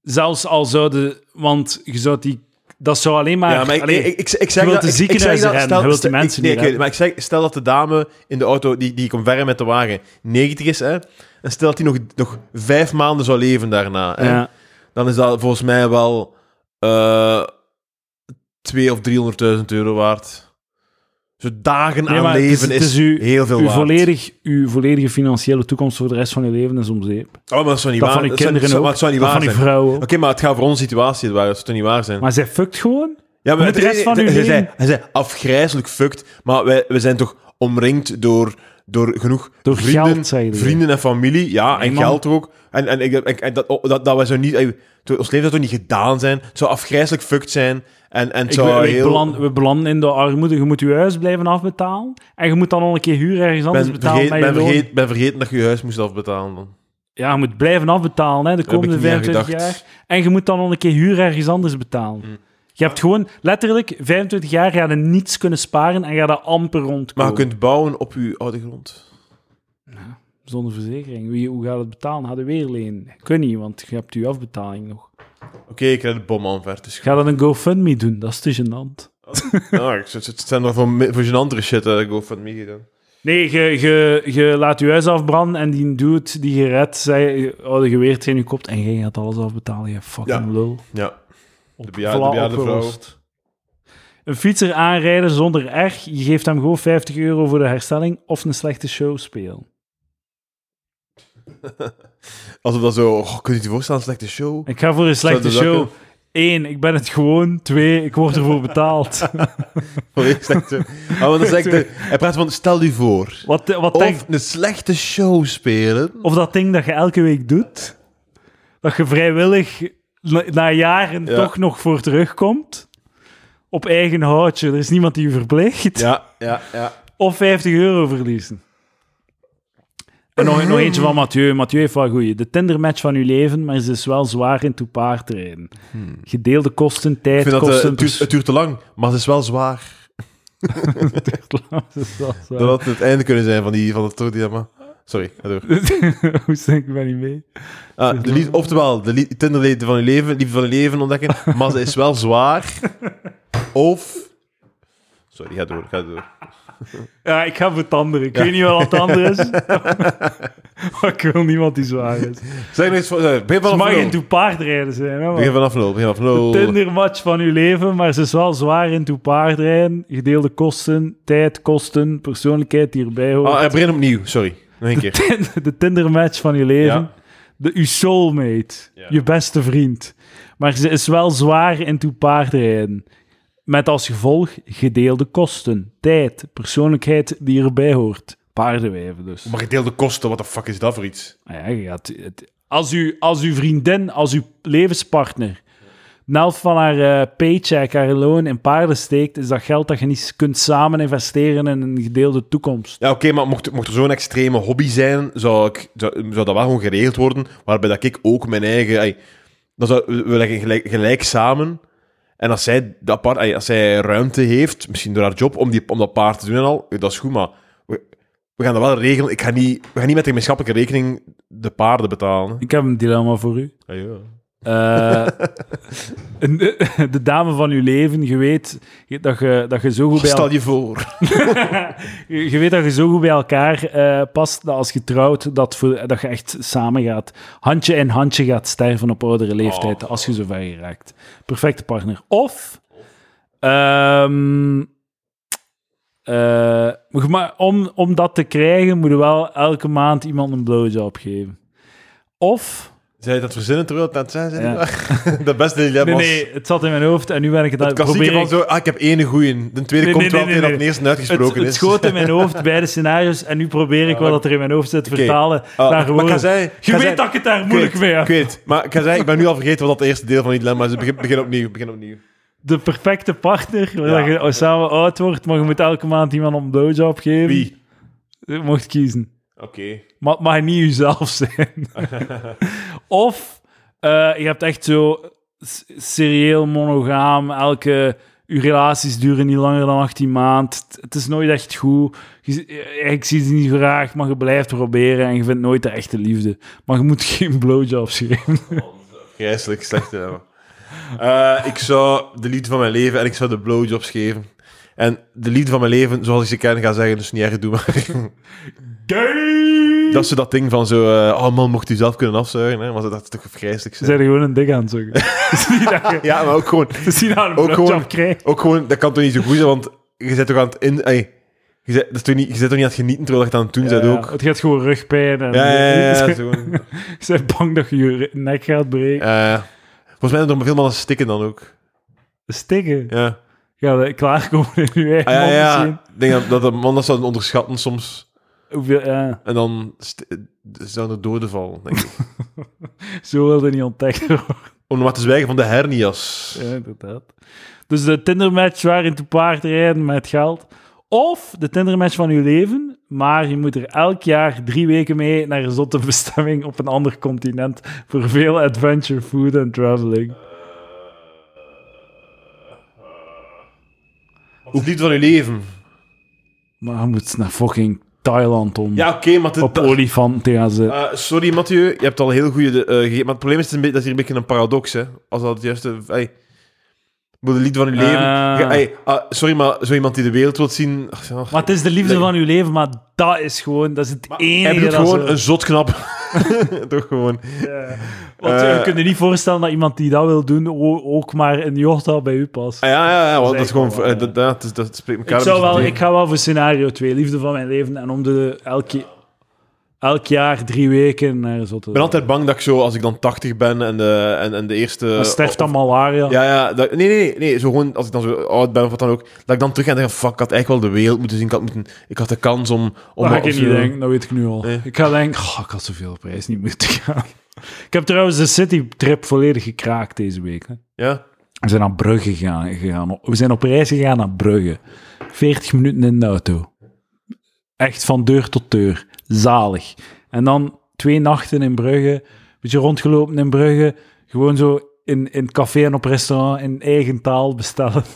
Speaker 1: Zelfs al zouden... Want je zou die... Dat zou alleen maar...
Speaker 2: ja, maar ik,
Speaker 1: allee,
Speaker 2: ik, ik, ik zeg
Speaker 1: je wilt
Speaker 2: dat...
Speaker 1: de
Speaker 2: ik, ik zeg
Speaker 1: ziekenhuizen
Speaker 2: dat,
Speaker 1: redden,
Speaker 2: stel,
Speaker 1: je wilt de
Speaker 2: stel-
Speaker 1: mensen
Speaker 2: ik, nee,
Speaker 1: niet
Speaker 2: ik weet het, maar ik zeg, stel dat de dame in de auto, die, die komt verder met de wagen, 90 is, hè, en stel dat die nog, nog vijf maanden zou leven daarna, hè,
Speaker 1: Ja.
Speaker 2: dan is dat volgens mij wel eh 2 of 300.000 euro waard. Zo dagen
Speaker 1: Nee,
Speaker 2: aan
Speaker 1: maar het is-
Speaker 2: leven
Speaker 1: het
Speaker 2: is,
Speaker 1: is uw-
Speaker 2: heel veel
Speaker 1: Uw,
Speaker 2: waard.
Speaker 1: volledig, uw volledige financiële toekomst voor de rest van je leven is om zeep.
Speaker 2: Oh, maar dat zou niet
Speaker 1: Dat
Speaker 2: waar
Speaker 1: van uw
Speaker 2: dat zou-
Speaker 1: kinderen
Speaker 2: dat zou-
Speaker 1: ook.
Speaker 2: maar het zou niet
Speaker 1: Dat
Speaker 2: waar
Speaker 1: van uw
Speaker 2: zijn.
Speaker 1: vrouwen
Speaker 2: Oké, maar het gaat voor onze situatie waar. Dat zou toch niet waar zijn?
Speaker 1: Maar zij fuckt gewoon.
Speaker 2: Ja, maar
Speaker 1: Met de
Speaker 2: het-
Speaker 1: rest van
Speaker 2: het-
Speaker 1: uw
Speaker 2: hij
Speaker 1: leven.
Speaker 2: Zei, hij zei afgrijzelijk fucked, maar wij, we zijn toch omringd door, door genoeg
Speaker 1: Door
Speaker 2: vrienden,
Speaker 1: geld, zei hij.
Speaker 2: vrienden en familie. Ja,
Speaker 1: Nee,
Speaker 2: en
Speaker 1: man.
Speaker 2: geld ook. En, en, ik- ik- en dat, oh, dat, dat wij zo niet... eh, to- Ons leven zou toch niet gedaan zijn? Het zou afgrijzelijk fucked zijn. En, en het
Speaker 1: Ik,
Speaker 2: zou
Speaker 1: we- ik
Speaker 2: heel...
Speaker 1: beland- we belanden in de armoede. Je moet je huis blijven afbetalen. En je moet dan al een keer huur ergens anders
Speaker 2: ben,
Speaker 1: betalen
Speaker 2: vergeet,
Speaker 1: met je
Speaker 2: ben,
Speaker 1: loon.
Speaker 2: vergeet, ben vergeten dat je je huis moest afbetalen. Dan.
Speaker 1: Ja, je moet blijven afbetalen hè, de
Speaker 2: heb ik
Speaker 1: komende
Speaker 2: niet aan
Speaker 1: 25
Speaker 2: gedacht.
Speaker 1: jaar. En je moet dan nog een keer huur ergens anders betalen. Je hebt gewoon letterlijk 25 jaar ga je niets kunnen sparen en ga dat amper
Speaker 2: Maar
Speaker 1: rondkomen.
Speaker 2: je kunt bouwen op je oude grond.
Speaker 1: Zonder verzekering. Wie, hoe gaat het betalen? Ga je weer lenen? Kun niet, want je hebt je afbetaling nog.
Speaker 2: Oké, ik krijg de bom aan ver. Dus...
Speaker 1: Ga dan een GoFundMe doen, dat is te gênant.
Speaker 2: Ja, ik- het het zijn nog voor, me- voor andere shit eh, dat ik ook van me gedaan.
Speaker 1: Nee, je, je, je laat je huis afbranden en die dude die je redt, zei, oh, de geweer tegen je kop en jij gaat alles afbetalen, je fucking
Speaker 2: Ja.
Speaker 1: lul.
Speaker 2: Ja.
Speaker 1: Op,
Speaker 2: bejaarde- de bejaarde vrouw.
Speaker 1: opgelost. Een fietser aanrijden zonder erg, je geeft hem gewoon 50 euro voor de herstelling of een slechte show spelen.
Speaker 2: Alsof dat zo... Oh, kun je je voorstellen, een slechte show?
Speaker 1: Ik ga voor een slechte
Speaker 2: Zou dat
Speaker 1: show.
Speaker 2: ook-
Speaker 1: Eén, ik ben het gewoon. Twee, ik word ervoor betaald.
Speaker 2: Een slechte... Ah, want dan zeg ik de... Hij praat van, stel u voor.
Speaker 1: Wat, wat denk
Speaker 2: Of een slechte show spelen.
Speaker 1: Of dat ding dat je elke week doet, dat je vrijwillig na, na jaren
Speaker 2: Ja.
Speaker 1: toch nog voor terugkomt. Op eigen houtje, er is niemand die je verplicht.
Speaker 2: Ja, ja, ja.
Speaker 1: Of 50 euro verliezen. En nog, nog eentje van Mathieu. Mathieu heeft wel goeie. De Tinder-match van uw leven, maar ze is wel zwaar in toe paardrijden. Gedeelde kosten,
Speaker 2: Hmm. Ik
Speaker 1: tijd,
Speaker 2: vind dat eh,
Speaker 1: kosten... dus-
Speaker 2: het, duurt, het duurt te lang, maar het is wel zwaar.
Speaker 1: Dat is wel zwaar.
Speaker 2: Dat had het einde kunnen zijn van, die, van dat soort dilemma. Sorry, ga door.
Speaker 1: Hoe denk ik ben niet mee?
Speaker 2: Ah, de lief- oftewel, de li- Tinderliefde van je leven, liefde van je leven ontdekken, maar ze is wel zwaar. Of... Sorry, ga door, ga door.
Speaker 1: Ja, ik ga voor het andere. Ik weet niet wat het andere is. maar ik wil niemand die zwaar is. Het
Speaker 2: Zeg nog iets van... eh, Begin vanaf
Speaker 1: mag
Speaker 2: nul.
Speaker 1: geen toe paardrijden zijn, hè,
Speaker 2: Begin
Speaker 1: man.
Speaker 2: vanaf nul, begin vanaf nul.
Speaker 1: Tinder-match van uw leven, maar ze is wel zwaar in toe paardrijden. Gedeelde kosten, tijd, kosten, persoonlijkheid die erbij hoort.
Speaker 2: Ah, eh, begin opnieuw, sorry. Nog één keer.
Speaker 1: de Tinder-match van je leven.
Speaker 2: Ja.
Speaker 1: De, uw soulmate.
Speaker 2: Ja.
Speaker 1: Je beste vriend. Maar ze is wel zwaar in toe paardrijden. Met als gevolg gedeelde kosten, tijd, persoonlijkheid die erbij hoort. Paardenwijven dus.
Speaker 2: Maar gedeelde kosten, wat de fuck is dat voor iets?
Speaker 1: Ah Ja, je gaat- het- als, u, als uw vriendin, als uw levenspartner... de helft van haar eh, paycheck, haar loon in paarden steekt, is dat geld dat je niet kunt samen investeren in een gedeelde toekomst.
Speaker 2: Ja, oké, maar mocht, mocht er zo'n extreme hobby zijn, zou, ik, zou, zou dat wel gewoon geregeld worden, waarbij dat ik ook mijn eigen... ai, dan zou, we we leggen gelijk, gelijk samen. En als zij, dat paard, ai, als zij ruimte heeft, misschien door haar job, om, die, om dat paard te doen en al, dat is goed, maar we, we gaan dat wel regelen. Ik ga niet, we gaan niet met de gemeenschappelijke rekening de paarden betalen.
Speaker 1: Ik heb een dilemma voor u.
Speaker 2: Ah, ja.
Speaker 1: Eh, een- eh, de dame van je leven, je weet dat je, dat je zo goed bij
Speaker 2: Stel
Speaker 1: elkaar,
Speaker 2: je voor.
Speaker 1: je weet dat je zo goed bij elkaar eh, past dat als je trouwt dat, voor, dat je echt samen gaat, handje in handje gaat sterven op oudere
Speaker 2: Oh.
Speaker 1: leeftijd als je zo ver geraakt. Perfecte partner. Of ehm, eh, maar om, om dat te krijgen moet je wel elke maand iemand een blowjob geven. Of
Speaker 2: Zij dat verzinnen terwijl het aan het zijn zijn?
Speaker 1: Ja.
Speaker 2: De beste
Speaker 1: Nee,
Speaker 2: dilemma's.
Speaker 1: nee, het zat in mijn hoofd en nu ben ik het aan
Speaker 2: Het
Speaker 1: het
Speaker 2: klassieke
Speaker 1: proberen.
Speaker 2: van zo, ah, ik heb één goeie. De tweede
Speaker 1: Nee,
Speaker 2: komt
Speaker 1: nee,
Speaker 2: wel
Speaker 1: nee,
Speaker 2: tegen dat
Speaker 1: nee.
Speaker 2: de eerste
Speaker 1: Het,
Speaker 2: uitgesproken
Speaker 1: het
Speaker 2: is. Ah,
Speaker 1: schoot in mijn hoofd, beide scenario's, en nu probeer ik wel wat er in mijn hoofd zit te
Speaker 2: Oké.
Speaker 1: vertalen
Speaker 2: Ah,
Speaker 1: naar
Speaker 2: maar ik ga
Speaker 1: woorden.
Speaker 2: zeggen- ik
Speaker 1: Je
Speaker 2: ga
Speaker 1: weet
Speaker 2: zeggen-
Speaker 1: dat ik het daar moeilijk
Speaker 2: weet,
Speaker 1: mee
Speaker 2: Ik
Speaker 1: heb.
Speaker 2: weet, maar ik, ga zeggen, ik ben nu al vergeten wat dat eerste deel van die dilemma is. Begin, begin opnieuw, begin opnieuw.
Speaker 1: De perfecte partner, waar
Speaker 2: Ja.
Speaker 1: je samen oud wordt, maar je moet elke maand iemand een blowjob geven.
Speaker 2: Wie?
Speaker 1: Je mocht kiezen.
Speaker 2: Oké.
Speaker 1: Maar het mag niet jezelf zijn. of eh, je hebt echt zo s- serieel monogaam, elke... Uw relaties duren niet langer dan 18 maanden. Het- Het is nooit echt goed. Je- eh, ik zie ze niet graag, maar je blijft proberen en je vindt nooit de echte liefde. Maar je moet geen blowjobs geven.
Speaker 2: Grijselijk slecht dilemma. Eh, ik zou de liefde van mijn leven en ik zou de blowjobs geven. En de liefde van mijn leven, zoals ik ze ken, ga zeggen, dus niet erg, doe maar.
Speaker 1: Gay!
Speaker 2: dat is zo dat ding van zo, eh, oh man, mocht u zelf kunnen afzuigen, hè, want dat is toch vreselijk.
Speaker 1: Ze
Speaker 2: zijn.
Speaker 1: zijn er gewoon een dik aan het zoeken. Het is niet dat je-
Speaker 2: Ja, maar ook gewoon,
Speaker 1: het is niet dat je een
Speaker 2: Ook
Speaker 1: blowjob
Speaker 2: gewoon-
Speaker 1: krijgt.
Speaker 2: ook gewoon, dat kan toch niet zo goed zijn, want je zit toch aan het in... ey, je, zit, dat is toch niet, je zit toch niet aan het genieten terwijl je het aan het doen bent
Speaker 1: Ja,
Speaker 2: ook.
Speaker 1: Het gaat gewoon rugpijn. En
Speaker 2: Ja, ja, ja. ja,
Speaker 1: Ze-
Speaker 2: zo gewoon.
Speaker 1: ze zijn bang dat je je nek gaat breken.
Speaker 2: Eh, volgens mij doen er veel mannen stikken dan ook.
Speaker 1: Stikken.
Speaker 2: Ja.
Speaker 1: Ga je klaarkomen in je eigen
Speaker 2: Ah, ja,
Speaker 1: mond
Speaker 2: ja.
Speaker 1: misschien.
Speaker 2: Ik denk dat, dat de mannen zouden onderschatten soms.
Speaker 1: Hoeveel, ja.
Speaker 2: En dan st- eh, zouden er doden vallen, denk ik.
Speaker 1: Zo wilde niet ontdekt worden,
Speaker 2: Om maar te zwijgen van de hernias.
Speaker 1: ja, inderdaad. Dus de Tinder-match waarin te paard rijden met geld. Of de Tinder-match van uw leven, maar je moet er elk jaar drie weken mee naar een zotte bestemming op een ander continent voor veel adventure, food en traveling.
Speaker 2: Hoe liefde van je leven.
Speaker 1: Maar je moet naar fucking Thailand om
Speaker 2: Ja, oké, maar... dit-
Speaker 1: op
Speaker 2: dat-
Speaker 1: olifanten te gaan zitten.
Speaker 2: Eh, sorry, Mathieu. Je hebt al heel goede... eh gegeten, maar het probleem is, het is een beetje- dat is hier een beetje een paradox, hè. Als dat het juiste... Ey, ik bedoel, de liefde van je leven.
Speaker 1: Ah.
Speaker 2: Ja, ey, ah, sorry, maar zo iemand die de wereld wilt zien... Ach, ja.
Speaker 1: Maar het is de liefde
Speaker 2: Nee.
Speaker 1: van uw leven, maar dat is gewoon, dat is het enige.
Speaker 2: Hij bedoelt
Speaker 1: dat
Speaker 2: gewoon
Speaker 1: zo-
Speaker 2: een zotknap. Toch gewoon.
Speaker 1: Ja. Want eh,
Speaker 2: Eh,
Speaker 1: we kunnen niet voorstellen dat iemand die dat wil doen o- ook maar een jochta bij u past.
Speaker 2: Ah, ja, ja, ja. want
Speaker 1: is
Speaker 2: Dat is
Speaker 1: echt
Speaker 2: gewoon...
Speaker 1: wel,
Speaker 2: eh,
Speaker 1: ja.
Speaker 2: dat, dat, dat, dat spreekt elkaar
Speaker 1: ik,
Speaker 2: een
Speaker 1: zou
Speaker 2: beetje
Speaker 1: wel,
Speaker 2: tegen.
Speaker 1: ik ga wel voor scenario 2, liefde van mijn leven. En om de elk, je- elk jaar drie weken naar zo te
Speaker 2: Ik ben altijd bang dat ik zo, als ik dan 80 ben en de, en, en de eerste...
Speaker 1: Dan sterft
Speaker 2: eh, of-
Speaker 1: aan malaria.
Speaker 2: Ja, ja. Dat, nee, nee, nee, nee. Zo gewoon, als ik dan zo oud ben of wat dan ook, dat ik dan terug ga en denk, fuck, ik had eigenlijk wel de wereld moeten zien. Ik had, moeten, ik had de kans om... om
Speaker 1: dat ga
Speaker 2: wat-
Speaker 1: ik niet
Speaker 2: of zo.
Speaker 1: denken, dat weet ik nu al.
Speaker 2: Nee.
Speaker 1: Ik ga denken, oh, ik had zoveel op reis niet moeten gaan. Ik heb trouwens de citytrip volledig gekraakt deze week. Hè.
Speaker 2: Ja?
Speaker 1: We zijn naar Brugge gegaan, gegaan. We zijn op reis gegaan naar Brugge. 40 minuten in de auto. Echt van deur tot deur. Zalig. En dan twee nachten in Brugge, een beetje rondgelopen in Brugge, gewoon zo in, in het café en op restaurant in eigen taal bestellen.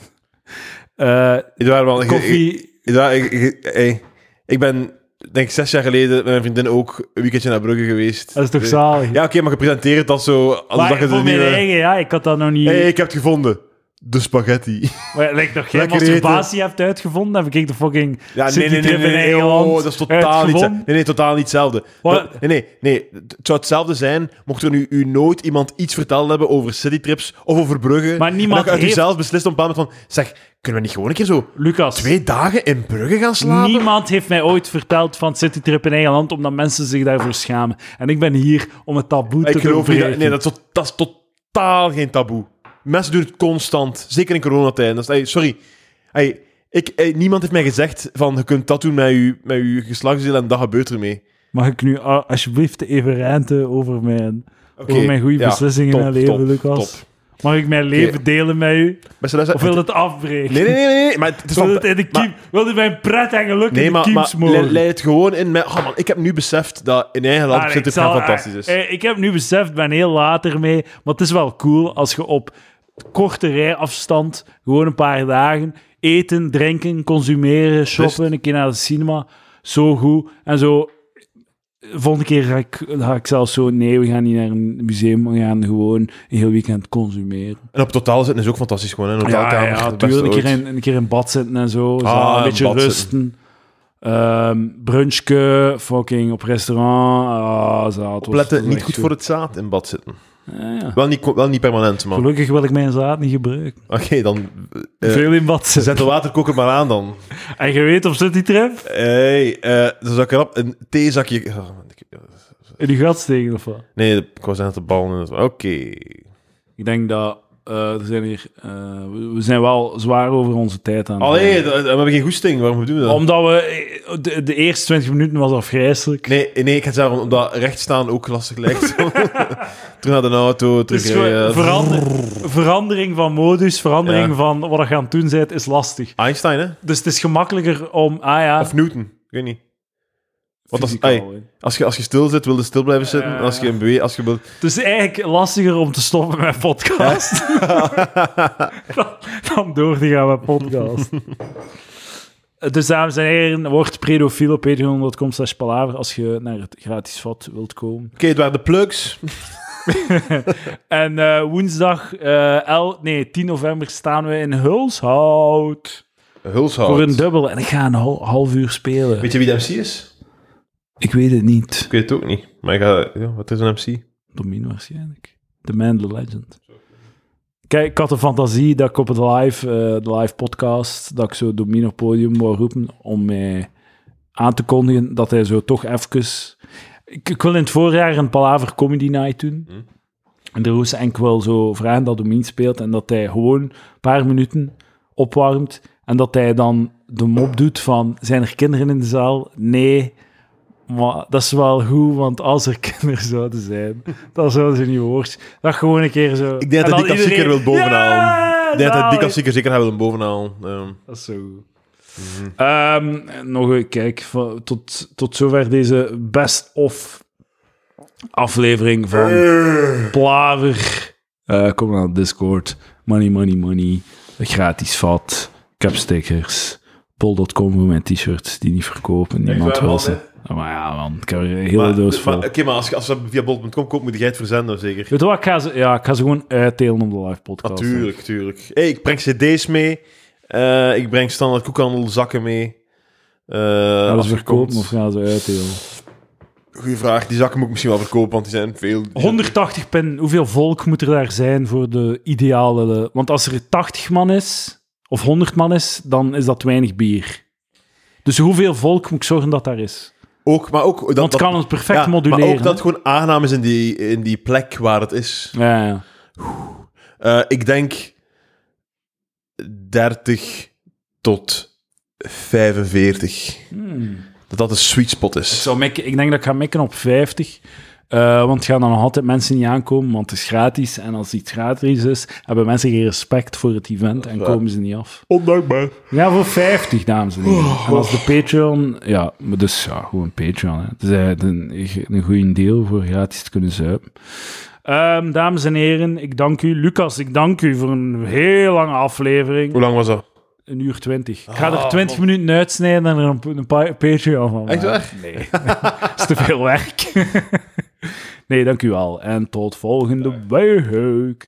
Speaker 1: Eh,
Speaker 2: Eduard, man, ik- Ik,
Speaker 1: koffie,
Speaker 2: Eduard, ik, ik- hey, ik ben, denk ik, zes jaar geleden met mijn vriendin ook een weekendje naar Brugge geweest.
Speaker 1: dat is toch
Speaker 2: Dus-
Speaker 1: zalig?
Speaker 2: Ja, oké, maar gepresenteerd dat zo. Als
Speaker 1: maar
Speaker 2: dat je
Speaker 1: voor
Speaker 2: de
Speaker 1: mijn
Speaker 2: nieuwe...
Speaker 1: eigen, ja, ik had dat nog niet...
Speaker 2: hey, ik heb het gevonden. De spaghetti.
Speaker 1: Maar lijkt nog geen
Speaker 2: Lekker
Speaker 1: masturbatie hebt uitgevonden, heb ik de fucking
Speaker 2: Ja,
Speaker 1: City
Speaker 2: nee, nee, nee,
Speaker 1: trip
Speaker 2: nee,
Speaker 1: in
Speaker 2: nee,
Speaker 1: Engeland
Speaker 2: oh, dat is totaal niet,
Speaker 1: uitgevonden.
Speaker 2: nee, nee, totaal niet hetzelfde.
Speaker 1: Wat?
Speaker 2: Dat- nee, nee, nee, het zou hetzelfde zijn mocht er nu u nooit iemand iets verteld hebben over citytrips of over Brugge.
Speaker 1: Maar niemand
Speaker 2: en dat je uit
Speaker 1: heeft-
Speaker 2: uzelf beslist op een bepaald moment van, zeg, kunnen we niet gewoon een keer zo
Speaker 1: Lucas,
Speaker 2: twee dagen in Brugge gaan slapen?
Speaker 1: niemand heeft mij ooit verteld van citytrip in Engeland, omdat mensen zich daarvoor schamen. En ik ben hier om het taboe te
Speaker 2: ik geloof niet. Dat,
Speaker 1: doorbreken.
Speaker 2: nee, dat is, tot- dat is totaal geen taboe. Mensen doen het constant, zeker in coronatijd. Dat is, ey, sorry. Ey, ik, ey, niemand heeft mij gezegd van, je kunt dat doen met je, met je geslachtsdeel en dat gebeurt ermee.
Speaker 1: Mag ik nu a- alsjeblieft even renten over mijn,
Speaker 2: Oké,
Speaker 1: over mijn goede
Speaker 2: ja,
Speaker 1: beslissingen in
Speaker 2: top,
Speaker 1: mijn leven,
Speaker 2: top,
Speaker 1: Lucas?
Speaker 2: top.
Speaker 1: Mag ik mijn leven delen met u?
Speaker 2: Beste luisteraar-
Speaker 1: Of wil het afbreken?
Speaker 2: Nee, nee, nee, nee, nee, Maar het is
Speaker 1: Wil
Speaker 2: van-
Speaker 1: het in de
Speaker 2: maar-
Speaker 1: kiem, wil het mijn pret en geluk
Speaker 2: Nee,
Speaker 1: in de
Speaker 2: maar,
Speaker 1: kiem
Speaker 2: maar
Speaker 1: smoren?
Speaker 2: le- leid het gewoon in met... Oh man, ik heb nu beseft dat in eigen land
Speaker 1: Maar
Speaker 2: zit
Speaker 1: Ah, ik
Speaker 2: het gaan
Speaker 1: zal-
Speaker 2: fantastisch is.
Speaker 1: eh, ik heb nu beseft, ben heel later mee. Maar het is wel cool als je op korte rijafstand, gewoon een paar dagen, eten, drinken, consumeren, shoppen, een keer naar de cinema. Zo goed. En zo. Volgende keer ga ik, ga ik zelfs zo. Nee, we gaan niet naar een museum. We gaan gewoon een heel weekend consumeren.
Speaker 2: En op totaal zitten is ook fantastisch gewoon. Hè? Een
Speaker 1: Ja,
Speaker 2: hotelkamer,
Speaker 1: ja
Speaker 2: het beste
Speaker 1: tuurlijk. Een keer,
Speaker 2: ooit.
Speaker 1: in, een keer in bad zitten en zo. Zo
Speaker 2: Ah,
Speaker 1: een
Speaker 2: in
Speaker 1: beetje
Speaker 2: bad
Speaker 1: rusten. Ehm brunchke, fucking op restaurant. Ah, zaad. was- was
Speaker 2: Opletten, niet
Speaker 1: echt
Speaker 2: goed voor het zaad in bad zitten.
Speaker 1: Ja, Ah, ja.
Speaker 2: Wel niet, wel niet permanent, man. Oké,
Speaker 1: Gelukkig wil ik mijn zaad niet gebruiken.
Speaker 2: dan... eh,
Speaker 1: Veel in bad zitten.
Speaker 2: Zet de waterkoker maar aan dan.
Speaker 1: En je weet op Citytrip?
Speaker 2: Hey, eh dan zou ik erop een theezakje... Oh, man, ik-
Speaker 1: In je gat steken of wat?
Speaker 2: Nee, ik was aan de bal. in het- Oké.
Speaker 1: Ik denk dat... eh, er zijn hier, eh, we we zijn wel zwaar over onze tijd aan. het
Speaker 2: Allee, dat- we hebben geen goesting. Waarom doen we dat?
Speaker 1: Omdat we... eh, De, de eerste 20 minuten was afgrijzelijk.
Speaker 2: Nee, nee, ik ga het zeggen, omdat rechtstaan ook lastig lijkt. terug naar de auto, terug...
Speaker 1: Dus gewoon
Speaker 2: eh,
Speaker 1: verander- verandering van modus, verandering
Speaker 2: Ja.
Speaker 1: van wat je aan het doen bent, is lastig.
Speaker 2: Einstein, hè?
Speaker 1: Dus het is gemakkelijker om... Ah ja,
Speaker 2: Of Newton, ik weet niet. Want als,
Speaker 1: fysicaal,
Speaker 2: ai,
Speaker 1: hè.
Speaker 2: als, je, als je stil zit, wil je stil blijven zitten.
Speaker 1: Ja.
Speaker 2: Als je een bewe- als je wil...
Speaker 1: Het is eigenlijk lastiger om te stoppen met podcast dan, dan door te gaan met podcast. Dus dames en heren, word predofiel op patreon.com slash palaver als je naar het gratis vat wilt komen.
Speaker 2: Oké, het waren de plugs.
Speaker 1: En eh, woensdag eh, el- nee, 10 november staan we in Hulshout
Speaker 2: Hulshout.
Speaker 1: voor een dubbel. En ik ga een hal- half uur spelen.
Speaker 2: Weet je wie de MC is?
Speaker 1: Ik weet het niet.
Speaker 2: Ik weet het ook niet. Maar ik ga... ja, wat is een MC?
Speaker 1: Domino waarschijnlijk. The man, the legend. Kijk, ik had de fantasie dat ik op het live, eh, de live podcast, dat ik zo Domino op het podium wou roepen om mij aan te kondigen dat hij zo toch even... Ik, ik wil in het voorjaar een Palaver Comedy Night doen.
Speaker 2: Hm.
Speaker 1: En de Roos enkel wil zo vragen dat Domino speelt en dat hij gewoon een paar minuten opwarmt en dat hij dan de mop doet van zijn er kinderen in de zaal? Nee. Maar dat is wel goed, want als er kinderen zouden zijn, dan zouden ze niet horen. Dat gewoon een keer zo.
Speaker 2: Ik denk dat hij die klassieker wil bovenhalen. Ik denk dat hij die
Speaker 1: dat,
Speaker 2: klassieker zeker gaat willen bovenhalen. Ehm,
Speaker 1: dat is zo goed.
Speaker 2: Mhm.
Speaker 1: Ehm, nog een kijk, van- tot, tot zover deze best-of aflevering van Plaver. Eh, kom naar Discord. Money, money, money. Gratis vat. Capstickers. Pol.com voor mijn t-shirts die niet verkopen. Niemand
Speaker 2: waar,
Speaker 1: wil
Speaker 2: man,
Speaker 1: ze. Ah, Maar ja, man. Ik heb er een hele
Speaker 2: maar-
Speaker 1: doos
Speaker 2: maar-
Speaker 1: vol.
Speaker 2: Oké, maar als, je- als we via bol.com komt, moet jij het verzenden, zeker? Ah,
Speaker 1: Weet je wat? Ik ga ze, ja, ik ga ze gewoon uitdelen op de live podcast.
Speaker 2: Tuurlijk, tuurlijk. Hey, ik breng cd's mee. Eh, ik breng standaard koekhandelzakken mee. Eh,
Speaker 1: Gaan
Speaker 2: als
Speaker 1: ze
Speaker 2: je
Speaker 1: verkopen
Speaker 2: komt.
Speaker 1: of gaan ze uitdelen?
Speaker 2: Goeie vraag. Die zakken moet ik misschien wel verkopen, want die zijn veel.
Speaker 1: 180 pin, hoeveel volk moet er daar zijn voor de ideale... eh, Want als er 80 man is, of 100 man is, dan is dat weinig bier. Dus hoeveel volk moet ik zorgen dat daar is?
Speaker 2: Ook, maar ook dat,
Speaker 1: Want
Speaker 2: dat-
Speaker 1: het kan het perfect
Speaker 2: ja,
Speaker 1: moduleren.
Speaker 2: Maar ook dat
Speaker 1: hè?
Speaker 2: het gewoon aangenaam is in die, in die plek waar het is.
Speaker 1: Ja, ja.
Speaker 2: Eh, ik denk 30 tot 45.
Speaker 1: Hmm.
Speaker 2: Dat dat een sweet spot
Speaker 1: Ik,
Speaker 2: is.
Speaker 1: zou mikken- ik denk dat ik ga mikken op 50. Eh, want gaan dan nog altijd mensen niet aankomen, want het is gratis. En als iets gratis is, hebben mensen geen respect voor het event en
Speaker 2: waar.
Speaker 1: komen ze niet af.
Speaker 2: Ondankbaar.
Speaker 1: Ja, voor 50, dames en heren.
Speaker 2: Oh.
Speaker 1: En als de Patreon... Ja, maar dus ja, gewoon Patreon. Hè. Het is eigenlijk een, een goede deal voor gratis te kunnen zuipen. Ehm, dames en heren, ik dank u. Lucas, ik dank u voor een heel lange aflevering.
Speaker 2: Hoe lang was dat?
Speaker 1: Een uur twintig. Ik ga er 20 minuten uitsnijden en er een, een pa- Patreon van maken.
Speaker 2: Ah. Echt waar?
Speaker 1: Nee, dat is te veel werk. nee, dank u wel. En tot volgende week.